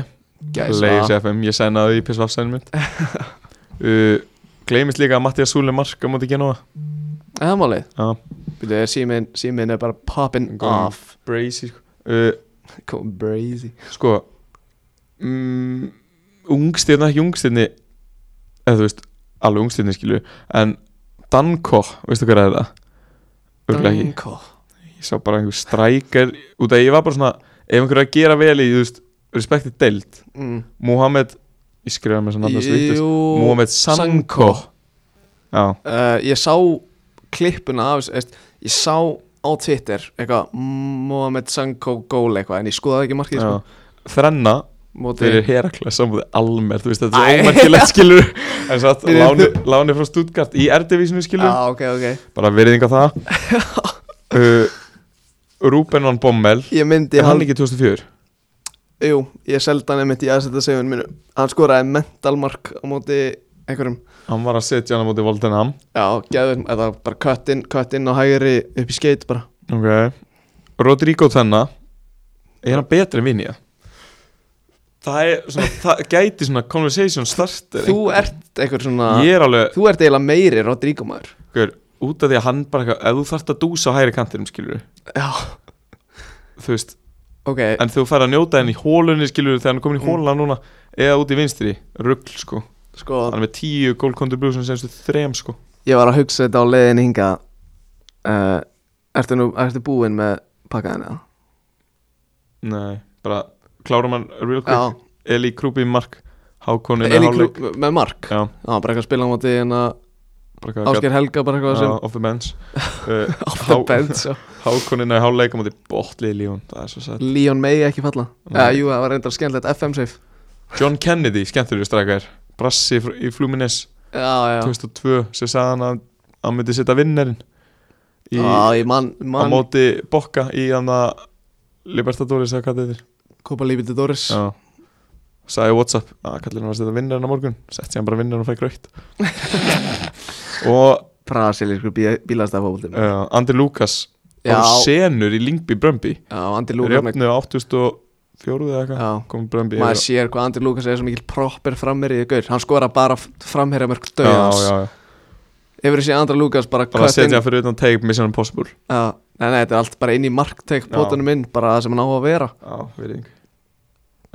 S2: Leifis FM, ég sænaði í PSV-sæðinu (laughs) mitt uh, Gleimist líka að Mattias Súli marka móti Genova
S1: Það er málið
S2: Já.
S1: Býtu, er síminn, síminn er bara poppin'
S2: Góðan.
S1: off
S2: Brazy sko. uh,
S1: Kom brazy
S2: sko mm, Ungstirna, ekki ungstirni eða þú veist, alveg ungstirni skilu En Danko, veistu hvað er það? Örglega ekki
S1: Danko. Mm.
S2: Ég sá bara einhver strækar Út að ég var bara svona Ef einhver er að gera vel í, þú veist, respektið deild
S1: mm.
S2: Mohamed, ég skrifaði með þess að nafna sko. sviktast
S1: Jú
S2: Mohamed Sanko Já,
S1: uh, Ég sá klippuna af þessu, veist, Ég sá á Twitter eitthvað Mohamed Sanko goal eitthvað En ég skoðaði ekki markið sko.
S2: já. Þrenna
S1: Móti
S2: fyrir Herakles samúði almer þú veist þetta
S1: Æ.
S2: er ómerkilegt skilur en satt
S1: Fyrir-
S2: láni, láni frá Stuttgart í erdivísinu skilur
S1: ah, ok, ok
S2: bara veriðinga það uh, Rúben van Bommel
S1: Ég myndi
S2: er hann ekki 2004
S1: Jú, ég seldi hann einmitt í aðsetta segjum minu Hann skoraði mentalmark á móti einhverjum
S2: hann var að setja hann á móti Voldenham
S1: Já, geður, þetta var bara kött inn, kött inn á hægri upp í skeit bara
S2: ok Rodrigo Tenna er hann betri en Vinja það er svona það gæti svona conversation starter
S1: Þú ert eitthvað svona
S2: ég er alveg
S1: Þú ert eiginlega meiri Rodrigo maður
S2: hver, út af því að hann bara eitthvað- ef þú þarft að dúsa á hægri kantinum skilur
S1: Já,
S2: þú veist
S1: ok
S2: En þú fær að njóta henni í hólunni skilur þegar hann er komin í hóluna núna eða út í vinstri, ruggl sko
S1: Sko,
S2: Hann er með tíu goal contribution sem þrem sko
S1: ég var að hugsa þetta á leiðin hinga uh, Ertu nú, ertu búinn með pakkaðan eða?
S2: Nei, bara klárum hann real quick
S1: Já,
S2: Eli Krúpi í mark, Hákon inn í
S1: Eli
S2: hálfleik
S1: Krú, með Mark Já,
S2: Já,
S1: bara eitthvað að spila á móti en að
S2: bara hvað
S1: Ásker Helga bara eitthvað
S2: Já,
S1: sem sko.
S2: off
S1: (laughs)
S2: the bench uh,
S1: Off the
S2: Há-
S1: bench
S2: (laughs)
S1: já.
S2: Hákon inn í hálfleik á móti botlið Líón, það er svo sætt
S1: Leon May ekki falla Já,
S2: Nei.
S1: jú, það var reyndar skemmtilegt FM safe
S2: John Kennedy, skemmtur við strækar Brassi fr- í Flumines
S1: Já, já
S2: 2002 sem sagði hann að hann myndi setja vinnerinn í,
S1: Já, ég man,
S2: á
S1: man
S2: móti Bokka í hann að Libertadores eða hvað þetta er
S1: Kopa Líbiti Doris
S2: Já Sæði á Whatsapp að kallinu var að setja vinnarinn á morgun Sett ég hann bara vinnarinn og fæk
S1: (laughs)
S2: raukt Og
S1: Brasilisku bílastæðfóbóltinu
S2: uh, Andri Lukas
S1: Já,
S2: Eh, á senur í Lingby Brömbi
S1: já, Andi Lúkas með
S2: Rjöfnu á 84 eða eitthvað
S1: Já,
S2: Komum Brömbi
S1: maður sér hvað Andri Lukas er svo mikil proper framherri í gaur hann skora bara framherja mörg döðans
S2: já, já.
S1: hefur þessi Andri Lukas bara
S2: Bara að
S1: cut
S2: setja
S1: inn-
S2: hann fyrir utan teip Mission Impossible
S1: Já, nei, nei, þetta er allt bara inn í marktek
S2: Já.
S1: bótanum inn, bara það sem hann á að vera
S2: Já, virðing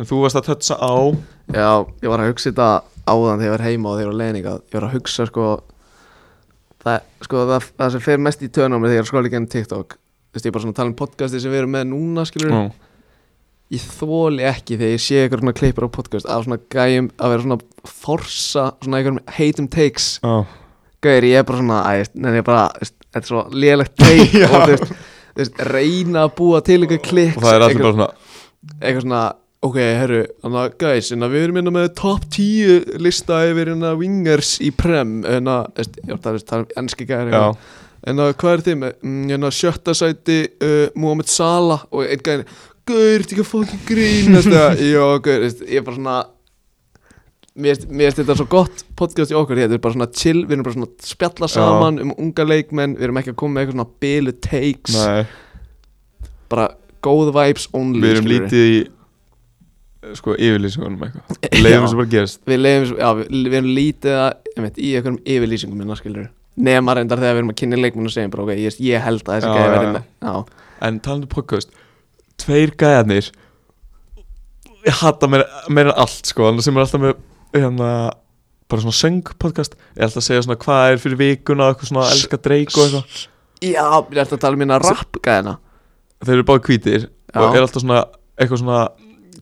S2: En þú varst að tötsa á
S1: já, ég var að hugsa þetta áðan þegar ég var heima og þegar ég var leininga ég var að hugsa sko það, sko, það, það sem fer mest í tönum þegar ég er að skóla í genn TikTok Þú veist, ég er bara svona að tala um podcasti sem við erum með núna skilur
S2: Nú,
S1: ég þóli ekki þegar ég sé eitthvað svona klippur á podcast af svona gæjum að vera svona að forsa svona einhverjum heitum takes
S2: á,
S1: Gauðir, ég er bara svona æ, Nei, ég er bara, veist, þetta er svo lélegt teik
S2: (laughs) Já.
S1: Og þú veist, þú veist, reyna að búa til einhver klikks
S2: Og það er allir
S1: einhver,
S2: bara svona
S1: eitthvað svona, ok, herru Þannig að, gæs, en að við erum hérna með top 10 lista yfir hérna wingers í prem En að, um þú veist, já, það er- það er enski gæðir
S2: Já,
S1: En að, hvað er þið með? Mm, Hérna, sjötta sæti uh, Mohamed Salah Og einn gæðir, gauðir, þetta ekki að fókin
S2: (laughs)
S1: grínast eða, Já, gauðir, veist, ég er bara svona Mér finnst- mér finnst þetta svo gott podcast í okkur Þetta er bara svona chill, við erum bara svona að spjalla saman um unga leikmenn Við erum ekki að koma með eitthvað svona bilu takes
S2: nei
S1: Bara góð vibes only
S2: Við erum
S1: skilurðu.
S2: lítið í eh, Sko, yfirlýsingunum eitthvað Leifum
S1: Já.
S2: sem bara gerist
S1: Við, leiðum, já, við, við erum lítið að, einmitt, í einhverjum yfirlýsingum minna skilur Nema reyndar þegar við erum að kynna leikmenn og segjum bara, ok, ég, ég held að þessi
S2: Já,
S1: gæði
S2: já,
S1: verði
S2: já.
S1: með Já,
S2: En talandi um podcast Tveir gæðarnir Ég hata meira, meira en allt sko Þannig sem er alltaf með hérna, Bara svona söng podcast Ég ætla að segja svona hvað er fyrir vikuna Eitthvað svona elska dreik og eitthvað
S1: já, ég ætti að tala um minna rap gæðina
S2: Þeir eru báði hvítir
S1: Já.
S2: Og er alltaf svona Eitthvað svona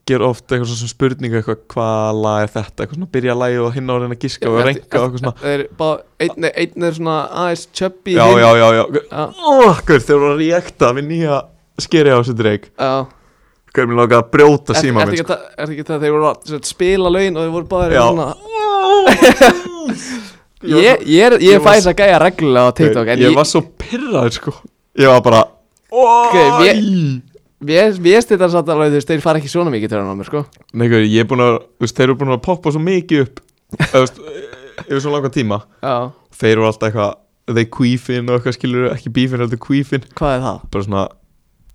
S2: Ger oft eitthvað svona spurninga Eitthvað hvað lag er þetta Eitthvað svona byrja að lægi og hinn á að reyna að
S1: Já,
S2: giska Og
S1: þetta-
S2: reynga og eitthvað svona
S1: Þeir bá, einn, er- einn er svona aðeins chubby
S2: Já,
S1: hinn-
S2: já, já, já
S1: Já.
S2: Okkur þeir voru að reakta Við nýja skeri á þessu dreik
S1: já
S2: Hver mér lóka að brjóta
S1: Er-
S2: síma
S1: ertu
S2: minn
S1: ekki
S2: sko.
S1: það, ertu ekki það, þeir voru að sem sagt, spila lögin og þeir voru báðir
S2: Já.
S1: svona
S2: var
S1: Ég, ég, er- ég
S2: ég var
S1: fæ þess að gæja reglulega á TikTok
S2: ég,
S1: En ég,
S2: var svo pyrraður sko Ég var bara
S1: Ok,
S2: okay,
S1: mér- ég, ég stið þetta satt alveg, þú veist, þeir fara ekki svona mikið törnum á mér, sko
S2: Nei, gauði, ég er búin að þú veist, Þeir eru búin að poppa svo mikið upp eða, þú veist, e, Yfir svo langa tíma
S1: Já,
S2: Þeir eru alltaf eitthvað Þeir kvífin og eitthvað skilur Ekki bífin, heldur kvífin
S1: hvað er það?
S2: Bara svona,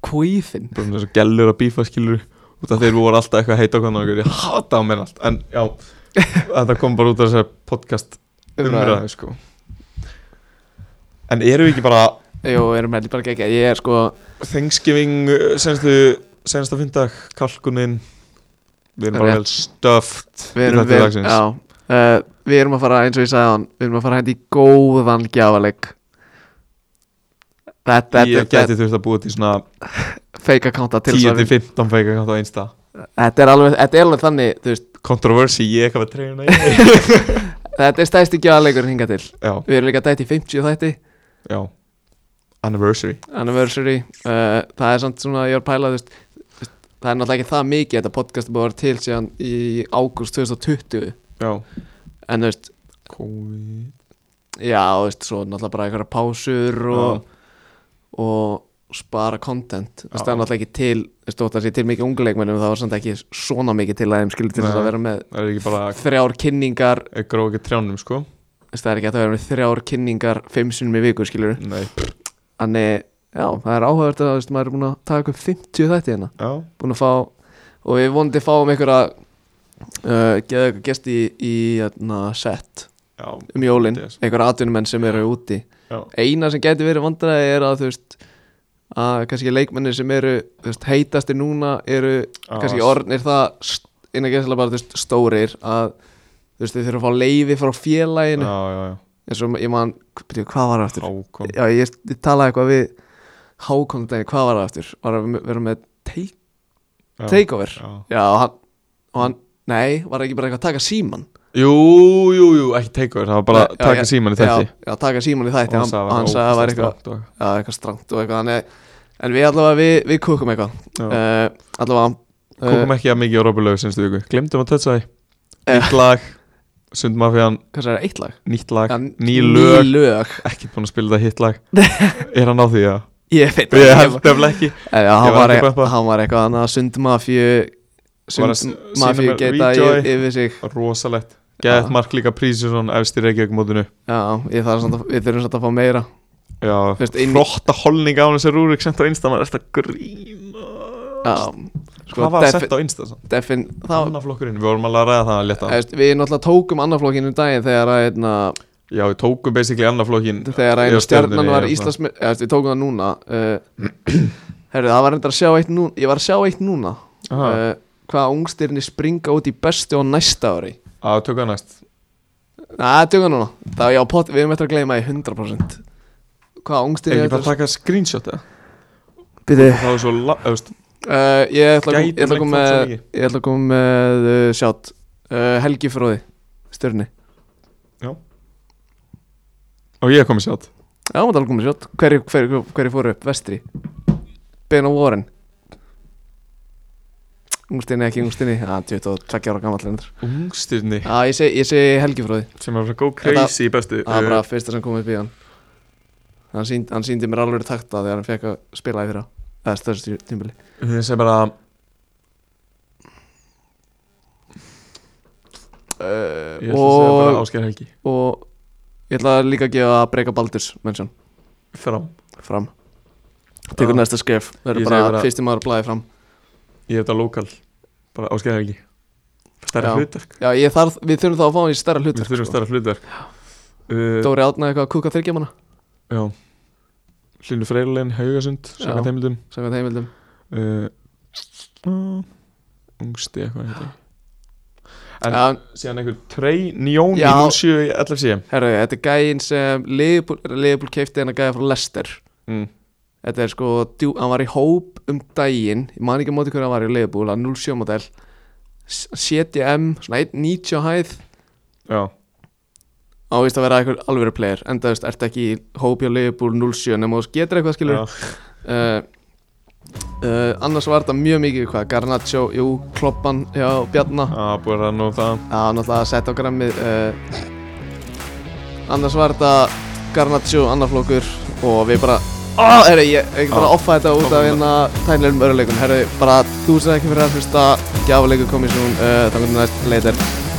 S1: Kvífin
S2: bara svona gellur að bífa skilur út af þeir voru alltaf eitthvað að heita okkur og okkur, ég hata á mér allt en já, þetta kom bara út af þessari podcast umræðu sko. en eru við ekki bara
S1: Jú, erum heldur bara ekki Ég er sko
S2: Thanksgiving uh, senstu, sensta fyndag, kalkunin við erum bara
S1: Rétt.
S2: vel stöft
S1: Við erum, við, já, uh, við erum að fara, eins og ég sagði hann Við erum að fara hægt í góðan gjáleik Þetta
S2: ég
S1: þetta er
S2: geti þurft að búa til svona
S1: fake account til þess að við-
S2: 10-15 feika á einsta
S1: Þetta er alveg, þetta er alveg þannig þú veist,
S2: kontroversi, ég ekki að
S1: (laughs)
S2: treyna í
S1: Þetta er stæsti gjáleikur hinga til
S2: já,
S1: Við erum líka dætt í 50 þætti
S2: já, anniversary
S1: Anniversary uh, Það er samt svona, ég var að pæla þú veist, þú veist, Það er náttúrulega ekki það mikið Þetta podcast er búið að vera til síðan í ágúst 2020
S2: já,
S1: En þú veist,
S2: COVID
S1: já, þú veist Svo náttúrulega bara einhverja pásur og og spara content þess að það
S2: Já.
S1: er náttúrulega ekki til þess að það sé til mikið ungu leikmennum það var samt ekki svona mikið til að þeim skilur til þess
S2: Nei.
S1: að vera með
S2: það er ekki bara
S1: þrjár kynningar
S2: gróð ekki trjánum sko
S1: þess að það er ekki hægt að vera með þrjár kynningar fimm sunnum í viku skilur
S2: nei,
S1: þannig já það er áhugavert að þess, maður er búin að taka upp 50 þætti hérna
S2: já,
S1: búin að fá og við vonandi fáum ykkur að uh, geða ykkur gesti í, í hérna, set
S2: já,
S1: um jólin
S2: Yes.
S1: einhver atvinnumenn sem eru úti
S2: já,
S1: eina sem getur verið vandræði er að þú veist að kannski leikmennir sem eru þú veist, heitastir núna eru
S2: Já,
S1: kannski
S2: s-
S1: orðnir það st- innan gæsla bara þú veist, stórir að þú veist þau þurfa að fá leiði frá
S2: já,
S1: félaginu
S2: já, já.
S1: eins og ég man, byrju, hvað var það aftur?
S2: Hákon
S1: Já, ég, ég talaði eitthvað við Hákon um daginn, hvað var það aftur? Var að vera með take,
S2: Já,
S1: takeover?
S2: já.
S1: Já, og hann, og hann nei, var ekki bara eitthvað að taka síman
S2: jú, jú, jú, ekki takeover það var bara
S1: Já,
S2: að taka
S1: já,
S2: síman í þætti
S1: Já, já, taka síman í þætti, hann, hann sagði að það var eitthvað
S2: eitthvað
S1: Já, eitthvað strangt og eitthvað þannig, En við allavega, við, við kúkum eitthvað uh, Allavega
S2: kókum
S1: uh,
S2: ekki að mikið á Robulögu senstu viku glemdum að tötsa því
S1: Já.
S2: nýtt lag, sundmafjan
S1: Hvað er það, eitt lag?
S2: nýtt lag,
S1: Ja,
S2: ný lög
S1: Ný lög
S2: ekki búin að spila þetta hitt
S1: (laughs)
S2: lag er hann á því að
S1: Ég veit
S2: ég
S1: það
S2: held nefnilega ekki
S1: En já,
S2: Ég
S1: hann
S2: var
S1: var,
S2: ekki
S1: eitthvað-
S2: beppa.
S1: hann var eitthvað Þannig að sundmafju
S2: Var að s- sýna
S1: Sundmafju
S2: mér
S1: geta
S2: Rejoy.
S1: yfir, yfir sig
S2: rosalegt, geðið mark líka prísjusson efstir Reykjavík mótinu
S1: Já, ég þarf samt að Við þurfum samt að fá meira
S2: Já,
S1: Þú veist, inn í-
S2: flotta holning á hann sem Rúrik sent á Insta, maður er eftir að grína
S1: Já Sko,
S2: Hvað var að
S1: defi-
S2: setja á Insta? samt?
S1: Defin Það
S2: Annaflokkurinn, við vorum alveg að ræða það að leta
S1: þú veist, Við náttúrulega tókum annarflokkinu um daginn Þegar að einna
S2: Já, við tókum basically annaflokkin
S1: Þegar að einu
S2: Ég á Stjörnunni,
S1: stjarnan var
S2: ég er
S1: Íslands Við tókum það núna uh, (clears throat) Herru, það var reyndar að sjá eitt núna Ég var að sjá eitt núna
S2: Aha,
S1: uh, Hvaða ungstirni springa út í bestu á næsta ári
S2: að tökka næst
S1: Næ, tjóka núna Það er já, pott, við erum eftir að gleyma því 100% Hvaða
S2: Er
S1: ungstirni
S2: ekki bara að taka screenshot eða?
S1: Byrðu
S2: Það er svo, la- eða, þú veist,
S1: uh, Ég ætla að kom- ég ætla að
S2: Gætum
S1: koma
S2: lengt
S1: með
S2: það svo mikið.
S1: Ég ætla að koma með uh, sjátt uh, Helgi Fróði, stjörni
S2: og ég kom í sjátt
S1: Já, maður tala komið sjátt Hverju hver, hver, hver fóru upp, vestri Ben og Warren Ungstirni ekki ungstirni Já, 22 ára gamall hendur
S2: Ungstirni,
S1: Já, ég segi, ég segi Helgi Fróði
S2: sem er að go crazy í bestu
S1: Það var bara
S2: Uh,
S1: fyrsta sem kom upp í hann Hann, sínd, hann síndi mér alveg takta þegar hann fekk að spila í fyrra Það er stöðstu tímbili
S2: Ég segi bara, ég ætla að segja bara
S1: Eh, og,
S2: Ásker Helgi
S1: og ég ætla líka að gefa Breka Baldurs mennsjón
S2: Fram
S1: fram Tekur
S2: Já.
S1: næsta skref
S2: Ég
S1: Verður
S2: segi
S1: bara,
S2: bara-
S1: fyrsti maður að blæði fram
S2: Ég hef þetta lokal, bara Ásker Helgi Stærra
S1: Já.
S2: hlutverk
S1: Já, ég þarf, við þurfum þá að fá hann í stærra
S2: Við
S1: hlutverk
S2: þurfum
S1: sko.
S2: stærra hlutverk Uh,
S1: Dóri átnaði eitthvað að kúka þyrkjamanna
S2: Já Hlynur Freyrlein, Haugasund,
S1: Já.
S2: Saka Teimildum
S1: Samkvæmt heimildum
S2: uh, uh, Ungsti eitthvað heita En
S1: Já,
S2: síðan einhver Trey Njón í
S1: Já.
S2: 07 í LFC
S1: herru, þetta er gæinn sem Leifbúl keipti en að gæja frá Lester
S2: mm.
S1: Þetta er sko, djú, hann var í hóp um daginn Ég man ekki á móti hverju hann var í Leifbúl Hann 07 model S- CDM, svona 1.90 á hæð
S2: Já,
S1: Ávist að vera eitthvað alvöru player Enda þú veist, ertu ekki í hóp hjá Leifbúl 07 Nefnum þú getur eitthvað skilur
S2: já,
S1: uh, uh, annars var þetta mjög mikið hvað, Garnaccio, jú, Kloppan hjá Bjarna,
S2: já, búið að ræða nú það
S1: það var náttúrulega að setja á grammið uh, annars var þetta Garnaccio, annarflokkur og við bara Oh, herri, ég ég ekki bara
S2: Já.
S1: að offa þetta út af
S2: Áfram.
S1: hérna tænlegum öruleikum Herri, bara þú sér ekki fyrir að hlusta Gjáfuleikur komið svo uh, Þannig að eh, næst leitir